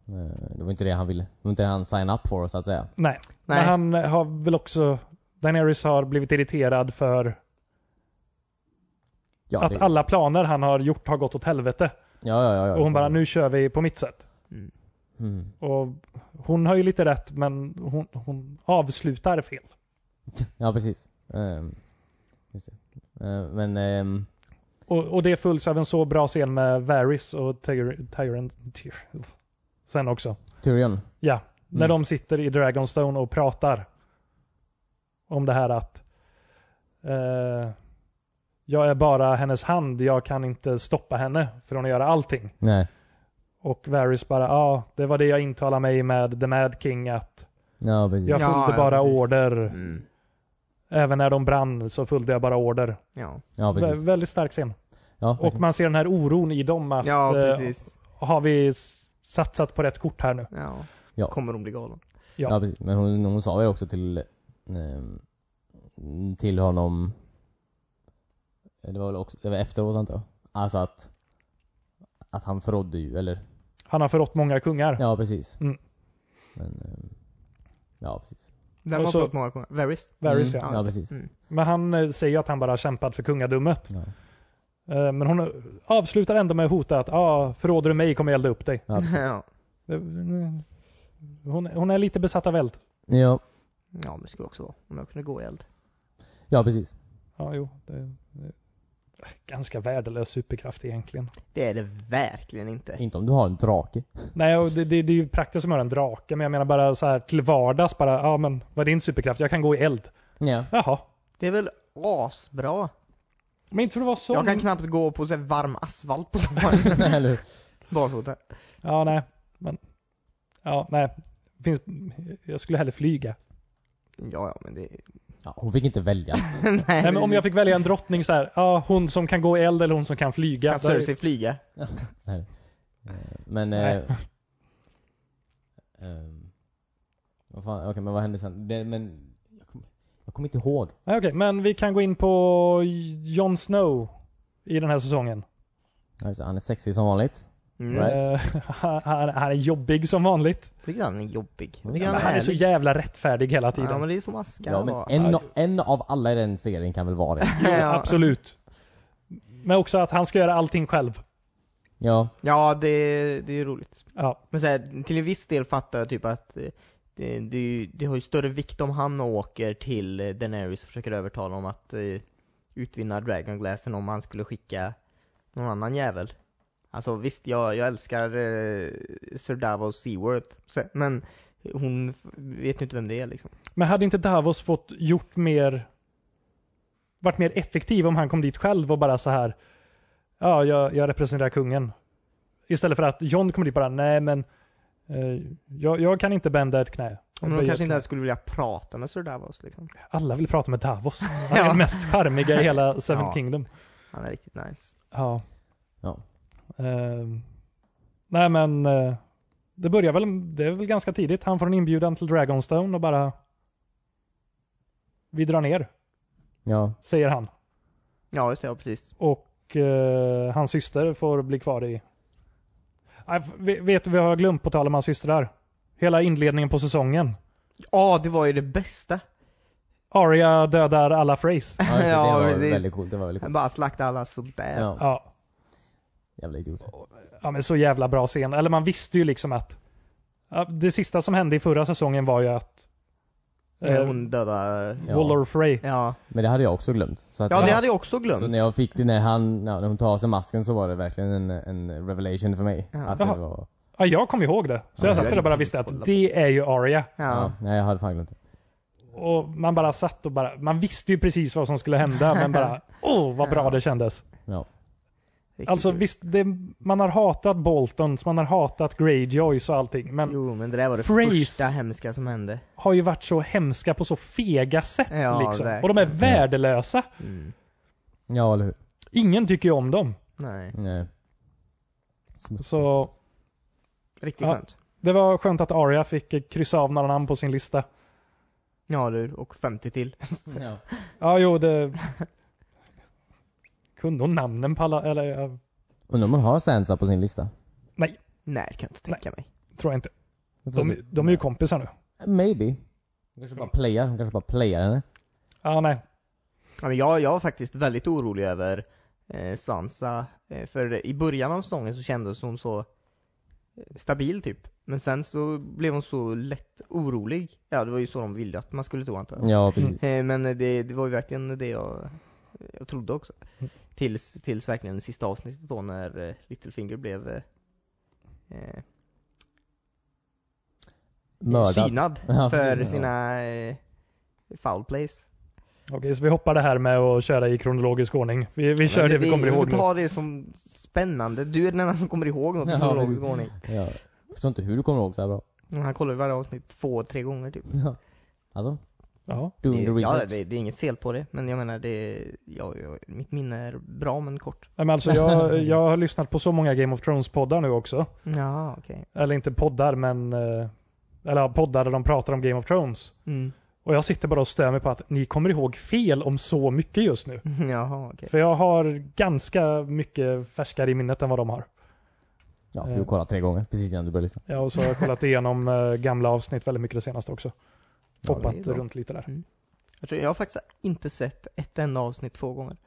Eh, Det var inte det han ville. Det var inte det han sign up for så att säga.
Nej.
Nej.
Men han har väl också, Daenerys har blivit irriterad för
Ja,
att
det,
alla planer han har gjort har gått åt helvete.
ja, ja, ja, ja
och hon
så-
bara, nu kör vi på mitt sätt.
Mm.
Mm.
Och hon har ju lite rätt, men hon, hon avslutar fel.
Ja, precis. Ehm, just det. Eh, men, ehm,
Och, och det följs av en så bra scen med Varys och Tyr- Tyrion. Tyr, sen också.
Tyrion.
Ja, när
Mm.
de sitter i Dragonstone och pratar om det här att eh, jag är bara hennes hand, jag kan inte stoppa henne från att göra allting.
Nej.
Och Varys bara, ja, det var det jag intalade mig med The Mad King att
Ja, precis.
jag
Ja,
följde
ja,
bara
precis.
order.
Mm.
Även när de brann så följde jag bara order.
Ja.
Ja,
Vä-
precis.
väldigt stark scen.
Ja,
Och
verkligen.
man ser den här oron i dem att
ja,
eh,
precis.
har vi s- satsat på rätt kort här nu?
Ja.
Ja.
Kommer hon bli galen?
ja.
ja, precis. Men hon, hon sa ju också till, ehm, till honom, det var väl också, det var efteråt antar jag. Alltså att, att han förrådde ju, eller
Han har förrått många kungar.
Ja, precis.
Mm.
Men, ehm, ja, precis.
Den
Och
har
så-
fått många gånger. Varys.
Varys
mm.
ja.
ja.
Ja, precis.
Mm.
Men han eh, säger ju att han bara har kämpat för kungadömet.
Ja.
Eh, Men hon avslutar ändå med att hota att ah, förråder du mig kommer jag elda upp dig.
Ja, precis.
Ja.
Det- Hon, hon är lite besatt av eld.
ja.
ja, men det skulle också vara. Om jag kunde gå i eld.
ja, precis.
Ja, jo. Det, det, ganska värdelös superkraft egentligen.
Det är det verkligen inte.
Inte om du har en drake.
Nej, och det, det, det är ju praktiskt som att göra en drake, men jag menar bara så här till vardags bara, ja men vad är din superkraft? Jag kan gå i eld.
Ja.
Jaha.
Det är väl asbra.
Men inte för att vara så.
Jag kan knappt gå på så här varm asfalt på sommaren.
Eller hur?
Barfota.
Ja, nej. Men, ja, nej. Finns, jag skulle hellre flyga.
Ja, ja, men det...
ja, hon fick inte välja.
Nej,
Nej, men om jag fick välja en drottning så här, ja hon som kan gå i eld eller hon som kan flyga.
Kan Cersei flyga?
Men...
Nej.
Eh, ehm, vad fan, okej men vad hände sen? Det, men... Jag kommer jag kommer inte ihåg.
Nej, okej, men vi kan gå in på Jon Snow i den här säsongen.
Ja, just det, Alltså, Han är sexig som vanligt.
Mm.
Right.
Eh, han, han han är jobbig som vanligt.
Tycker han är jobbig. Jag Tycker
Ja,
Men
han,
han är så
härlig.
jävla rättfärdig hela tiden.
Ja, men det är som Aska
Ja, men en, en av alla i den serien kan väl vara det.
Jo, absolut. Men också att han ska göra allting själv.
Ja,
Ja, det, det är ju roligt.
Ja,
Men så här, till en viss del fattar jag typ att eh, det, det, är ju- det har ju större vikt om han åker till eh, Daenerys och försöker övertala om att eh, utvinna Dragonglassen om han skulle skicka någon annan jävel. Alltså visst, jag, jag älskar eh, Sir Davos Seaworth, så- men hon f- vet ju inte vem det är liksom.
Men hade inte Davos fått gjort mer varit mer effektiv om han kom dit själv och bara så här ja, jag, jag representerar kungen. Istället för att John kommer dit bara, nej men eh, jag, jag kan inte bända ett knä.
Men
Böja
de
ett
kanske inte
knä.
ens skulle vilja prata med Sir Davos liksom.
Alla vill prata med Davos. Han är
Ja.
den mest charmiga i hela Seven
Ja.
Kingdom.
Han är riktigt nice.
Ja.
Ja.
Ehm, nej men eh, det börjar väl, det är väl ganska tidigt. Han får en inbjudan till Dragonstone och bara vi drar ner,
ja,
säger han.
Ja, just det, ja, precis.
Och eh, hans syster får bli kvar i... Nej, v- vet du vad jag har glömt på tal om hans systrar? Hela inledningen på säsongen.
Ja, det var ju det bästa.
Arya dödar alla Freys.
ja, just Alltså, det,
Ja,
det var
precis.
väldigt coolt. Det var väldigt
Han
coolt.
bara slaktade alla sådär.
Ja,
Ja.
jävla idiot.
ja, men så jävla bra scen. Eller man visste ju liksom att... Ja, det sista som hände i förra säsongen var ju att...
Eh,
Eh,
Hon dödade...
Ja.
Waller Frey.
Ja.
Men det hade jag också glömt. Så att
ja, det
jag,
hade jag också glömt.
Så när jag fick det, när han, ja, när hon tar av sig masken så var det verkligen en, en revelation för mig.
Ja.
Att det
Jaha.
var,
Ja, jag kom ihåg det. Så jag
Ja,
satt där och bara
jag
visste
kolla
att
på.
det är ju Arya.
Ja.
ja. nej jag hade fan glömt det.
Och man bara satt och bara... Man visste ju precis vad som skulle hända, men bara... Åh, oh, vad bra
Ja.
det kändes.
Ja.
Riktigt
Alltså
kul.
visst, det, man har hatat Boltons, man har hatat Greyjoys och allting, men
Jo, men det där var det
Freeze.
första hemska som hände.
har ju varit så hemska på så fega sätt
Ja,
liksom.
verkligen.
Och de är värdelösa.
Mm.
Ja, eller hur?
Ingen tycker ju om dem.
Nej.
Nej.
Så
Riktigt
Ja.
skönt.
det var skönt att Arya fick eh, kryssa av några namn på sin lista.
Ja, du. Och 50 till.
Ja.
Ja, jo, det... Kunde hon namnen på alla, eller jag
Undrar om hon har Sansa på sin lista?
Nej, det kan jag inte tänka mig.
tror jag inte.
Vi får se.
De, de är ju kompisar nu.
Maybe. Hon kanske bara playar, hon kanske bara playar henne.
Ja, nej.
Ja, men jag, jag var faktiskt väldigt orolig över eh, Sansa. Eh, för i början av säsongen så kändes hon så eh, stabil typ. Men sen så blev hon så lätt orolig. Ja, det var ju så de ville att man skulle tro antar jag.
Ja, precis.
Eh, Men det, det var ju verkligen det jag, jag trodde också.
Mm.
Tills, tills verkligen sista avsnittet då när eh, Littlefinger blev eh, eh, Mm.
Mördad.
synad
Ja,
för
precis.
sina eh, foul plays.
Okej, så vi hoppar det här med att köra i kronologisk ordning. Vi, vi kör
Men
det vi kommer ihåg
Vi
nu.
får ta det som spännande. Du är den enda som kommer ihåg något i
Ja,
kronologisk
precis.
ordning.
Ja. Jag förstår inte hur du kommer ihåg så här bra.
Men Han kollar ju varje avsnitt två, tre gånger typ.
Ja. Alltså,
Ja.
doing the
Det, ja,
research.
det, det är inget fel på det. Men jag menar, det, ja, ja, mitt minne är bra men kort.
Nej, men alltså jag, jag har lyssnat på så många Game of Thrones-poddar nu också.
Ja, okej.
Eller inte poddar, men eh, eller ja, poddar där de pratar om Game of Thrones.
Mm.
Och jag sitter bara och stör mig på att ni kommer ihåg fel om så mycket just nu.
Jaha, okej.
För jag har ganska mycket färskare i minnet än vad de har.
Ja, för du kollar tre gånger precis innan du börjar lyssna.
Ja, och så har jag kollat igenom eh, gamla avsnitt väldigt mycket det senaste också.
Ja,
det är
hoppat
bra.
runt lite där.
Jag, tror, jag har faktiskt inte sett ett enda avsnitt två gånger.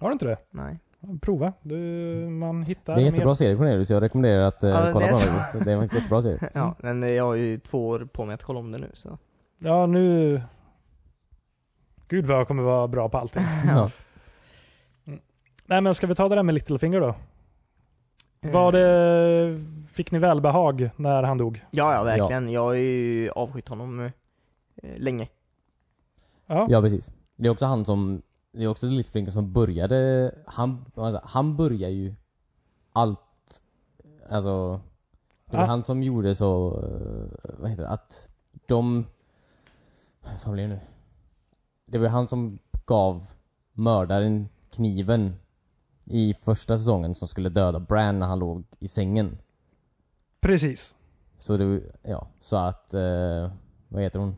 Har du inte det?
Nej.
Prova. Du, man hittar
Det är en
mer.
jättebra serie Cornelius, jag rekommenderar att eh,
Ja, det
kolla
är
på
så.
den faktiskt. Det är faktiskt en jättebra serie.
Ja,
Mm.
men jag har ju två år på mig att kolla om det nu så.
Ja, nu... Gud vad jag kommer vara bra på allting. Mm.
Ja.
Nej, men ska vi ta det där med Littlefinger då?
Eh,
Var det... Fick ni välbehag när han dog?
Ja, ja verkligen. Jag har ju avskytt honom eh, länge.
Ja.
ja, precis. Det är också han som, det är också Littlefinger som började, han, alltså, han börjar ju allt, alltså, det var
Ah.
han som gjorde så, eh, vad heter det, att de, vad fan blir det nu? Det var han som gav mördaren kniven i första säsongen som skulle döda Bran när han låg i sängen.
Precis.
Så det, ja, så att, eh, vad heter hon?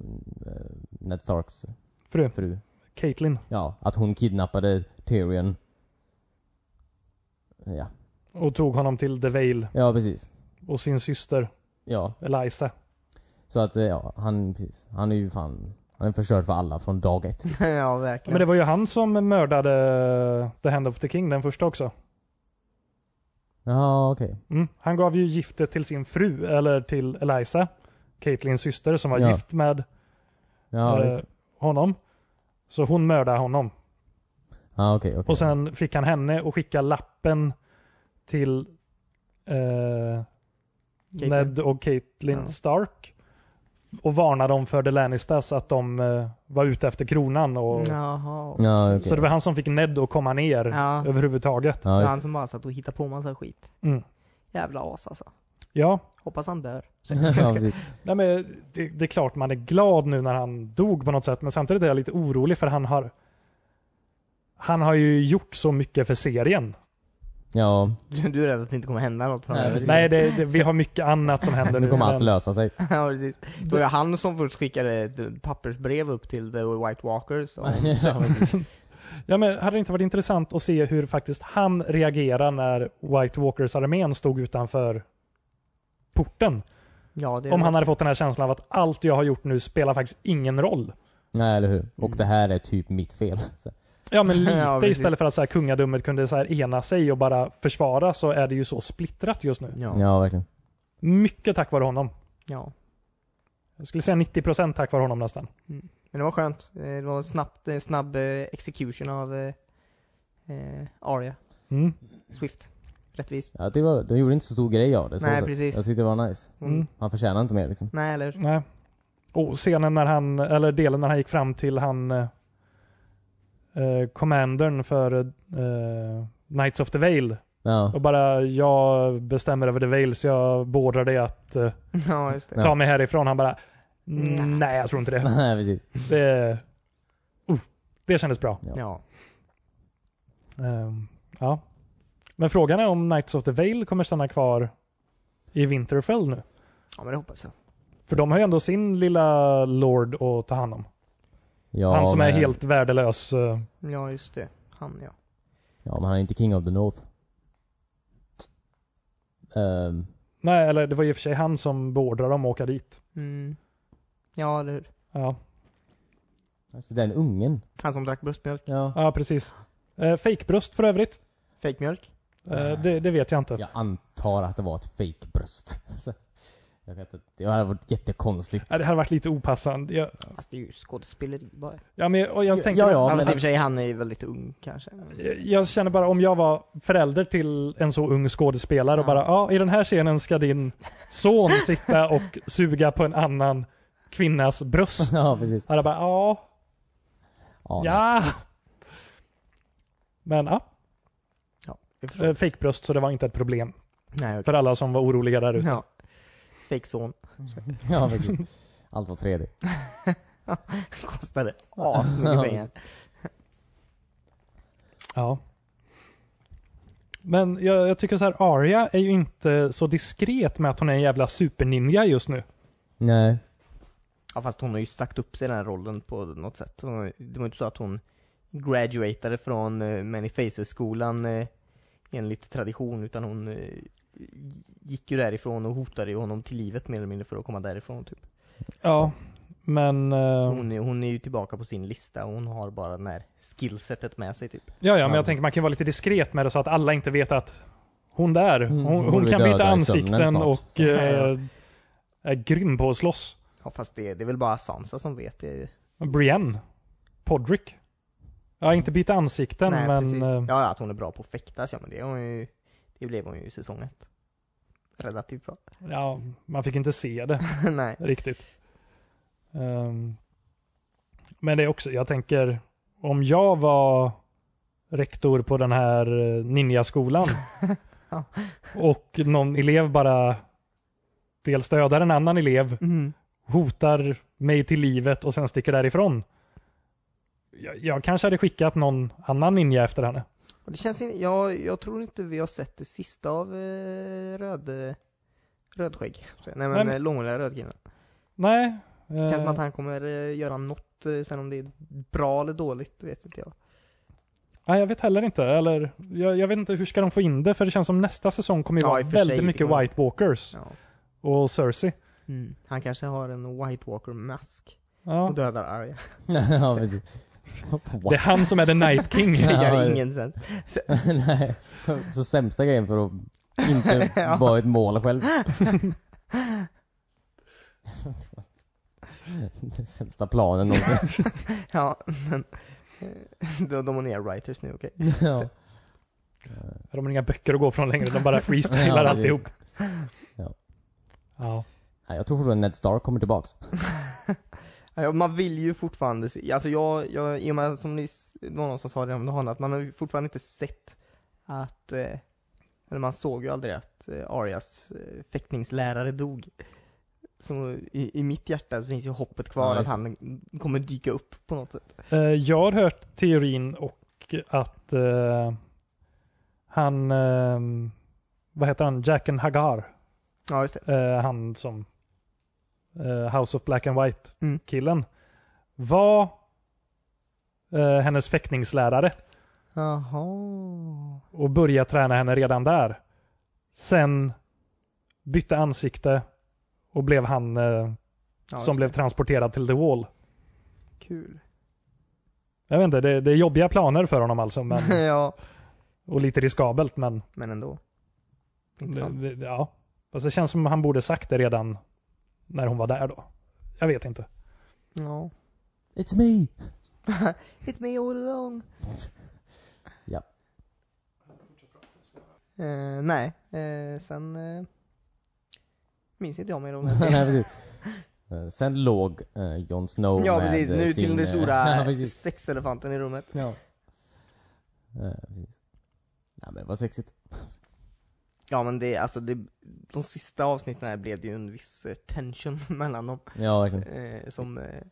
Mm, eh, Ned Starks
Fru.
fru.
Caitlyn.
Ja, att hon kidnappade Tyrion. Ja,
Och tog honom till The Vale
ja precis.
och sin syster
Ja,
Eliza.
så att eh, ja, han, precis. Han är ju fan, han är förstörd för alla från dag ett.
ja,
Ja,
verkligen.
men det var ju han som mördade The Hand of the King, den första också.
Ja, okej.
Mm. Han gav ju giftet till sin fru, eller till Eliza, Caitlyns syster som var
Ja.
gift med
Ja,
eh,
visst.
honom. Så hon mördade honom.
Ja, okej, okej.
Och sen fick han henne och skicka lappen till eh,
Caitlyn.
Ned och Caitlyn
Ja.
Stark. Och varna dem för The Lannisters att de eh, var ute efter kronan. Och,
Jaha.
Ja, okej.
Så det var han som fick Ned att komma ner
Ja.
överhuvudtaget.
Det
Ja,
var
just.
han som bara satt och hittade på massa skit.
Mm.
Jävla as alltså.
Ja,
Hoppas han dör.
ja, precis.
Nej, men det, det är klart man är glad nu när han dog på något sätt, men samtidigt är jag lite orolig för han har han har ju gjort så mycket för serien.
Ja,
Du, du är rädd att det inte kommer hända något
Nej,
framöver.
precis.
Nej, det, det, vi har mycket annat som händer
nu kommer
men-
allt lösa sig.
ja, precis. Det var ju han som först skickade ett pappersbrev upp till The White Walkers. Och,
Ja, precis.
Ja, men hade det inte varit intressant att se hur faktiskt han reagerar när White Walkers-armén stod utanför porten?
ja, det
Om han hade fått den här känslan av att allt jag har gjort nu spelar faktiskt ingen roll.
Nej, eller hur.
Mm.
Och det här är typ mitt fel. Så.
Ja, men lite
Ja, precis.
istället för att så här, kungadömet kunde så här, ena sig och bara försvara så är det ju så splittrat just nu.
Ja. ja.
Ja, verkligen.
Mycket tack vare honom.
ja.
Jag skulle säga 90% tack vare honom nästan.
Men det var skönt. Eh, Det var snabbt, eh, snabb eh, execution av eh, eh, Arya.
Mm.
Swift. Rättvis.
Ja, det var, de gjorde inte så stor grej av det. Så
Nej,
sett.
precis.
Jag tyckte det var nice.
Mm.
Mm.
Han förtjänar inte mer liksom.
Nej, eller?
Nej. Och scenen när han, eller delen när han gick fram till han eh, eh, commandern för eh, Knights of the Vale
Ja.
och bara jag bestämmer över the Vale så jag beordrar dig att eh,
Ja, just det.
ta mig härifrån. Han bara nej jag tror inte det.
Nej, precis.
Det, uh, det kändes bra.
Ja.
Ehm, ja. Men frågan är om Knights of the Vale kommer stanna kvar i Winterfell nu.
Ja, men det hoppas jag.
För de har ju ändå sin lilla Lord att ta hand om.
Ja,
han som är
men-
helt värdelös. eh,
Ja, just det. Han, ja.
Ja, men han är inte king of the north. Ehm,
Nej, eller det var ju i och för sig han som beordrade dem att åka dit.
Mm. Ja, eller hur?
Ja,
alltså den ungen.
Han som drack bröstmjölk.
Ja.
ja precis. Eh, Fejkbröst för övrigt.
Fejkmjölk.
Eh, det, det vet jag inte.
Jag antar att det var ett fake bröst. Alltså, jag vet inte, det hade varit jättekonstigt.
Ja, Det hade varit lite opassande. Jag,
Fast det är ju skådespeleri bara.
ja, men, och jag,
Ja,
tänker,
ja, ja.
Fast i
men-
och för sig, han är ju väldigt ung kanske.
Jag, jag känner bara om jag var förälder till en så ung skådespelare och
Ja.
bara ja, i den här scenen ska din son sitta och suga på en annan kvinnas bröst.
ja, precis.
Hade jag bara ja,
Ja, nej.
ja. Men ja,
Ja, jag förstår.
eh, fejkbröst så det var inte ett problem.
Nej, okej.
För alla som var oroliga där ute.
Ja. Fejkson.
ja precis. Allt var 3D.
Kostade asmycket pengar.
Ja. Men jag, jag tycker så här, Arya är ju inte så diskret med att hon är en jävla superninja just nu.
Nej.
Ja, fast hon har ju sagt upp sig i den här rollen på något sätt. Hon, har- det var inte så att hon graduatade från uh, Many Faces-skolan eh, enligt tradition, utan hon eh, gick ju därifrån och hotade ju honom till livet mer eller mindre för att komma därifrån typ.
Ja. Men... eh,
Hon är, hon är ju tillbaka på sin lista och hon har bara det här skillsetet med sig typ.
Ja, ja, men
Ja.
jag tänker man kan vara lite diskret med det så att alla inte vet att hon där,
Mm,
hon,
hon
hon
vill
kan
döda
byta
i
ansikten
sömnen snart.
och eh, är grym på att slåss.
Ja fast det, det är väl bara Sansa som vet det. ju.
Brienne, Podrick. Ja, inte byta ansikten,
Nej,
men
precis.
eh,
Ja, ja, att hon är bra på att fäktas, ja men det, är hon ju, det blev hon ju i säsong ett. Relativt bra.
ja, man fick inte se det
Nej.
riktigt. Ehm, men det är också, jag tänker, om jag var rektor på den här eh, ninjaskolan
Ja.
och någon elev bara dels dödar en annan elev
Mm.
hotar mig till livet och sen sticker därifrån. Jag, jag kanske hade skickat någon annan ninja efter henne.
Och det känns, in- jag, jag tror inte vi har sett det sista av eh, röd, Rödskägg. Nej men,
Nej, men-
eh, långhåriga rödkillen.
Nej.
Det känns
eh,
som att han kommer eh, göra något, eh, sen om det är bra eller dåligt vet inte jag.
nej, jag vet heller inte. Eller, jag, jag vet inte hur ska de få in det för det känns som nästa säsong kommer ju
Ja,
vara
i och för sig,
väldigt
det
mycket
kommer-
White Walkers
Ja.
och Cersei.
Han kanske har en White Walker-mask
Mm. Ja.
och dödar Arya.
ja, precis. What?
Det är han som är The Night King.
Det gör
Ja,
ingen sen.
Nej. Så sämsta grejen för att inte
Ja.
vara ett mål själv. Den sämsta planen någonsin.
Ja, men eh, de, de har nya writers nu, okej?
ja.
De har inga böcker att gå från längre, de bara freestylar
Ja, precis.
alltihop.
Ja.
Ja.
Nej, jag tror fortfarande Ned Stark kommer tillbaks.
Ja, man vill ju fortfarande se, alltså jag, jag i och med som ni, s- det var någon som sa det om dagen, att man har ju fortfarande inte sett att, eh, eller man såg ju aldrig att eh, Arias eh, fäktningslärare dog. Så i, i mitt hjärta så finns ju hoppet kvar
Ja,
att han kommer dyka upp på något sätt.
Eh, Jag har hört teorin och att eh, han, eh, vad heter han, Jacken Hagar,
Ja, just det.
eh, han som eh, House of Black and White
Mm.
killen var eh, hennes fäktningslärare
Jaha.
och började träna henne redan där. Sen bytte ansikte och blev han eh,
Ja,
som
just
blev transporterad till The Wall.
det. Kul.
Jag vet inte, det, det är jobbiga planer för honom alltså men,
ja,
och lite riskabelt men
men ändå.
Det,
Intressant.
det, det- ja. Alltså, det känns som han borde sagt det redan när hon var där då. Jag vet inte.
Ja.
It's me!
It's me all along.
Ja.
Eh, nej, eh, sen eh, minns inte jag mer om den
Nej,
serien.
precis. Eh, Sen låg eh, Jon Snow
Ja
med
precis,
eh,
nu
sin,
till den
eh, ja,
stora
precis.
sexelefanten i rummet.
Ja. precis. Nej men vad sexigt.
Ja men det, alltså det, de sista avsnitten här blev det ju en viss eh, tension mellan dem
Ja verkligen.
eh, som eh,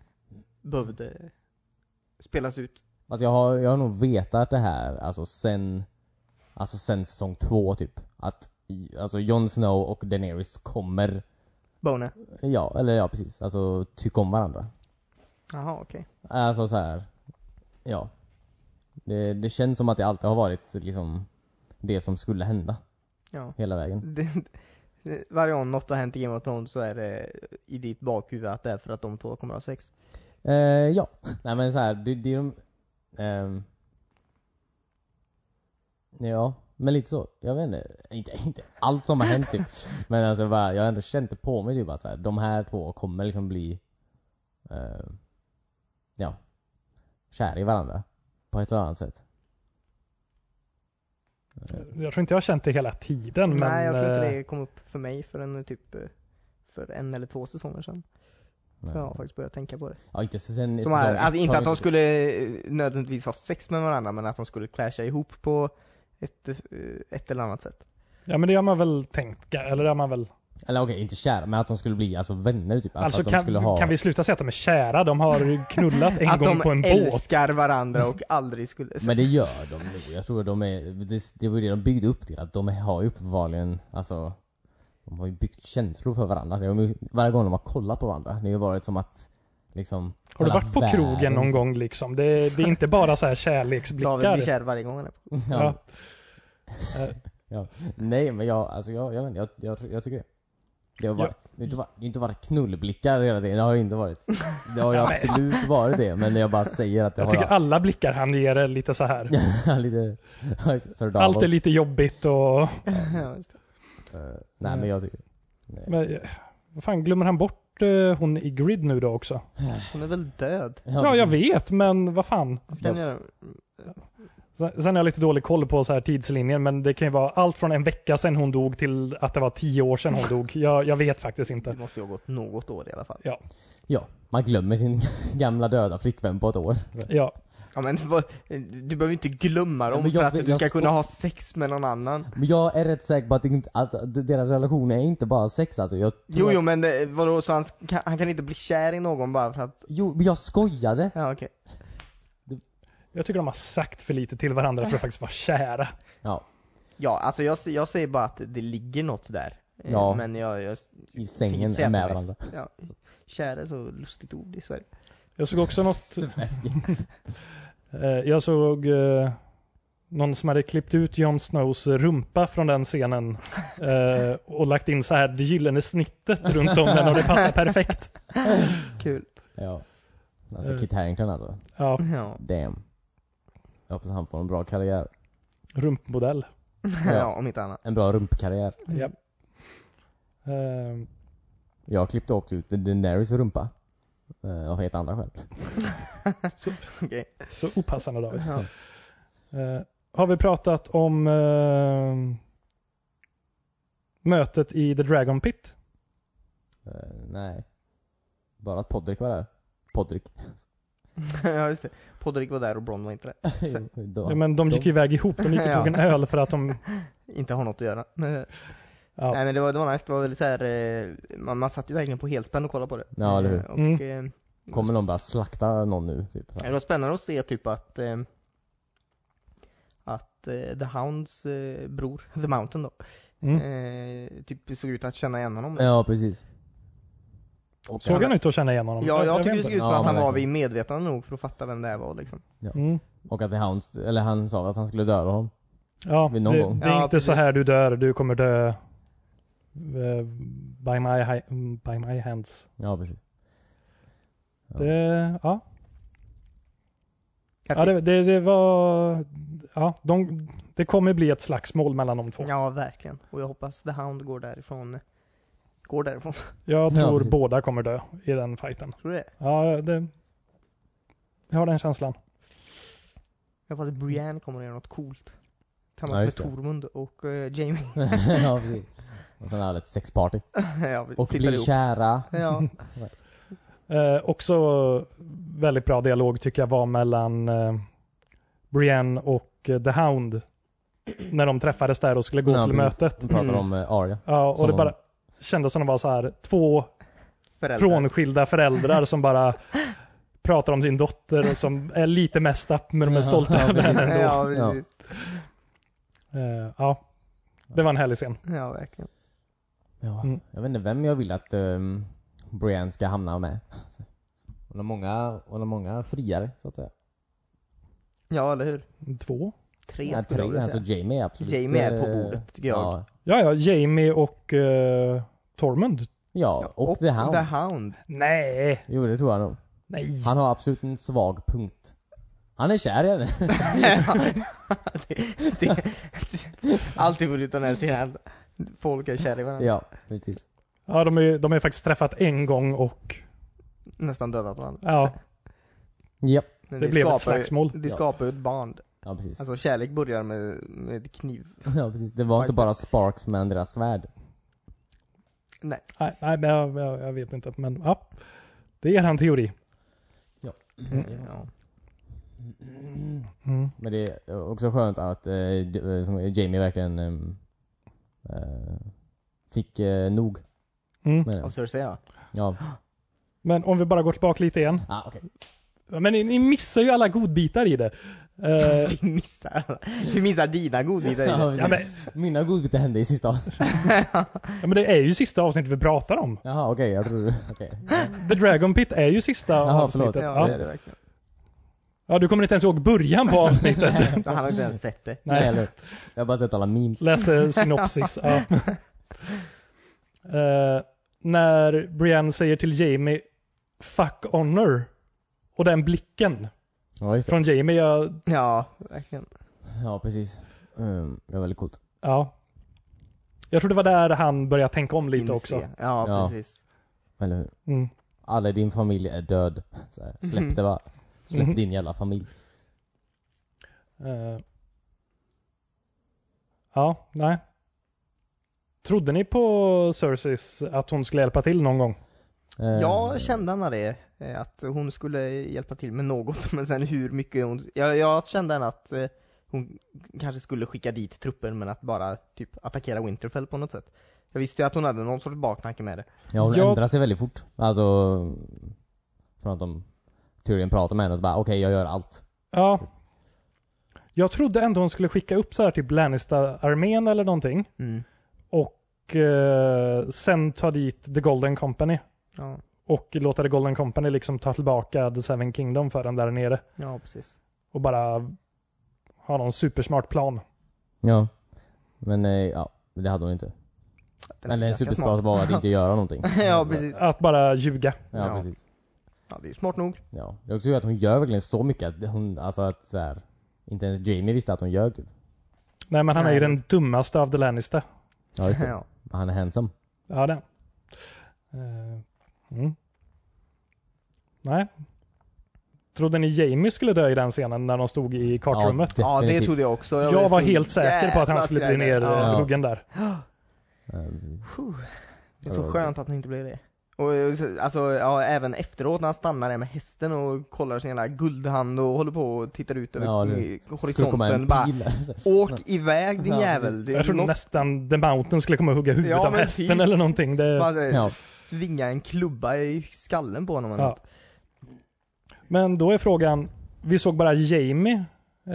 behövde spelas ut.
Alltså jag har, jag har nog vetat det här alltså sen, alltså sen säsong två typ. Att i- alltså Jon Snow och Daenerys kommer,
Bone.
ja eller ja precis, alltså tycka om varandra.
Jaha okej.
Alltså så här. ja. Det, det känns som att det alltid har varit liksom det som skulle hända
Ja.
hela vägen.
Det, det, varje gång något har hänt i Game of Thrones så är det i ditt bakhuvud att det är för att de två kommer att ha sex.
Eh, ja. Nej men så här, det, det är de... ehm, ja, men lite så. Jag vet inte. Inte, inte allt som har hänt typ. Men alltså bara, jag har ändå känt det på mig typ att så här, de här två kommer liksom bli... Eh, ja. Kära i varandra. På ett eller annat sätt.
Jag tror inte jag har känt det hela tiden. men,
Nej, jag tror inte
eh,
det kom upp för mig förrän typ eh, för en eller två säsonger sedan. Så jag har faktiskt börjat tänka på det.
Ja, inte sen...
Som här,
säsong ett
alltså, inte
har
att
vi-
de skulle eh, nödvändigtvis ha sex med varandra, men att de skulle clasha ihop på ett, eh, ett eller annat sätt.
Ja, men det har man väl tänkt. ga- Eller det har man väl.
Eller okej, inte kära, men att de skulle bli alltså vänner typ. Alltså,
Alltså,
att de
kan,
skulle ha...
kan vi sluta säga att de är kära? De har knullat en
att
gång
de
på en båt.
älskar varandra och aldrig skulle...
Men det gör de nog. Jag tror de är, det, det var ju det de byggde upp till. Att de har ju uppenbarligen, alltså De har ju byggt känslor för varandra. Det har ju- varje gång de har kollat på varandra. Det har ju varit som att liksom
Har du
hela
varit på
världen-
krogen någon gång liksom? Det, det är inte bara så här
David blir
kärleksblickar.
kär varje gång han är på.
Ja.
Ja. Nej men jag, alltså jag, jag, vet inte, jag, jag, jag tycker det. Det har, varit, det har inte varit, det har inte varit knullblickar hela tiden, det har det inte varit. Det har ju
Ja, men-
absolut varit det, men jag bara säger att det
Jag
har
tycker alla blickar han ger är lite så här.
jag. lite... Sir Davos.
Allt är lite jobbigt och...
Ja, just det.
Eh, nej men jag tycker...
Men, eh, vad fan, glömmer han bort eh, hon i Grid nu då också?
Hon är väl död?
Ja,
liksom-
jag vet, men vad fan.
Vad ska han göra?
Sen sen har jag lite dålig koll på så här tidslinjen, men det kan ju vara allt från en vecka sedan hon dog till att det var tio år sedan hon dog. Jag, jag vet faktiskt
Det
inte.
måste ju ha gått något år i alla fall.
Ja, man glömmer sin gamla döda flickvän på ett år.
Ja,
Ja men vad, du behöver ju inte glömma
Ja,
dem
men jag
för att
vet-
du
jag
ska
spå-
kunna ha sex med någon annan.
Men jag är rätt säker på att, det inte- att att deras relation är inte bara sex alltså. Jag tror
Jo
att-
jo men eh, vadå så han, sk- kan, han kan inte bli kär i någon bara för att,
jo, men jag skojade.
ja okej.
jag tycker de har sagt för lite till varandra för att faktiskt vara kära.
Ja,
Ja alltså jag, se- jag säger bara att det ligger något där. Eh,
Ja.
Men jag, jag
i
tänker inte
sängen
säga
med
att de är-
varandra.
Ja. Kär är så lustigt ord i Sverige.
Jag såg också något... Eh, Jag såg eh, någon som hade klippt ut Jon Snows rumpa från den scenen eh, och lagt in så här det gyllene snittet runt om den och det passar perfekt.
Kul.
Ja. Alltså
Eh.
Kit Harington alltså.
Ja,
Ja.
Damn. Jag hoppas han får en bra karriär.
rumpmodell.
ja om inte annat.
En bra rumpkarriär.
Ja. Eh,
Jag klippte också ut Daenerys rumpa. Eh, Av helt andra skäl.
Okej.
Så opassande David.
Ja.
Eh, Har vi pratat om eh, mötet i The Dragon Pit?
Eh, nej. Bara att Podrick var där. Podrick.
ja just det. Podrick var där och Bron var inte där.
Då-
Ja, men de gick ju iväg ihop. De gick och tog en öl för att de...
Inte har något att göra. Men,
Ja,
Nej men det var, det var nice, det var väl så här, eh, man, man satt ju verkligen på helspänn och kollade på det.
Ja, eller hur. Mm.
Eh, Och, eh,
Kommer någon bara slakta någon nu? Typ.
Ja, Det var spännande att se typ att eh, att eh, The Hounds eh, bror, The Mountain då,
mm.
eh, typ såg ut att känna igen honom.
Ja, precis. Och
Såg han ut att känna igen honom?
Ja, jag tycker det
vet
såg
inte.
ut som
Ja,
att han
men
var vid
verkligen.
medvetande nog för att fatta vem det här var liksom.
Mm.
Och att det Hounds, eller han sa att han skulle döda honom.
Ja, det,
Vid någon
det är
gång.
inte
Ja,
så
precis.
här du dör, du kommer dö eh, by, my, hi- by my hands.
Ja, precis. Ja.
Det, ja.
Jag
Ja, det, det, det var... Ja, de, det kommer bli ett slagsmål mellan de två.
tyckte- ja, verkligen. Och jag hoppas The Hound går därifrån. Går därifrån.
Jag
Ja,
tror
precis.
båda kommer dö i den fighten.
Tror du det?
Ja, det, jag har den känslan.
Jag hoppas Brienne kommer att göra något coolt.
Ja,
Tillsammans
just
med
det.
Tormund och eh, Jamie.
ja, precis. Och sen hade ett sexparty.
ja, vi
Och
tittar
bli
ihop.
kära.
Ja,
Eh, också väldigt bra dialog tycker jag var mellan eh, Brienne och eh, The Hound. När de träffades där och skulle gå
Ja,
till
precis.
mötet.
Vi pratar
Mm.
om eh, Arya.
Ja, och
Som
det
de-
bara kändes som de var så här två
föräldrar.
frånskilda föräldrar som bara pratar om sin dotter och som är lite messed up men de är
Ja,
stolta
ja,
över
precis.
henne ändå. Ja.
Ja, precis.
Eh, ja, det var en härlig scen.
Ja, verkligen.
Ja,
Mm.
jag vet inte vem jag vill att um, Brienne ska hamna med. Hon har många, hon har många friare, så att säga.
Ja, eller hur?
Två?
Tre
Ja,
skulle jag
tre,
vilja
alltså
säga.
Jamie är absolut...
Jamie är på
eh,
bordet, tycker jag.
Ja,
Ja, ja, Jamie och eh, Tormund.
ja och, The Hound.
The Hound.
Nej,
Jo, det tror jag nog.
nej.
Han har absolut en svag punkt. Han är kär i henne.
det, det, alltid får utan den scenen. Folk är kära i varandra.
ja, precis.
Ja, de är, de är faktiskt träffat en gång och
Nästan dödat varandra.
ja,
Japp.
Men
Det blev ett
skapar ju-
slagsmål.
Det
Ja.
skapar ju ett band.
Ja, precis.
Alltså kärlek börjar med, med kniv.
Ja, precis. Det var inte
Fighter.
bara sparks mellan deras svärd.
Nej.
nej, nej men jag, jag, jag vet inte. Men ja, det är han teori.
Ja.
Mm.
Men det är också skönt att eh, d- eh, som Jamie verkligen ehm, eh, fick eh, nog
Mm.
med det.
Och så säger jag.
Ja.
Men om vi bara går tillbaka lite igen.
Ah, okej.
Ja, Men ni, ni missar ju alla godbitar i det. Eh,
Vi missar, vi missar dina godbitar i det.
ja, men,
Mina godbitar hände i sista avsnittet.
ja, men det är ju sista avsnittet vi pratar om.
Jaha, okej. jag tror du... Okej.
The Dragon Pit är ju sista
Jaha, förlåt.
avsnittet.
Ja, det är
Ja.
det verkligen.
ja, du kommer inte ens ihåg början på avsnittet.
Han har inte ens sett det.
Nej, eller Jag har bara sett alla memes.
Läste synopsis. Ja. Eh, när Brienne säger till Jamie Fuck honor. Och den blicken
Ja, just det.
från Jamie. Jag,
Ja, verkligen.
Ja, precis. Um, det var väldigt coolt.
ja. jag tror det var där han började tänka om lite
Inse.
också.
Ja,
Ja.
precis.
Eller hur?
Mm.
Alla i din familj är död. Så här, släpp det bara. Släpp
Mhm.
din jävla familj.
Eh. Ja, nej. Trodde ni på Cerseis att hon skulle hjälpa till någon gång?
Eh,
Jag kände henne det, eh, att hon skulle hjälpa till med något, men sen hur mycket hon... Jag, jag kände henne att eh, hon kanske skulle skicka dit trupper men att bara typ attackera Winterfell på något sätt. Jag visste ju att hon hade någon sorts baktanke med det.
Ja, hon
Jag-
ändrar sig väldigt fort. Alltså... Från att de... Tyrion pratar med henne och så bara okej, jag gör allt.
Ja. Jag trodde ändå hon skulle skicka upp så här typ Lannister-armén eller någonting.
Mm.
Och eh, sen ta dit The Golden Company.
Ja,
Och låta The Golden Company liksom ta tillbaka The Seven Kingdom för den där nere.
ja precis.
Och bara ha någon supersmart plan.
Ja. Men eh, ja, det hade hon inte.
Den är
Eller en
ganska
supersmart
smart.
var att inte göra någonting.
ja, precis.
Att bara ljuga.
Ja,
Ja.
precis.
Ja, det är ju smart nog.
Ja. Det är också ju att hon gör verkligen så mycket att hon, alltså att så här, Inte ens Jamie visste att hon ljög typ.
Nej men han är ju
Nej.
den dummaste av The Lannister.
Ja, just det.
Ja.
Han är handsome.
Ja, den. Eh, Mm. Nej. Trodde ni Jamie skulle dö i den scenen när de stod i kartrummet?
ja, det
definitivt.
trodde jag också.
jag,
blev
var
så
helt säker på att han
jävla
skulle bli eh.
skrämd. Ja.
Ja.
nerhuggen där.
Ja, precis.
Puh. Det är
Ja,
så
det-
skönt att han inte blev det. Och eh, så- alltså, ja, även efteråt när han stannar där med hästen och kollar sin jävla guldhand och håller på och tittar ut över
Ja, det-
eh,
Skulle komma en
horisonten. Bara,
pil.
åk iväg din
Ja,
jävel.
precis.
Det
Jag
är
trodde
något,
nästan The Mountain skulle komma och hugga huvudet
Ja,
av
men
hästen
typ.
eller någonting. Det...
bara, så här,
Ja.
svinga en klubba i skallen på honom. eller
Ja.
något.
Men då är frågan, vi såg bara Jamie eh,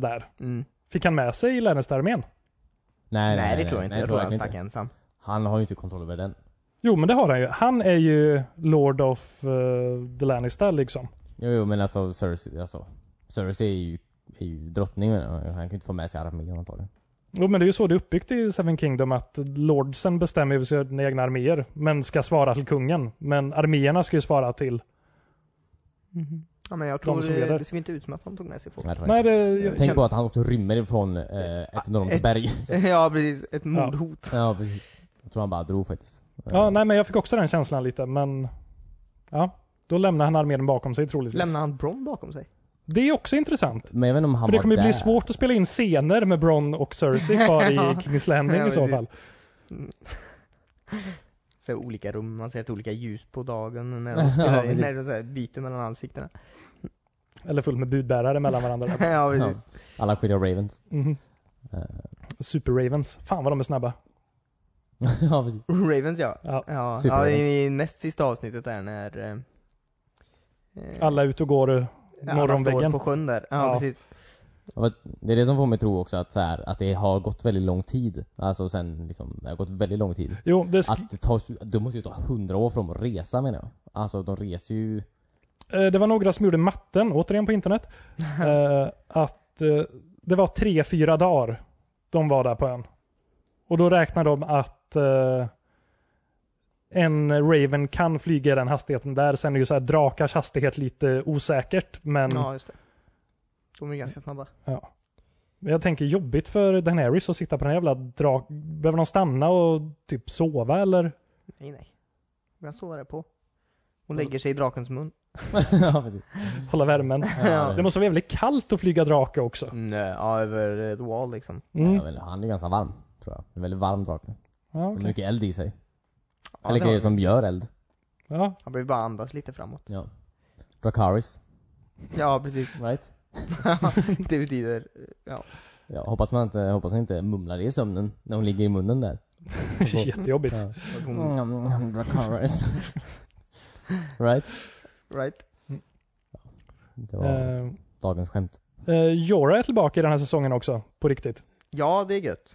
där.
Mm.
Fick han med sig Lannister-armén?
Nej,
Nej, det tror jag inte.
nej,
jag tror han
verkligen
stack ensam.
Han har ju inte kontroll över den.
Jo, men det har han ju. Han är ju Lord of eh, the Lannister liksom.
Jo, jo men alltså Cersei, alltså. Cersei är ju, är ju drottning men eh, han kan ju inte få med sig armén antagligen.
Jo, men det är ju så det är uppbyggt i Seven Kingdom att lordsen bestämmer över sina egna arméer men ska svara till kungen. Men arméerna ska ju svara till.
Ja, men jag tror
som
eh,
leder.
det ser inte ut som att han tog med sig folk.
Jag tror
Nej,
inte.
det, jag,
Tänk på att han också rymmer ifrån eh, ett enormt
ett-
berg.
Ja precis, ett mordhot.
ja, precis. Jag tror han bara drog faktiskt. Eh,
ja, nej, men jag fick också den känslan lite, men ja, då lämnar han armén bakom sig troligtvis.
Lämnar han Brom bakom sig?
Det är också intressant.
Men jag vet inte om han
För det
var
kommer ju
där.
bli svårt att spela in scener med Bron och Cersei kvar i Kings Landing
Ja,
i så
precis.
fall.
Så här olika rum, man ser ett olika ljus på dagen när de, spelar,
Ja,
in,
precis.
när de så här byter mellan ansiktena.
Eller fullt med budbärare mellan varandra. där.
ja
Ja.
precis.
Alla Queen of Ravens.
Mhm.
Eh.
Super Ravens. Fan vad de är snabba.
ja, precis.
Ravens ja.
Ja.
Ja,
Super
ja
Ravens.
i, i näst sista avsnittet där när eh, eh,
Alla är ute och går eh,
alla
norr om
står
väggen.
på sjön där. Ja,
Ja.
precis.
Det är det som får mig tro också att, så här, att det har gått väldigt lång tid. Alltså sen liksom, det har gått väldigt lång tid.
Jo, det, sk-
Att det tar, de måste ju ta hundra år för dem att resa menar jag. Alltså de reser ju...
eh, det var några som gjorde matten, återigen på internet, eh, att eh, det var tre, fyra dagar de var där på ön. Och då räknar de att eh, en Raven kan flyga i den hastigheten där. Sen är ju så här drakars hastighet lite osäkert, men
Ja, just det. De är ganska snabba.
Ja. Men Jag tänker jobbigt för Daenerys att sitta på den här jävla drak... Behöver de stanna och typ sova eller?
Nej, nej. De kan sova där på. Hon lägger sig i drakens mun.
ja, precis.
Hålla värmen?
Ja,
Det måste vara jävligt kallt att flyga drake också.
Mm, ja, över eh, the wall liksom.
Mm.
Ja, men han är ganska varm, tror jag. En väldigt varm drake.
Ja,
Okay.
okej.
Mycket eld i sig.
Ja, det har
Eller grejer
de.
som gör eld.
ja.
Han behöver bara andas lite framåt.
Ja. Drakaris,
Ja, precis.
right?
det betyder, eh,
Ja, hoppas man inte, hoppas man inte mumlar det i sömnen när hon ligger i munnen där.
Jättejobbigt.
Ja.
att hon
Mm, mm, Drakaris. right?
Right?
Det var
Eh,
dagens skämt.
eh, Jorah är tillbaka i den här säsongen också, på riktigt.
Ja, det är gött.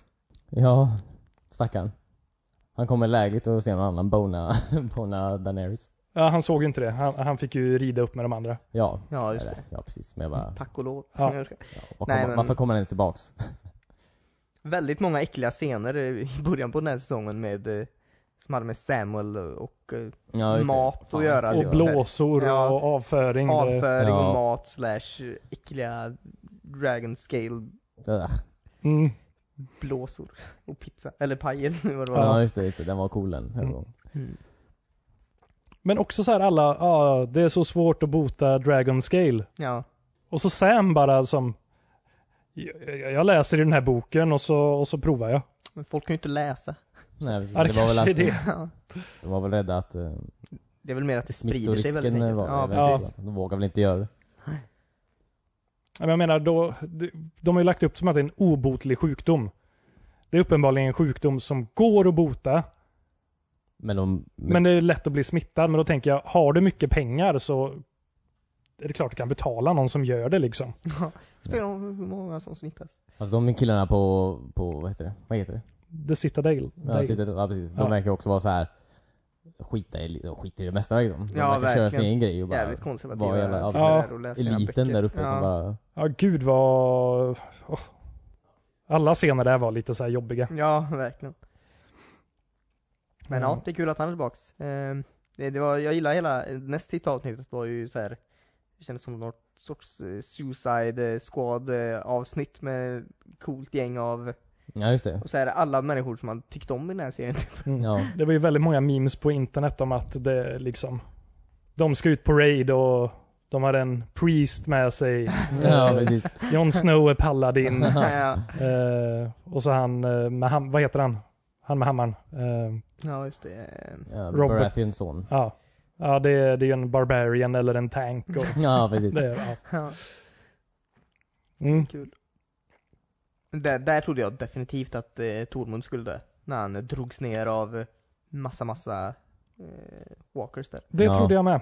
Ja, stackarn. Han kommer lägligt och ser någon annan bona, bona Daenerys.
Ja, han såg ju inte det. Han, han fick ju rida upp med de andra.
Ja,
Ja, just
eller,
det.
ja precis. Men jag
Mm.
bara,
Tack och lov.
Ja.
ja, var
Nej,
kommer-
men-
varför kommer han ens tillbaks?
Väldigt många äckliga scener eh, i början på den här säsongen med eh, Som hade med Samuel och eh,
Ja, just det.
Mat att göra,
det
Och
Ja.
var-
blåsor
Ja.
och avföring. Det-
avföring
Ja.
och mat slash äckliga dragon scale
Ugh.
Mm.
blåsor och pizza, eller paj eller vad det var.
Ja, just det, just det. Den var cool den.
Mm.
Mm.
Mm.
Men också så här alla, ja det är så svårt att bota Dragon Scale.
Ja.
Och så Sam bara som, jag, jag läser i den här boken och så, och så provar jag.
Men folk kan ju inte läsa.
Nej, precis.
Ja, det
det, var väl
kanske
att,
är det.
Ja.
de var väl rädda att eh,
Det är väl mer att det sprider sig väldigt
smittorisken
enkelt.
var
Ja,
ja,
Ja.
precis.
precis. De vågar väl inte göra det.
Men Jag menar, då, de, de har ju lagt upp som att det är en obotlig sjukdom. Det är uppenbarligen en sjukdom som går att bota,
Men de...
men det är lätt att bli smittad. Men då tänker jag, har du mycket pengar så är det klart du kan betala någon som gör det liksom.
Spelar om hur många som smittas.
Alltså de killarna på, på vad heter det? Vad heter det?
The Citadel.
Ja, Citadel, ja precis. De
Ja.
verkar också vara så här skita i, de skiter i det mesta liksom. De
Ja,
verkar köra sin
verkligen.
egen grej och bara
Jävligt konservativa
vad jävla-
sitter där och läser sina
eliten
böcker.
där uppe
ja.
som bara...
Ja, gud vad... åh. Alla scener där var lite så här jobbiga.
Ja, verkligen. Men
Mm.
ja, det är kul att han är tillbaks. Ehm, det, det var, jag gillar hela, näst sista avsnittet var ju så här. Det kändes som något sorts eh, suicide eh, squad eh, avsnitt med coolt gäng av,
Ja, just det.
och så här alla människor som man tyckte om i den här serien.
Ja.
Det var ju väldigt många memes på internet om att det liksom... De ska ut på raid och de har en priest med sig.
ja, precis.
Jon Snow är paladin.
ja,
Eh, och så han eh, med ham- vad heter han? Han med hammaren. Eh,
ja, just det. Ehm,
Ja,
Robert.
Baratheons son.
ja, ja det, är- det är ju en barbarian eller en tank. Och
Ja, precis.
det, är- ja.
Ja,
mm.
kul. Där, där trodde jag definitivt att eh, Tormund skulle dö. När han eh, drogs ner av eh, massa, massa eh, walkers där.
det
Ja.
trodde jag med.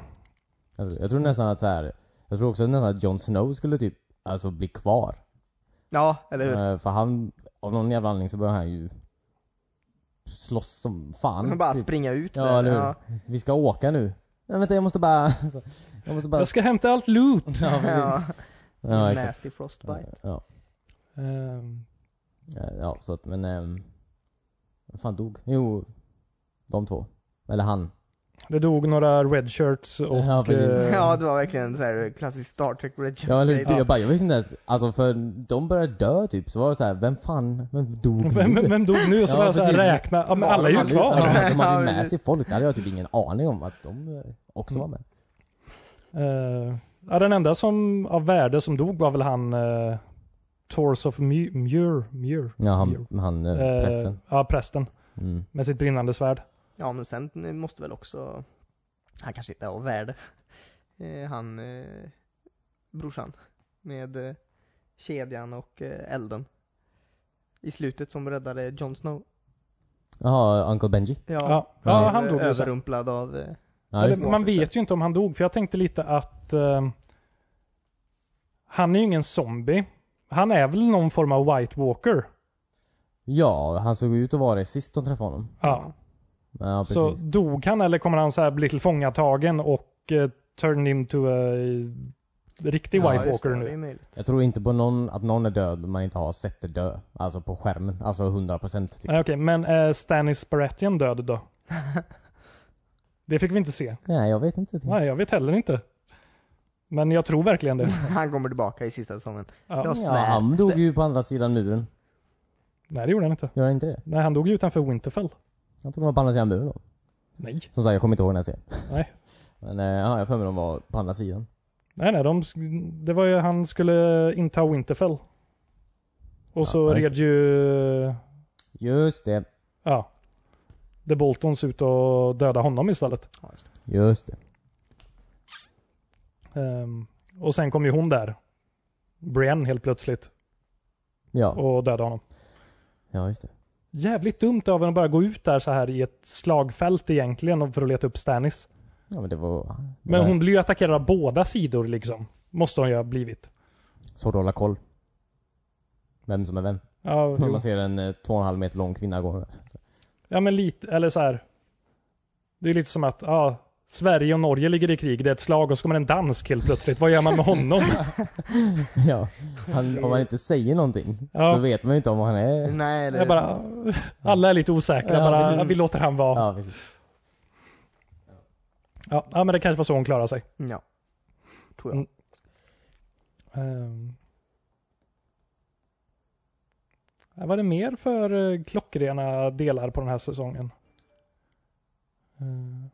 Alltså, jag tror nästan att så här. Jag tror också nästan att Jon Snow skulle typ, alltså bli kvar.
Ja, eller hur?
Eh, För han, av någon jävla anledning så börjar han ju slåss som fan.
Han bara
typ.
springa ut
Ja,
där.
eller hur? Vi ska åka nu. Nej vänta jag måste bara, alltså, jag måste bara...
Jag ska hämta allt loot.
Ja, precis. Ja,
Ja,
exakt.
nasty frostbite.
Ja,
Eh,
ja, så att men... ehm, Vad fan dog? Jo, de två. Eller han.
det dog några redshirts och...
Ja, precis.
eh,
Ja, det var verkligen så här klassisk Star Trek Red
Ja, eller,
Shirt.
hur? Jag, bara, jag visste inte ens, alltså för de började dö typ, så var det så här, vem fan, vem dog
Vem,
nu?
vem- vem dog nu? Och så
Ja,
började jag så här
precis.
räkna. Ja, men
Ja,
alla är
de
ju
hade-
kvar.
Ja, de
Ja,
hade ju med
precis.
sig folk, det hade jag typ ingen aning om att de eh, också var med.
Eh, ja, den enda som av värde som dog var väl han uh, Tors of Mu- Muir. Muir.
Mm.
Ja, han, han eh,
Eh,
prästen.
Ja, prästen.
Mm.
Med sitt brinnande svärd.
Ja, men sen måste väl också... Han kanske inte är av värde. Eh, Han... Eh, brorsan. Med eh, kedjan och eh, elden. I slutet som räddade Jon Snow.
Jaha, Uncle Benji.
Ja, Eh,
Ja,
Ja,
ja
blev
han dog ju sen.
Överrumplad av... Eh,
Ja, just
Eller,
det.
man
Just det.
vet ju inte om han dog, för jag tänkte lite att eh, han är ju ingen zombie. Han är väl någon form av White Walker.
Ja, han såg ut att vara det sist de träffade honom.
Ja,
Ja, precis.
så dog han eller kommer han så här bli tillfångatagen och uh, turned into a eh, riktig
Ja,
White
just
Walker
det,
nu?
Det är möjligt.
Jag tror inte på någon, att någon är död om man inte har sett det dö. Alltså på skärmen. Alltså 100% typ.
Nej, Okej, men är Stanis Baratheon död då? det fick vi inte se.
Nej, jag vet inte.
Nej, jag vet heller inte. Men jag tror verkligen det.
Han kommer tillbaka i sista säsongen.
Ja.
Jag
Ja,
svär.
han dog ju på andra sidan muren.
Nej, det gjorde han inte.
Gör han inte det?
Nej, han dog ju utanför Winterfell.
Jag tror de var på andra sidan muren då.
Nej.
Som sagt, jag kommer inte ihåg den här serien.
Nej.
Men eh, ja, jag har för mig de var på andra sidan.
Nej, nej, de, sk- det var ju han skulle inta Winterfell. Och så
Ja, just
red ju,
Just det.
ja, The Boltons ut och döda honom istället.
Ja, just det.
Just det.
Ehm, och sen kom ju hon där, Brienne helt plötsligt,
Ja.
och dödade honom.
Ja, just det.
Jävligt dumt av henne att bara gå ut där så här i ett slagfält egentligen och för att leta upp Stannis.
Ja, men det var... det
Men
var
hon blir ju attackerad av båda sidor liksom. Måste hon ju ha blivit.
Svårt att hålla koll. Vem som är vem.
Ja,
Om man ser en eh, två och en halv meter lång kvinna gå.
Ja men lite, eller så här. Det är lite som att, ja, Sverige och Norge ligger i krig, det är ett slag och så kommer en dansk helt plötsligt. Vad gör man med honom?
Ja. Han, om man inte säger någonting
Ja.
så vet man ju inte om han är...
Nej, det
Jag bara, alla är lite osäkra,
Ja,
bara,
precis.
vi låter han vara.
Ja, precis.
Ja. ja, men det kanske var så hon klarade sig.
Ja. Tror jag.
Mm. Ehm. Vad var det mer för eh, klockrena delar på den här säsongen? Ehm.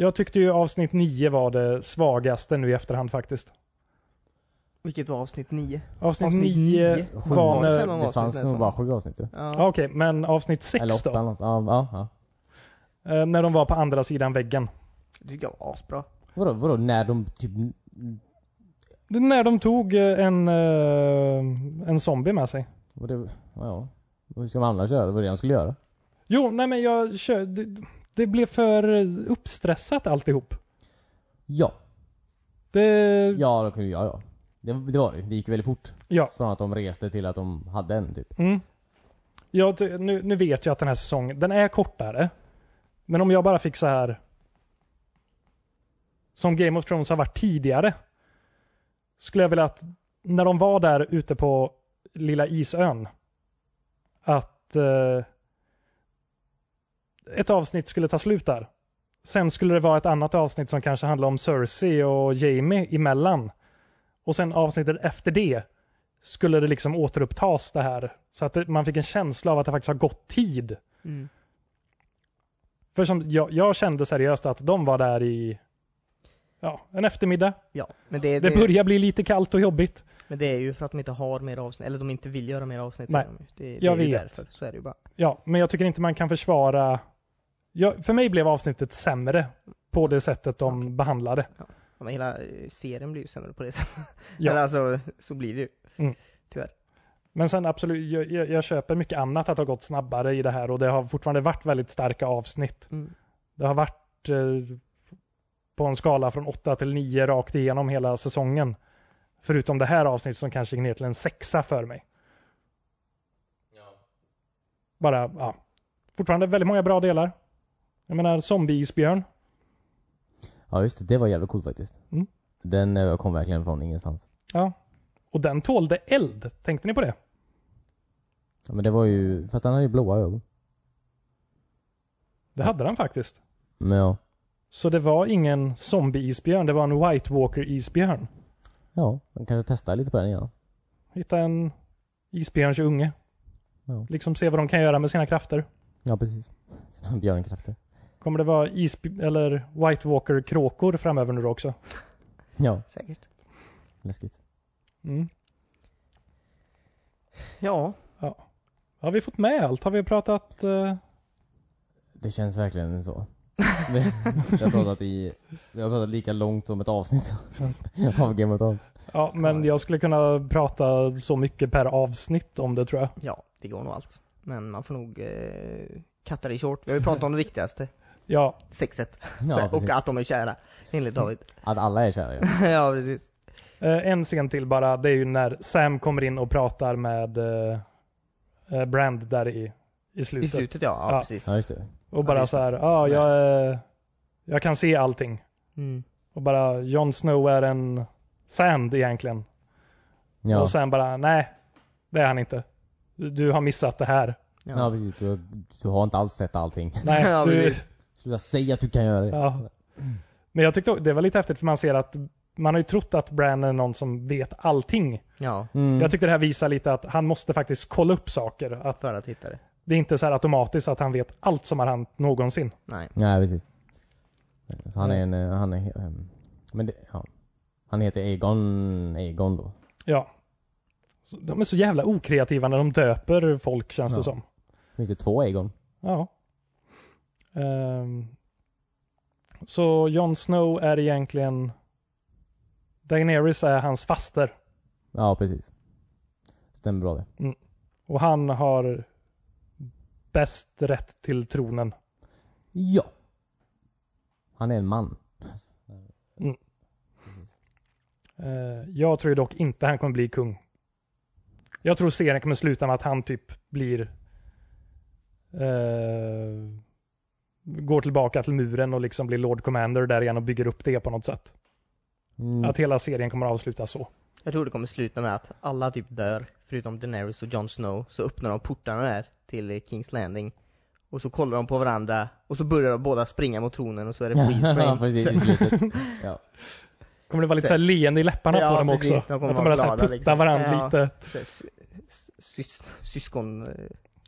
Jag tyckte ju avsnitt 9 var det svagaste nu i efterhand faktiskt.
Vilket var avsnitt 9?
Avsnitt
Avsnitt
9
nio?
Sju
var
det
när...
sämre? många
Det
avsnitt
fanns nog
nästan.
bara sju avsnitt ju.
Ja.
Ja, Okej, men avsnitt
Eller
6
åtta
då?
eller något. Ja, ja, ja.
Eh, När de var på andra sidan väggen.
Det tycker jag var asbra.
Vadå, vadå, när de typ...
Det är när de tog eh, en, eh, en zombie med sig.
Vad det, ja. Hur ska man annars göra? Det var det han skulle göra.
Jo, nej men jag kör... Det, det blev för eh, uppstressat alltihop.
Ja.
Det,
Ja, då kunde jag ja. Det, det var det ju. Det gick väldigt fort.
Ja.
Från att de reste till att de hade en typ.
Mm. Jag, ty- nu, nu vet jag att den här säsongen, den är kortare. Men om jag bara fick så här som Game of Thrones har varit tidigare skulle jag vilja att när de var där ute på lilla isön att eh, ett avsnitt skulle ta slut där. Sen skulle det vara ett annat avsnitt som kanske handlar om Cersei och Jamie emellan. Och sen avsnittet efter det skulle det liksom återupptas det här. Så att det, man fick en känsla av att det faktiskt har gått tid.
Mm.
För som jag, jag kände seriöst att de var där i ja, en eftermiddag.
Ja, men det,
Det
det,
börjar bli lite kallt och jobbigt.
men det är ju för att de inte har mer avsnitt, eller de inte vill göra mer avsnitt
Nej.
säger de ju. Det, det
Jag
är ju
vet.
därför, så är det ju bara.
Ja, men jag tycker inte man kan försvara... Jag, för mig blev avsnittet sämre på det sättet de behandlade.
Ja, men hela eh, serien blir ju sämre på det sättet.
Ja.
Eller alltså, så blir det ju.
Men sen absolut, jag, jag, jag köper mycket annat att det har gått snabbare i det här och det har fortfarande varit väldigt starka avsnitt.
Mm.
Det har varit eh, på en skala från 8 till 9 rakt igenom hela säsongen. Förutom det här avsnittet som kanske gick ner till en sexa för mig. Bara, ja. Fortfarande väldigt många bra delar. Jag menar zombie-isbjörn.
Ja just det, det var jävligt coolt faktiskt.
Mm.
Den eh, kom verkligen från ingenstans.
Och den tålde eld. Tänkte ni på det?
Ja, men det var ju, fast han hade ju blåa ögon.
Det hade den faktiskt.
Men ja.
Så det var ingen zombie-isbjörn, det var en White Walker-isbjörn.
Ja, man kanske testar lite på den igen.
Hitta en isbjörns unge.
Ja.
Liksom se vad de kan göra med sina krafter.
Ja precis. Sen har björnkrafter.
Kommer det vara isb- eller White Walker-kråkor framöver nu också?
Ja,
Säkert.
läskigt.
Mm.
Ja,
Har vi fått med allt? Har vi pratat... eh,
Det känns verkligen så. Vi, vi har pratat i, vi har pratat lika långt om ett avsnitt av Game of Thrones.
ja,
Ja,
men
just
jag skulle kunna prata så mycket per avsnitt om det tror jag.
ja, det går nog allt. Men man får nog eh, katta det i short. Vi har ju pratat om det viktigaste,
Ja,
sexet. Så
Ja,
här, och
precis.
att de är kära, enligt David.
Att alla är kära ju.
ja, precis.
eh, en scen till bara. Det är ju när Sam kommer in och pratar med eh, eh, Brand där i, i, slutet.
I slutet ja, ja,
Ja.
precis.
Ja just det.
Och
Ja,
bara
just
så här, ja,
Nej.
jag, eh, jag kan se allting.
Mm.
Och bara, Jon Snow är en sand egentligen.
Ja,
Och sen bara, nej, det är han inte. Du, du har missat det här.
ja precis. Du, du har inte alls sett allting.
Nej,
Ja,
du,
precis.
Sluta säga att du kan göra det.
Ja. Men jag tyckte det var lite häftigt för man ser att man har ju trott att Bran är någon som vet allting.
Ja,
Mm.
Jag tyckte det här visar lite att han måste faktiskt kolla upp saker. Att
för att hitta det.
det är inte så här automatiskt att han vet allt som har hänt någonsin.
Nej.
Nej precis. Så han är en, eh, han är, eh, men det, ja. Han heter Egon, Egon då.
Ja. Så De är så jävla okreativa när de döper folk känns det
Ja.
som.
Finns det två Egon?
Ja. Ehm. Så Jon Snow är egentligen Daenerys är hans faster
Ja precis. Stämmer bra det.
och han har bäst rätt till tronen.
Ja. Han är en man.
Eh, Jag tror dock inte han kommer bli kung. Jag tror serien kommer sluta med att han typ blir eh, går tillbaka till muren och liksom blir Lord Commander där igen och bygger upp det på något sätt.
Mm.
Att hela serien kommer att avslutas så.
Jag tror det kommer sluta med att alla typ dör, förutom Daenerys och Jon Snow, så öppnar de portarna där till eh, Kings Landing. Och så kollar de på varandra, och så börjar de båda springa mot tronen och så är det freeze
ja,
frame.
precis,
Så-
i slutet. Ja.
Kommer det vara lite
Så-
så här leende i läpparna
Ja,
på dem
precis.
också?
De kommer
att de bara
vara
så här
glada,
puttar
liksom.
varandra
Ja.
lite.
så- s- s- sys- Syskon, eh,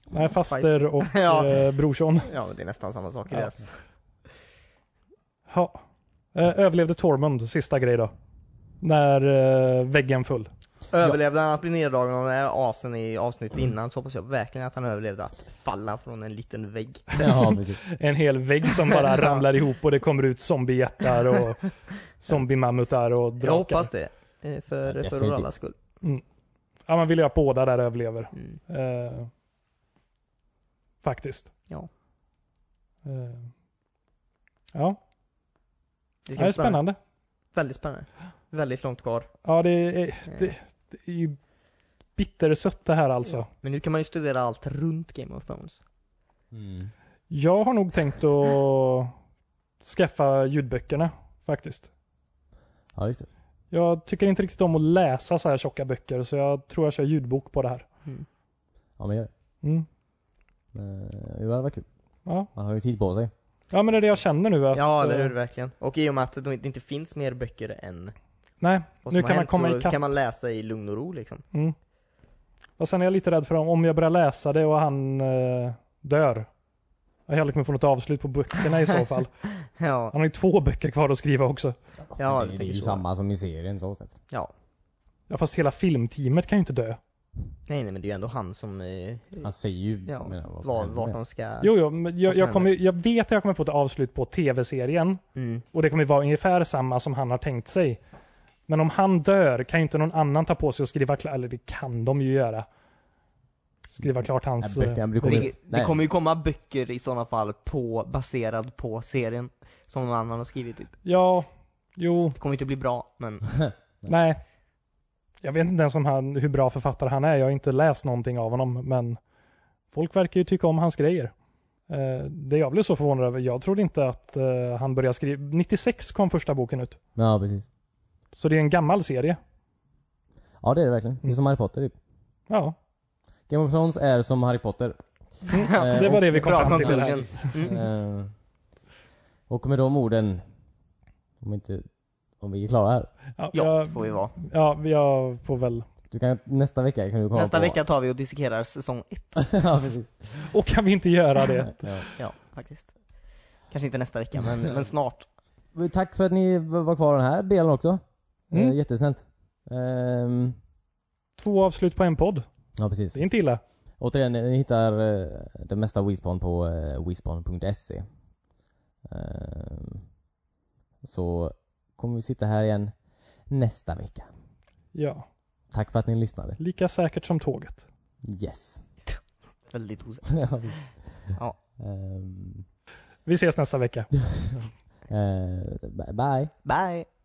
Nej, faster och
Ja.
eh, brorson.
ja det är nästan samma sak i
Ja.
deras.
Ja. Eh, överlevde Tormund, sista grej då. När eh, väggen full.
Överlevde han att bli neddragen av den här asen i avsnittet
Mm.
innan så hoppas jag verkligen att han överlevde att falla från en liten vägg.
ja, precis.
En hel vägg som bara ramlar ihop och det kommer ut zombiehjärtar och zombiemammutar och drakar.
Jag hoppas det. eh, För, för vår
definitivt.
allas skull.
Ja, man vill ju att båda där överlever.
Mm.
Eh, faktiskt.
Ja.
Eh, ja,
Det
det är spännande.
Väldigt spännande. Väldigt långt kvar.
Ja, det är,
Eh,
det, det är ju bittersött det här alltså.
Men nu kan man ju studera allt runt Game of Thrones.
Mm.
Jag har nog tänkt att skaffa ljudböckerna faktiskt.
Ja, just det.
Jag tycker inte riktigt om att läsa så här tjocka böcker så jag tror jag kör ljudbok på det här.
Ja, men gör det.
Mm.
Men, eh, det hade varit kul.
Ja.
Man har ju tid på sig.
ja, men det är det jag känner nu. Att,
ja, eller
eh,
hur, verkligen. Och i och med att det inte inte finns mer böcker än
Nej,
vad som
nu
har
kan man
hänt,
komma
så, så
ikapp.
kan man läsa i lugn och ro liksom.
Mm. Och sen är jag lite rädd för om, om jag börjar läsa det och han eh, dör. Jag heller kommer få något avslut på böckerna i så fall.
Ja,
Han har ju två böcker kvar att skriva också.
ja
det,
jag
det är
tänker
ju
så.
samma som i serien så sett.
Ja.
Ja, fast hela filmteamet kan ju inte dö.
Nej, nej men det är ju ändå han som, eh,
Han säger ju
ja,
menar, vad som
var,
händer.
vart de ska...
Jo, jo, men jag,
Vad som
jag, kommer, jag vet att jag kommer få ett avslut på tv-serien
Mm.
och det kommer vara ungefär samma som han har tänkt sig. Men om han dör kan ju inte någon annan ta på sig och skriva klart, eller det kan de ju göra. Skriva klart hans...
Nej, böckerna blir-
eh,
kommer-
Det, det
nej.
kommer ju komma böcker i sådana fall på, baserad på serien. Som någon annan har skrivit typ.
Ja, jo,
Det kommer inte bli bra, men
nej. Jag vet inte ens om han, hur bra författare han är. Jag har inte läst någonting av honom, men folk verkar ju tycka om hans grejer. Eh, Det jag blev så förvånad över, jag trodde inte att eh, han började skriva... 96 kom första boken ut.
Ja, precis.
Så det är en gammal serie.
Ja, det är det verkligen. Det är som Harry Potter typ.
Ja,
Game of Thrones är som Harry Potter.
Mm. det var det vi kom
bra
fram till. Här.
conclusion. Mm.
Eh, och med de orden, om inte, om vi är klara här.
Ja,
Ja,
jag,
det får vi vara.
ja, jag får väl...
Du kan, nästa vecka kan du komma
Nästa
på.
vecka tar vi och dissekerar säsong ett.
ja, precis.
Och kan vi inte göra det?
Ja.
Ja, faktiskt. Kanske inte nästa vecka, men, men snart.
Men Tack för att ni var kvar den här delen också.
Mm.
Eh, jättesnällt. Ehm,
Två avslut på en podd.
ja, precis.
Det är inte illa.
Återigen, ni hittar eh, det mesta av Wispon på eh, wispon.se. Ehm, så kommer vi sitta här igen nästa vecka.
Ja,
Tack för att ni lyssnade.
lika säkert som tåget.
Yes.
Väldigt osäkert.
ja.
Ja.
Ehm,
Vi ses nästa vecka.
eh, bye.
Bye!